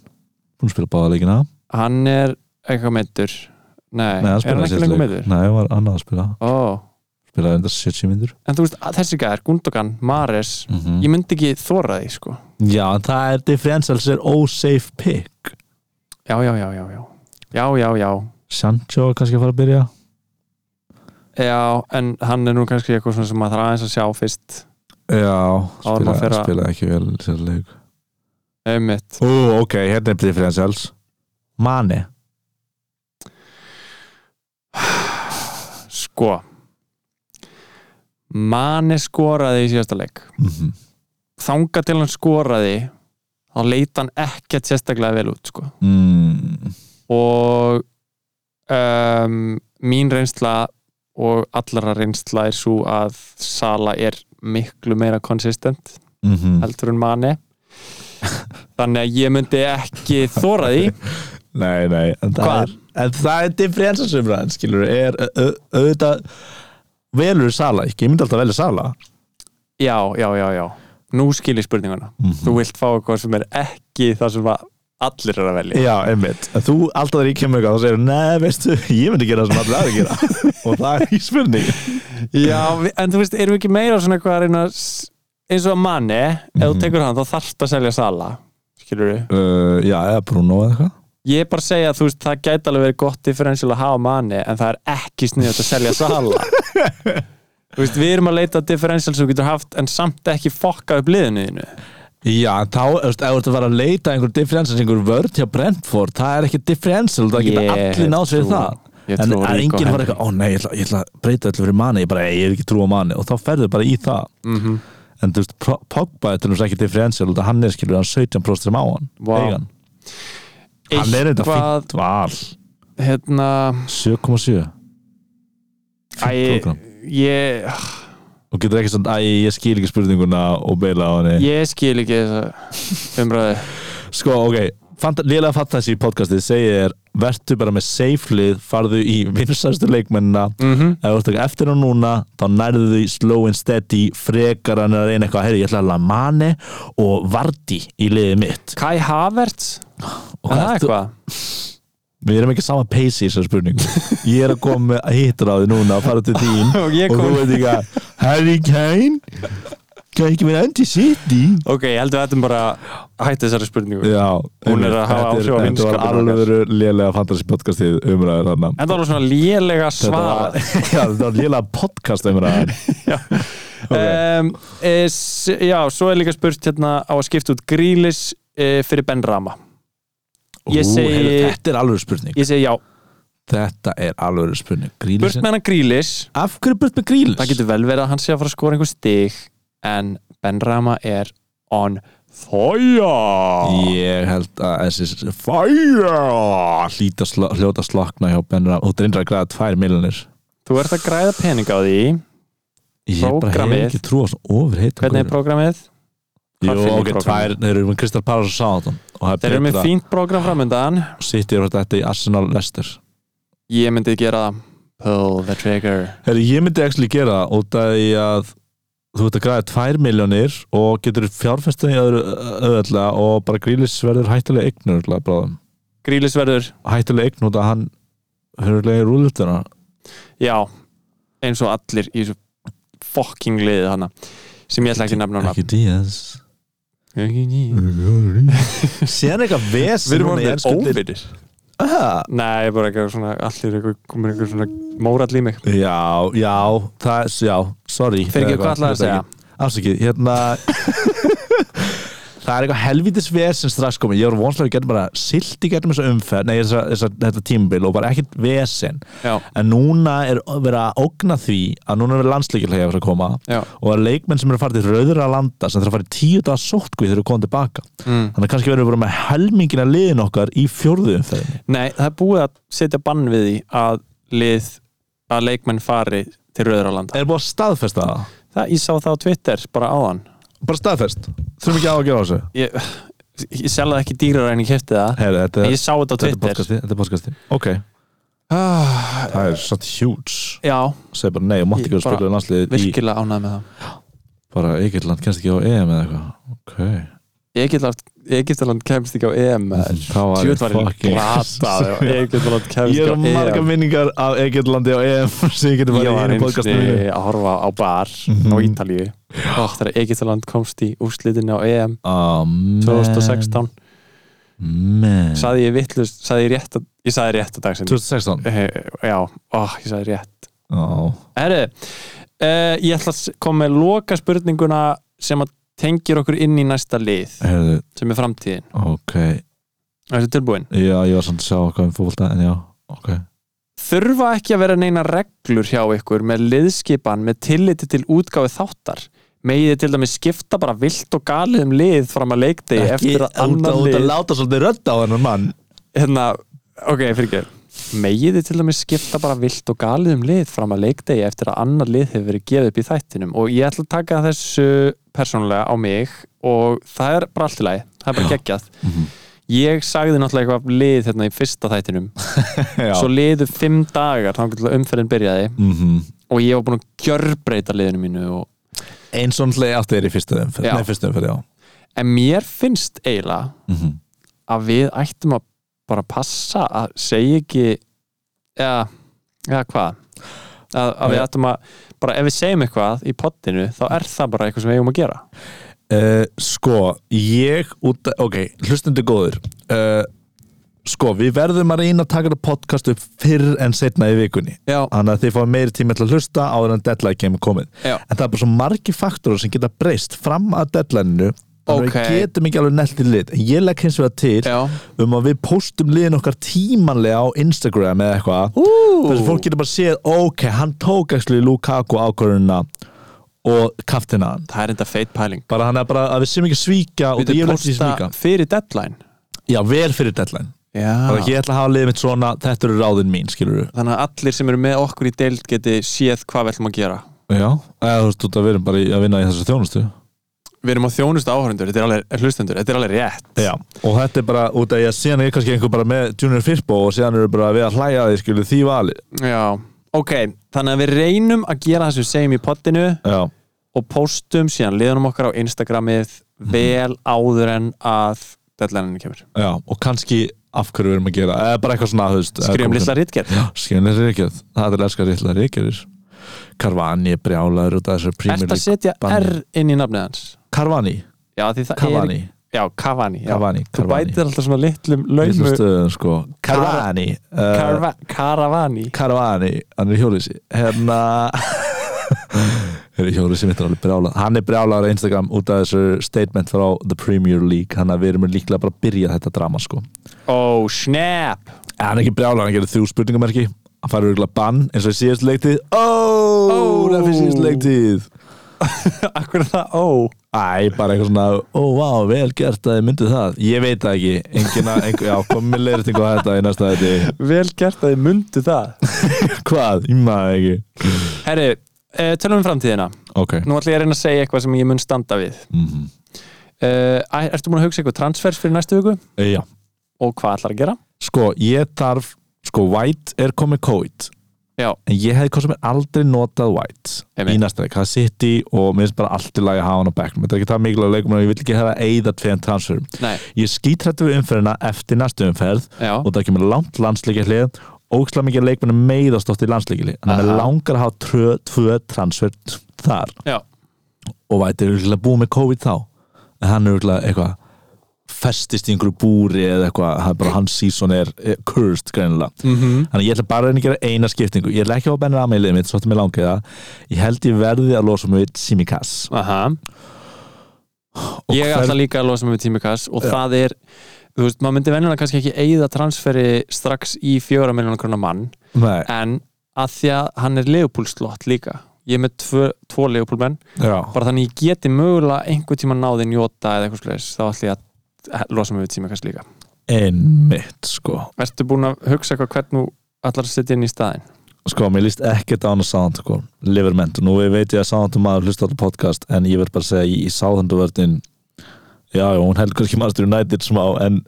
[SPEAKER 3] búin að spila báða leikina
[SPEAKER 4] Hann er eitthvað meittur Nei,
[SPEAKER 3] Nei, hann
[SPEAKER 4] er hann
[SPEAKER 3] spilaði
[SPEAKER 4] ekki
[SPEAKER 3] síðast
[SPEAKER 4] lengur
[SPEAKER 3] leik.
[SPEAKER 4] meittur?
[SPEAKER 3] Nei, hann var annað að spila
[SPEAKER 4] Ó,
[SPEAKER 3] Spilaði enda 70 myndur
[SPEAKER 4] en þú veist, að þessi gæðar, Gundogan, Mares
[SPEAKER 3] mm
[SPEAKER 4] Ég myndi ekki þóra því, sko
[SPEAKER 3] Já, en það er differentials er ósafe pick
[SPEAKER 4] Já, já, já, já, já Já, já, já,
[SPEAKER 3] Sancho er kannski að fara að byrja
[SPEAKER 4] já En hann er nú kannski eitthvað svona sem maður þarf aðeins að sjá fyrst
[SPEAKER 3] Já,
[SPEAKER 4] Áður en
[SPEAKER 3] spila,
[SPEAKER 4] maður fer að-
[SPEAKER 3] spila ekki vel sér leik
[SPEAKER 4] Einmitt
[SPEAKER 3] Ú, ok, hérna er differentials Mane
[SPEAKER 4] Sko Mane skoraði í síðasta leik
[SPEAKER 3] Mhm.
[SPEAKER 4] Þanga til hann skoraði þá leit hann ekkert sérstaklega vel út sko.
[SPEAKER 3] mm.
[SPEAKER 4] og um, mín reynsla og allra reynsla er svo að Sala er miklu meira konsistent
[SPEAKER 3] Mm -hmm.
[SPEAKER 4] heldur en Mane þannig að ég myndi ekki þóra því
[SPEAKER 3] Nei, nei, en það
[SPEAKER 4] Hvað?
[SPEAKER 3] er, en það er differensasumræðin, skilur, er au- au- auðvitað velur sala, ekki, ég myndi alltaf velja sala
[SPEAKER 4] já, já, já, já nú skil ég spurninguna þú vilt fá eitthvað sem er ekki það sem að allir er að velja
[SPEAKER 3] Já, einmitt, en þú alltaf þegar ég kemur eitthvað þá segir, nei, veistu, ég myndi gera það sem allir aðra gera og það er í spurning
[SPEAKER 4] já, við- en þú veist, erum við ekki meira svona eitthvað að reyna að s- eins og að manni, ef
[SPEAKER 3] Mhm.
[SPEAKER 4] þú tekur hann þá þarfst að selja sala skilur við
[SPEAKER 3] uh, Já, eða Bruno eða eitthvað
[SPEAKER 4] ég er bara að segja að þú veist, það gæti alveg verið gott differential að hafa manni, en það er ekki sniðast að selja sala þú veist, við erum að leita að differential sem þú getur haft, en samt ekki fokka upp liðinu þínu
[SPEAKER 3] Já, en þá, þú veist, ef þú ert að fara að leita einhver differensas, einhver vörð hjá Brentford það er ekki differensal, það geta
[SPEAKER 4] Ég
[SPEAKER 3] allir náð sér
[SPEAKER 4] trú-
[SPEAKER 3] það
[SPEAKER 4] ég
[SPEAKER 3] En
[SPEAKER 4] trú á
[SPEAKER 3] er
[SPEAKER 4] Rico
[SPEAKER 3] enginn var
[SPEAKER 4] Henry.
[SPEAKER 3] eitthvað, ó nei, ég ætla, ég ætla að breyta allir fyrir manni, ég bara, ei, ég er ekki trú á manni og þá ferðu bara í það
[SPEAKER 4] Mhm.
[SPEAKER 3] en þú veist, Pro- Pogba er til þess ekki differential út af hann er skilur hann 17% sem á hann
[SPEAKER 4] Vá.
[SPEAKER 3] eigan. hann er þetta
[SPEAKER 4] Eitthvað-
[SPEAKER 3] fínt val
[SPEAKER 4] hérna
[SPEAKER 3] 7,7
[SPEAKER 4] Æ,
[SPEAKER 3] program.
[SPEAKER 4] ég,
[SPEAKER 3] og getur ekki svona, æ, ég skil ekki spurninguna og beila á henni
[SPEAKER 4] ég skil ekki þessa umræðu
[SPEAKER 3] sko, ok, fant, lélega fatt þessi í podcastið segir, vertu bara með seiflið, farðu í vinsæstu leikmennina
[SPEAKER 4] mm
[SPEAKER 3] ef þú ert ekki eftir hann núna þá nærðu því slow and steady frekar en að reyna eitthvað, heyrðu, ég ætla að Lamane og Vardi í liðið mitt
[SPEAKER 4] Kai Havertz
[SPEAKER 3] og
[SPEAKER 4] er það
[SPEAKER 3] ertu-
[SPEAKER 4] eitthvað
[SPEAKER 3] Við erum ekki sama pace í þessar spurningu Ég er að koma með hitráði núna að fara til þín
[SPEAKER 4] Og ég
[SPEAKER 3] þú
[SPEAKER 4] kom-
[SPEAKER 3] veit ekki að Harry Kane Kan ekki vera endi City
[SPEAKER 4] ok, ég held að þetta er bara að hætta þessari spurningu
[SPEAKER 3] Já
[SPEAKER 4] Hún er að
[SPEAKER 3] þetta er-
[SPEAKER 4] hafa áhrif á
[SPEAKER 3] Þetta var
[SPEAKER 4] vinskapinn
[SPEAKER 3] alveg lélega fantasy podcastið umræður þarna
[SPEAKER 4] en það var svona lélega
[SPEAKER 3] Þetta var-
[SPEAKER 4] svar
[SPEAKER 3] Já, þetta var lélega podcast umræður
[SPEAKER 4] um, e, s- já, svo er líka spurt hérna á að skipta út grílis e, fyrir Ben Rama Ég segi-
[SPEAKER 3] Þetta er alveg spurning
[SPEAKER 4] ég segi já,
[SPEAKER 3] Þetta er alveg spurning
[SPEAKER 4] burt
[SPEAKER 3] Grílis
[SPEAKER 4] með hann grílis
[SPEAKER 3] Af hverju burt með grílis?
[SPEAKER 4] það getur vel verið að hann sé að fara að skora einhver stig en Ben Rama er on fire
[SPEAKER 3] Ég held að þessi fæja hlýta sl- hljóta slokna hjá Ben Ram og dreynir að græða tvær miljonir
[SPEAKER 4] þú ert að græða pening á því
[SPEAKER 3] Ég bara hef
[SPEAKER 4] Prógrammið.
[SPEAKER 3] ekki trú á svona overheit
[SPEAKER 4] hvernig er prógramið?
[SPEAKER 3] Jú,
[SPEAKER 4] hvað finnir
[SPEAKER 3] ok, tvær,
[SPEAKER 4] prógrammið?
[SPEAKER 3] þeir eru með Kristal Paras og Sáðan og það er
[SPEAKER 4] þeir eru með fínt prógram framöndan
[SPEAKER 3] Sitt yfir þetta í Arsenal Leicester
[SPEAKER 4] ég myndi gera það. pull the trigger
[SPEAKER 3] Herri, ég myndi ekki gera það út af því að þú ert að græða tvær miljonir og getur fjárfestin í öðru öðvöldlega og bara grílis verður hættulega eign örugglega bráðum.
[SPEAKER 4] grílis verður,
[SPEAKER 3] hættulega eign út af hann hörlega í rúðlutina
[SPEAKER 4] já eins og allir í þessu fucking liði hana sem ég ætla ekki að nefna hana
[SPEAKER 3] ekki Díaz Mm.
[SPEAKER 4] Við
[SPEAKER 3] síðan eitthvað vesen
[SPEAKER 4] erum
[SPEAKER 3] núna í Ah.
[SPEAKER 4] orðið
[SPEAKER 3] ensku deild-
[SPEAKER 4] óvinnir
[SPEAKER 3] Ha?
[SPEAKER 4] Nei, bara eitthvað svona, allir eitthvað, komur eitthvað svona mórall í mig
[SPEAKER 3] já, já, það, er- já, sorry
[SPEAKER 4] Fyrir ekki hvað ætlaði að segja
[SPEAKER 3] afsakið, hérna það er eitthvað helvítis vesen strax komið, ég voru vonslega að við getum bara silt í getum þessa umferð, nei þessa, þessa, þetta tímabil og bara ekkert vesen
[SPEAKER 4] Já,
[SPEAKER 3] en núna er verið að ógna því að núna er verið landsleikilhægja að fara að koma
[SPEAKER 4] já,
[SPEAKER 3] og það er leikmenn sem eru að fara til rauðra landa sem þarf að fara í tíu dagar sótku þegar við komum tilbaka
[SPEAKER 4] mm.
[SPEAKER 3] þannig að kannski verðum við bara með helmingina liðin okkar í fjórðu umferðinni
[SPEAKER 4] Nei, það er búið að setja bann við því að lið, að leikmenn fari til Rauðralanda
[SPEAKER 3] er búið að staðfesta það?
[SPEAKER 4] Það, ég sá það á Twitter, bara áðan
[SPEAKER 3] bara staðfest, þurfum ekki að gera á þessu
[SPEAKER 4] Ég, ég selði það ekki dýrar en ég kefti það
[SPEAKER 3] Heri, þetta,
[SPEAKER 4] En
[SPEAKER 3] er-
[SPEAKER 4] ég sá þetta á
[SPEAKER 3] þetta er
[SPEAKER 4] Twitter
[SPEAKER 3] podcasti, þetta er podcasti ok,
[SPEAKER 4] ah,
[SPEAKER 3] það er satt huge
[SPEAKER 4] Já,
[SPEAKER 3] segi bara nei, og mátti
[SPEAKER 4] Ég
[SPEAKER 3] ekki að
[SPEAKER 4] bara-
[SPEAKER 3] spila landsliðið í
[SPEAKER 4] virkilega ánægð með það
[SPEAKER 3] bara Eikirland, kennst ekki á EM eða eitthvað ok,
[SPEAKER 4] Egyptaland, Egyptaland kemst ekki á EM
[SPEAKER 3] þá var
[SPEAKER 4] Tjóð var ég
[SPEAKER 3] fucking-
[SPEAKER 4] glata Egyptaland kemst
[SPEAKER 3] ég
[SPEAKER 4] ekki á
[SPEAKER 3] er um
[SPEAKER 4] EM
[SPEAKER 3] marga minningar af Eikirlandi á EM sem ég geti
[SPEAKER 4] Ég
[SPEAKER 3] bara í
[SPEAKER 4] var
[SPEAKER 3] einu
[SPEAKER 4] einu
[SPEAKER 3] podcastinu
[SPEAKER 4] sinni
[SPEAKER 3] mínu.
[SPEAKER 4] að horfa á bar
[SPEAKER 3] Mhm.
[SPEAKER 4] á Ítalíu og þegar Egyptaland komst í úrslitinu á EM
[SPEAKER 3] Amen.
[SPEAKER 4] 2016
[SPEAKER 3] Man.
[SPEAKER 4] saði ég vittlust, saði ég rétt að, ég saði rétt að dagsinni
[SPEAKER 3] 2016
[SPEAKER 4] já, ó, ég saði rétt
[SPEAKER 3] Já.
[SPEAKER 4] Herri, uh, ég ætla að s- koma með loka spurninguna sem að tengir okkur inn í næsta lið
[SPEAKER 3] Heyrðu,
[SPEAKER 4] sem er framtíðin,
[SPEAKER 3] ok
[SPEAKER 4] þessi tilbúin
[SPEAKER 3] Já, ég var svona að sjá eitthvað um fótbolta en já, ok
[SPEAKER 4] Þurfa ekki að vera neina reglur hjá ykkur með liðskipan með tilliti til útgáfi þáttar Megið þið til dæmis skipta bara vilt og galið um lið fram að leikdegi eftir að annan
[SPEAKER 3] út að
[SPEAKER 4] lið
[SPEAKER 3] láta svolítið rödd á hennar mann
[SPEAKER 4] hérna, ok, fyrir Megið þið til dæmis skipta bara vilt og galið um lið fram að leikdegi eftir að annar lið hefur verið gefið upp í þættinum og ég ætla að taka
[SPEAKER 3] Mhm.
[SPEAKER 4] þessu persónulega á mig og það er bara allt í lagi, það er bara geggjað ég sagði náttúrulega eitthvað lið hérna í fyrsta þættinum
[SPEAKER 3] Já.
[SPEAKER 4] svo liðu fimm dagar þá umferðin byrjaði
[SPEAKER 3] Mhm.
[SPEAKER 4] og ég var búin að gjörbreyta liðinu mínu og,
[SPEAKER 3] eins og náttúrulega átti þér í fyrstu umferð
[SPEAKER 4] Já.
[SPEAKER 3] Nei, fyrstu umferð, já
[SPEAKER 4] en mér finnst eiginlega
[SPEAKER 3] Mhm.
[SPEAKER 4] að við ættum að bara passa að segja ekki eða, eða hvað að, að við
[SPEAKER 3] Já.
[SPEAKER 4] ættum að bara ef við segjum eitthvað í poddinu þá er það bara eitthvað sem við eigum að gera
[SPEAKER 3] Uh, sko, ég út ok, hlustundi góður uh, sko, við verðum að reyna að taka þetta podcast upp fyrr en setna í vikunni
[SPEAKER 4] Já.
[SPEAKER 3] þannig að þið fá meiri tíma til að hlusta áður en deadline kemur komið
[SPEAKER 4] Já.
[SPEAKER 3] en það er bara svo margi faktorar sem geta breyst fram að deadlineinu þannig að
[SPEAKER 4] Ok.
[SPEAKER 3] við getum ekki alveg nelt í lit en ég legg hins vegar til um að við postum liðin okkar tímanlega á Instagram eða eitthvað þess að fólk getur bara séð, ok, hann tók actually Lukaku ákvörðuna og kaftina hann
[SPEAKER 4] það er enda feit pæling
[SPEAKER 3] bara hann er bara að við séum ekki að svíka og
[SPEAKER 4] við
[SPEAKER 3] ég
[SPEAKER 4] þau
[SPEAKER 3] vil ekki
[SPEAKER 4] posta
[SPEAKER 3] svíka
[SPEAKER 4] fyrir deadline
[SPEAKER 3] já, vel fyrir deadline bara
[SPEAKER 4] já.
[SPEAKER 3] ég ætla að hafa liðið mitt svona, þetta eru ráðin mín skilur við,
[SPEAKER 4] þannig að allir sem eru með okkur í deild geti séð hvað við ætlum að gera
[SPEAKER 3] já, eða þú veist út að við erum bara í, að vinna í þessu þjónustu
[SPEAKER 4] við erum á þjónustu áhörundur, þetta er alveg hlustendur þetta er alveg rétt
[SPEAKER 3] já, og þetta er bara út að ég síðan er kannski einhver bara með Junior Firpo og síðan eru bara við að hlæja því skilur því vali
[SPEAKER 4] Já. ok, þannig að við reynum að gera það sem við segjum í poddinu
[SPEAKER 3] já,
[SPEAKER 4] og postum síðan liðanum okkar á Instagramið
[SPEAKER 3] Mhm.
[SPEAKER 4] vel áður en að deadline-inu kemur
[SPEAKER 3] já, og kannski af hverju við erum að gera, eða bara eitthvað svona þú veist, eða
[SPEAKER 4] skrifum
[SPEAKER 3] komum
[SPEAKER 4] litla rítgerð
[SPEAKER 3] til- skrifum litla ríkjöð, það er elskar litla ríkjöðis Karvani er brjálaður út af þessu Premier
[SPEAKER 4] Ert að
[SPEAKER 3] League
[SPEAKER 4] setja
[SPEAKER 3] banni.
[SPEAKER 4] R inn í nafnið hans
[SPEAKER 3] Karvani,
[SPEAKER 4] Já, því það
[SPEAKER 3] Cavani,
[SPEAKER 4] er Já, Cavani, já.
[SPEAKER 3] Cavani,
[SPEAKER 4] Þú
[SPEAKER 3] Cavani.
[SPEAKER 4] bætir alltaf svona litlum
[SPEAKER 3] Litlu
[SPEAKER 4] laumu
[SPEAKER 3] stöðum sko Karvani uh,
[SPEAKER 4] Carva- Caravani
[SPEAKER 3] Karavani, hann er í hjólísi hérna er í hjólísi mitt er alveg brjálað hann er brjálaður á Instagram út af þessu statement frá The Premier League hann að við erum líklega bara að byrja þetta drama sko en
[SPEAKER 4] Oh, snap
[SPEAKER 3] hann er ekki brjálaður, hann gerir þrjú spurningamerki hann fær örgulega bann eins og í síðast leiktið ó,
[SPEAKER 4] Ó.
[SPEAKER 3] það fyrir síðast leiktið
[SPEAKER 4] Akkur er það, ó
[SPEAKER 3] Æ, bara eitthvað svona, ó, vá, vel gert að þið myndið það Ég veit það ekki, engina, einhver, já, komið með leirtingu á þetta í næsta þetta
[SPEAKER 4] Vel gert að þið mundu það
[SPEAKER 3] Hvað, ég maður ekki
[SPEAKER 4] Herri, uh, tölum við framtíðina
[SPEAKER 3] Ok,
[SPEAKER 4] Nú ætla ég að reyna að segja eitthvað sem ég mun standa við
[SPEAKER 3] mm
[SPEAKER 4] uh, Ertu búin að hugsa eitthvað transfers fyrir næstu viku?
[SPEAKER 3] já
[SPEAKER 4] Og hvað ætlar að gera?
[SPEAKER 3] Eh, sko, ég þarf sko, white er komið COVID
[SPEAKER 4] Já.
[SPEAKER 3] en ég hefði hvað sem er aldrei notað white
[SPEAKER 4] Einmitt.
[SPEAKER 3] í næsta leik, það er City og mér finnst bara allt í lagi að hafa hann á bekknum þetta er ekki það mikilvæg leikum og ég vil ekki hafa eigða tveim transferum,
[SPEAKER 4] Nei,
[SPEAKER 3] ég skítrættu við umferðina eftir næstu umferð
[SPEAKER 4] já
[SPEAKER 3] og það kemur langt landsleikja hlið ógislega mikið leikmenn meiðast oft í landsleikili þannig að
[SPEAKER 4] Aha.
[SPEAKER 3] mig langar að hafa trö, tvö transfer þar
[SPEAKER 4] Já.
[SPEAKER 3] og væti er örugglega búið með COVID þá en hann er örugglega eitthvað festist í einhverju búri eða eitthvað hann- bara hans season er er cursed greinilega
[SPEAKER 4] -hmm.
[SPEAKER 3] þannig að ég ætla bara að reyna að gera eina skiptingu ég ætla ekki að hafa bennir að meilið mitt, svo þetta mér langið það ég held ég verði að losa mig við Simikas
[SPEAKER 4] Aha. Ég ætla líka að losa mig við tímikass og
[SPEAKER 3] Já.
[SPEAKER 4] það er þú veist, maður myndi venjulega kannski ekki eigða transferi strax í fjóra miljonar krona mann
[SPEAKER 3] Nei,
[SPEAKER 4] en að því að hann er leifupúlslott líka ég er með tvö, tvo leifupúlmenn
[SPEAKER 3] já,
[SPEAKER 4] bara þannig ég geti mögulega einhver tíma náði njóta eða eitthvað slags þá ætla ég að losa mig við tímikass líka
[SPEAKER 3] einmitt sko
[SPEAKER 4] Ertu búin að hugsa eitthvað hvern þú ætlar að setja inn í staðin?
[SPEAKER 3] sko, mér líst ekkert á hana Southampton Liverment, nú ég veit ég að Southampton maður hlusta á þetta podcast, en ég verð bara að segja að í, í Southampton vördin já, já, hún heldur kannski Master United smá en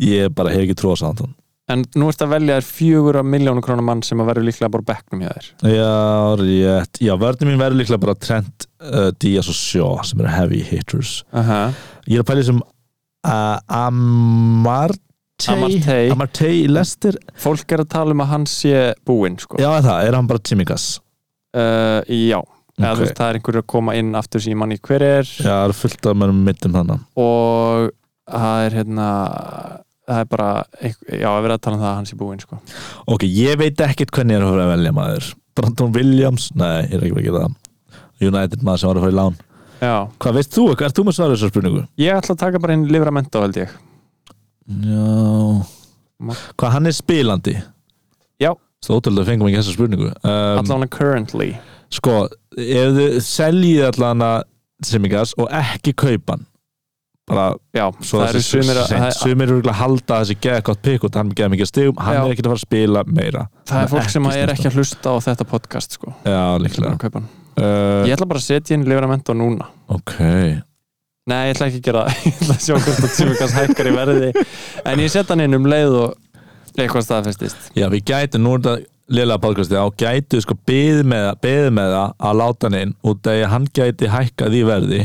[SPEAKER 3] ég bara hef ekki trú á Southampton
[SPEAKER 4] En nú ert að velja þér fjögura miljónu krónar mann sem að verður líklega bara á bekknum hjá þér
[SPEAKER 3] já, rétt, já, vördin mín verður líklega bara Trent, uh, Díaz og Sjó sem eru heavy hitters
[SPEAKER 4] Aha.
[SPEAKER 3] ég er að pæli sem uh, Amartey
[SPEAKER 4] Amartey.
[SPEAKER 3] Amartey í Lester
[SPEAKER 4] Fólk er að tala um að hann sé búinn sko.
[SPEAKER 3] já, er það, er hann bara Timikas
[SPEAKER 4] uh, já. Eða, þú
[SPEAKER 3] okay.
[SPEAKER 4] veist, það er einhverju að koma inn aftur sem ég manni hver er
[SPEAKER 3] já, það er fullt af mörgum mittum þannig
[SPEAKER 4] og það er hérna það er bara, einhver- já, að vera að tala um það að hann sé búinn sko.
[SPEAKER 3] Ok, ég veit ekkert hvernig ég er að fara að velja maður Brandon Williams, nei, ég er ekki að gera það United maður sem var að fara í lán
[SPEAKER 4] já,
[SPEAKER 3] Hvað veist þú, er þú með svarið þessar spurningu?
[SPEAKER 4] ég ætla að taka bara inn Livramento held ég
[SPEAKER 3] Já Hvað hann er spilandi?
[SPEAKER 4] Já.
[SPEAKER 3] Svo ótrúlega fengum ekki þessa spurningu um,
[SPEAKER 4] allan að currently
[SPEAKER 3] Sko, ef þið seljið allan að Simmikas og ekki kaupan bara
[SPEAKER 4] já,
[SPEAKER 3] svo
[SPEAKER 4] það eru sumir að, það, er-
[SPEAKER 3] sumir eru örugglega að halda að þessi geða gott pikk og hann geða mikið stigum, hann
[SPEAKER 4] Já.
[SPEAKER 3] er ekkert að fara að spila meira
[SPEAKER 4] það er fólk sem að er
[SPEAKER 3] snerta.
[SPEAKER 4] ekki að hlusta á þetta podcast sko,
[SPEAKER 3] Já,
[SPEAKER 4] sem er
[SPEAKER 3] líklega
[SPEAKER 4] að kaupa hann.
[SPEAKER 3] uh,
[SPEAKER 4] ég ætla bara að setja inn Livramento núna
[SPEAKER 3] Ok
[SPEAKER 4] Nei, ég ætla ekki að gera það Ég ætla að sjá hvort að Tsimikas hækkar í verði En ég set hann inn um leið og eitthvað staðfestist
[SPEAKER 3] Já, við gætum, nú er þetta liðlega podcastið á, gætum sko byð með, byð með það að láta hann inn út af því að hann gæti hækkað í verði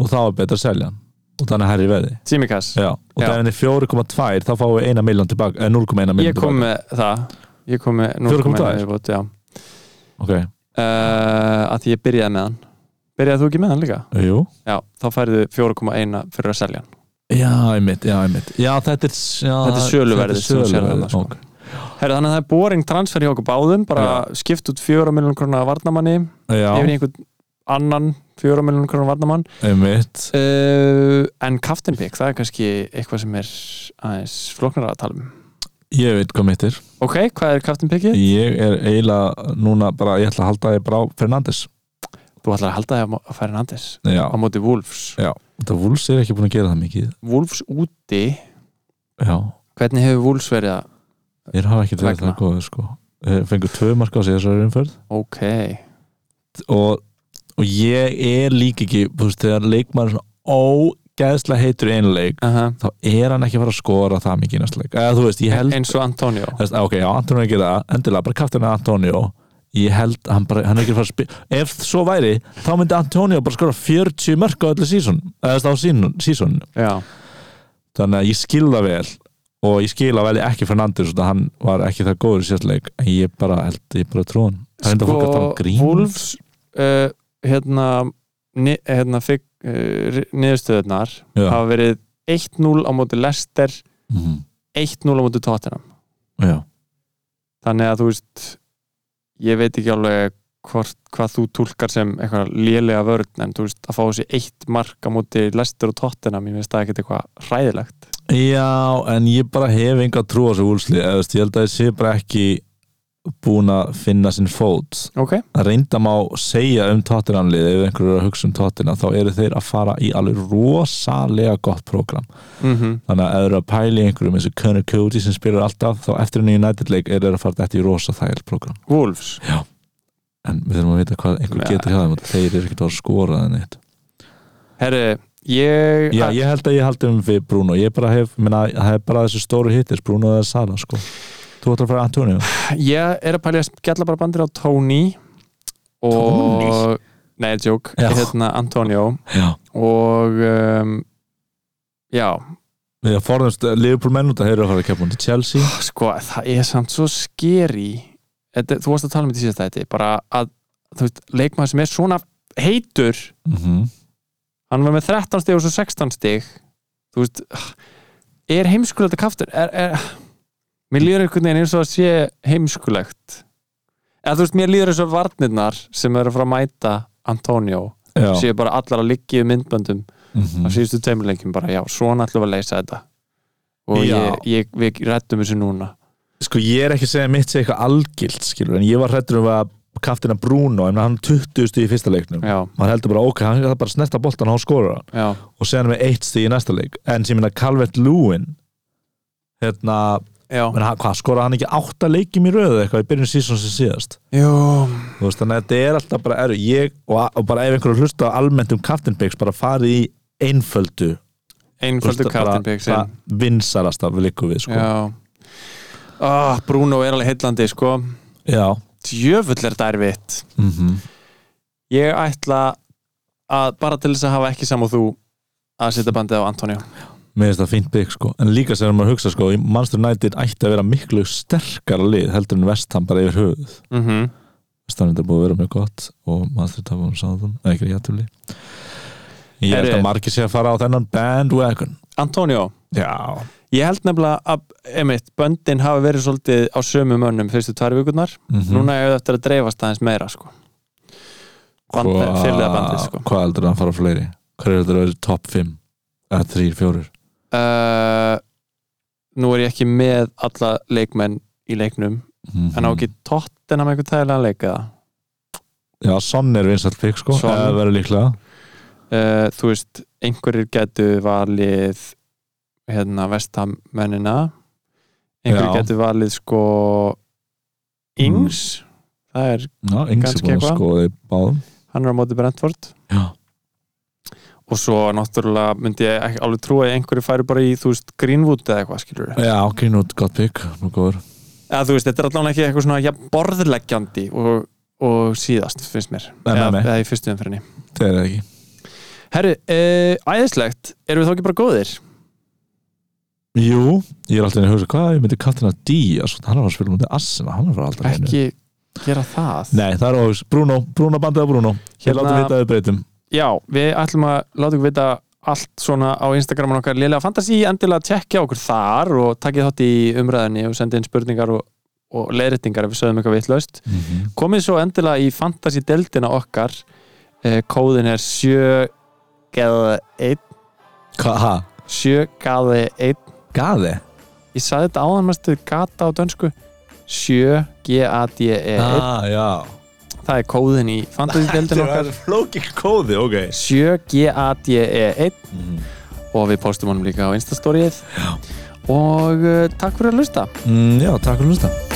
[SPEAKER 3] og þá er betra að selja hann og þannig herri verði
[SPEAKER 4] Tsimikas,
[SPEAKER 3] Já, og
[SPEAKER 4] Já.
[SPEAKER 3] það er henni 4,2 þá fáum við 1 miljón tilbaka, eh, eða 0,1 miljón
[SPEAKER 4] ég
[SPEAKER 3] tilbaka
[SPEAKER 4] kom með það Ég kom með
[SPEAKER 3] 4,2?
[SPEAKER 4] 0,1 viðbót, já.
[SPEAKER 3] Ok,
[SPEAKER 4] uh, Að því ég byrjaði með hann Byrjaði þú ekki með hann líka?
[SPEAKER 3] jú
[SPEAKER 4] Já, þá færðu 4,1 fyrir að selja hann
[SPEAKER 3] Já, einmitt, já, einmitt Já, þetta er, já,
[SPEAKER 4] Þetta er söluverðið sem þú sérð
[SPEAKER 3] söluverðið,
[SPEAKER 4] þarna, sko.
[SPEAKER 3] ok.
[SPEAKER 4] Herra, þannig að það er boring transfer hjá okkur báðum bara skipt út 4 miljón krona varnamanni yfir í
[SPEAKER 3] Já,
[SPEAKER 4] einhvern annan 4 miljón krona varnamann
[SPEAKER 3] einmitt
[SPEAKER 4] uh, en captain pick, það er kannski eitthvað sem er aðeins flóknara að tala um
[SPEAKER 3] Ég veit hvað mitt er
[SPEAKER 4] ok, hvað er captain pickið?
[SPEAKER 3] Ég er eiginlega núna bara, ég ætla að halda þig bara á Fernandes
[SPEAKER 4] Þú ætlar að halda það að færa Nandes
[SPEAKER 3] Já,
[SPEAKER 4] á móti Wolves
[SPEAKER 3] þetta Wolves er ekki búin að gera það mikið
[SPEAKER 4] Wolves úti,
[SPEAKER 3] Já,
[SPEAKER 4] hvernig hefur Wolves verið að
[SPEAKER 3] Þeir hafa ekki verið
[SPEAKER 4] Vegna.
[SPEAKER 3] það góður sko Eh, Fengu tvö marka á síðasari umferð
[SPEAKER 4] ok,
[SPEAKER 3] og, og ég er líka ekki þú veist, þegar leikmaður er svona ógeðslega heitur í einu leik
[SPEAKER 4] uh
[SPEAKER 3] þá er hann ekki að fara að skora það mikið í næsta leik eða þú veist, ég held
[SPEAKER 4] eins og Antonio
[SPEAKER 3] Þú veist, ok, já, Antonio er að gera það, endilega, bara kaftina Antonio ég held, hann, bara, hann er ekki að fara að spila ef svo væri, þá myndi Antonio bara skora 40 mörg á öllu sísón eða þú veist, á sísón
[SPEAKER 4] já,
[SPEAKER 3] þannig að ég skil það vel og ég skil að velja ekki Fernandes þannig að hann var ekki það góður í sérleik en ég bara held, ég bara trúan það er enda fólk að tala um grín
[SPEAKER 4] Sko, Wolves uh, hérna, ni, hérna fikk uh, niðurstöðunar
[SPEAKER 3] já,
[SPEAKER 4] hafa verið 1-0 á móti Leicester
[SPEAKER 3] mhm,
[SPEAKER 4] 1-0 á móti Tottenham
[SPEAKER 3] já,
[SPEAKER 4] þannig að þú veist ég veit ekki alveg hvort, hvað þú tólkar sem eitthvað lélega vörn en þú veist að fá þessi eitt mark á móti Leicester og Tottenham, ég veist það ekkert eitthvað hræðilegt
[SPEAKER 3] já, en ég bara hef enga trú á þessu úlsli eða þú veist, ég held að ég sé bara ekki búin að finna sinn fót
[SPEAKER 4] ok,
[SPEAKER 3] að reynda má segja um Tottenhamlið ef einhverju er að hugsa um Tottenham þá eru þeir að fara í alveg rosalega gott program
[SPEAKER 4] mm
[SPEAKER 3] þannig að ef þeir eru að pæli einhverjum eins og Connor Cody sem spilar alltaf þá eftir henni United leik eru þeir að fara þetta í rosa þægild program
[SPEAKER 4] Wolves
[SPEAKER 3] en við þurfum að vita hvað einhver
[SPEAKER 4] Ja.
[SPEAKER 3] getur hjá þeim og þeir eru ekkert að skora það neitt
[SPEAKER 4] herri, ég
[SPEAKER 3] Já, ég held að ég held um við Bruno ég bara hef, minna, það er bara þessu stóru hittis Bruno eða Sala, sko Þú ætlar að fara Antonio?
[SPEAKER 4] ég er að pælja að skella bara bandir á Tony og
[SPEAKER 3] Tony?
[SPEAKER 4] nei, joke,
[SPEAKER 3] Já.
[SPEAKER 4] hérna Antonio
[SPEAKER 3] Já
[SPEAKER 4] og um, já,
[SPEAKER 3] Við erum forðumst eh, Liverpool menn út að þeir eru að fara að kepa hún til Chelsea
[SPEAKER 4] sko, það er samt svo skeri Þetta, þú varst að tala um þetta í síðast þetta bara að, þú veist, leikmaður sem er svona heitur,
[SPEAKER 3] mm
[SPEAKER 4] hann var með 13 stig og svo 16 stig þú veist, er heimskulegt að kaftur er, er, mér líður einhvern veginn eins og að sé heimskulegt eða þú veist, mér líður eins og varnirnar sem eru að fara að mæta Antonio,
[SPEAKER 3] Já
[SPEAKER 4] séu bara allar að liggja í myndböndum
[SPEAKER 3] Mhm.
[SPEAKER 4] á síðustu tveimurleikjum bara, já, svona ætlum við að leysa þetta og
[SPEAKER 3] Já.
[SPEAKER 4] ég, ég, við rættum þessu núna
[SPEAKER 3] sko ég er ekki að segja mitt sé eitthvað algilt skilur en ég var hrættur um að kaftina Bruno en hann 20 stíð í fyrsta leiknum
[SPEAKER 4] já,
[SPEAKER 3] maður heldur bara ok, hann er bara að snerta boltan og hann skora hann
[SPEAKER 4] já,
[SPEAKER 3] og segja hann með eitt stíð í næsta leik en sem minna Calvert Lewin hérna,
[SPEAKER 4] já,
[SPEAKER 3] menn, hann- hvað skora hann ekki átta leikjum í röðu eitthvað í byrjun sísons sem síðast
[SPEAKER 4] já.
[SPEAKER 3] Þú veist, þannig að þetta er alltaf bara eru ég og, og bara ef einhverju hlusta á almennt um kaftinbyggs bara farið í einföldu þú veist,
[SPEAKER 4] einföldu
[SPEAKER 3] bara- bara
[SPEAKER 4] kattinbyggsin
[SPEAKER 3] vinsælasta við likum við sko. já.
[SPEAKER 4] já ah, Bruno er alveg heillandi sko
[SPEAKER 3] Já.
[SPEAKER 4] djöfull er þetta erfitt
[SPEAKER 3] Mm
[SPEAKER 4] ég ætla að bara til þess að hafa ekki saman þú að setja bandið á Antonio
[SPEAKER 3] mér finnst það fínt bygg sko en líka sem maður hugsa sko, Manchester United ætti að vera miklu sterkara lið heldur en vestam bara yfir höfuð
[SPEAKER 4] mm
[SPEAKER 3] Mhm.
[SPEAKER 4] -hmm.
[SPEAKER 3] vestam er búið að vera mjög gott og Manchester tapaði um sáðum, eða ekki jættuli ég held
[SPEAKER 4] Herri.
[SPEAKER 3] að margir sé að fara á þennan bandwagon
[SPEAKER 4] Antonio,
[SPEAKER 3] já,
[SPEAKER 4] ég held nefnilega að einmitt, böndin hafa verið svolítið á sömu mönnum fyrstu tvær vikurnar
[SPEAKER 3] mm -hmm.
[SPEAKER 4] núna er það eftir að dreifast aðeins meira sko Band, fyrirlega bandið sko
[SPEAKER 3] hvað heldur það að fara á fleiri? hvað heldur það að vera top 5? eða 3, 4?
[SPEAKER 4] uh, nú er ég ekki með alla leikmenn í leiknum Mhm. en á ekki Tottenham einhvern tæðilega leik eða
[SPEAKER 3] já, Son er vinsælt bygg sko,
[SPEAKER 4] Son.
[SPEAKER 3] eða verður líklega
[SPEAKER 4] uh, þú veist, einhverjir getu valið hérna vestamennina einhverjir
[SPEAKER 3] Já.
[SPEAKER 4] getu valið sko Ings það er,
[SPEAKER 3] já, yngs er
[SPEAKER 4] Kannski
[SPEAKER 3] búin að
[SPEAKER 4] eitthvað.
[SPEAKER 3] skoða í báðum
[SPEAKER 4] hann er á móti Brentford
[SPEAKER 3] já,
[SPEAKER 4] og svo náttúrulega myndi ég ekki alveg trúa að einhverju færi bara í, þú veist, Greenwood eða eitthvað skilur
[SPEAKER 3] Já, Greenwood, gott pick, nú góður
[SPEAKER 4] eða þú veist, þetta er allavega ekki eitthvað svona ja, borðleggjandi og, og síðast finnst mér,
[SPEAKER 3] Nei, nei, nei.
[SPEAKER 4] eða, eða í fyrstu umfyrinni
[SPEAKER 3] Það er það ekki
[SPEAKER 4] Herru, uh, æðislegt, erum við þá ekki bara góðir?
[SPEAKER 3] Jú, ég er alltaf að hugsa hvað ég myndi Katina Díaz, hann var að spila mútið Assina hann var alltaf að
[SPEAKER 4] Ekki gera það
[SPEAKER 3] Nei, það er óvis, Bruno, Bruno bandið að Bruno Ég
[SPEAKER 4] Hérna-
[SPEAKER 3] látum við þetta að við breytum
[SPEAKER 4] Já, við ætlum að láta ykkur vita allt svona á Instagraman okkar Lélega Fantasí, endilega tjekkja okkur þar og takkið þátt í umræðinni og sendi inn spurningar og, og leiðrættingar ef við sögum eitthvað vitlaust Komið svo endilega í Fantasí deildina okkar eh, Kóðin er 7 gaði 1
[SPEAKER 3] Hvað, hæ?
[SPEAKER 4] 7 gaði 1
[SPEAKER 3] Gaði?
[SPEAKER 4] Ég saði þetta áðan mestu gata á dönsku 7 G-A-D-E 1
[SPEAKER 3] Ah, já
[SPEAKER 4] Það er kóðin í Fantasí deildina okkar
[SPEAKER 3] er flókið kóði, ok
[SPEAKER 4] 7GADE1 E og við postum honum líka á Instastoryið og uh, takk fyrir að lusta
[SPEAKER 3] mm, Já, takk fyrir að hlusta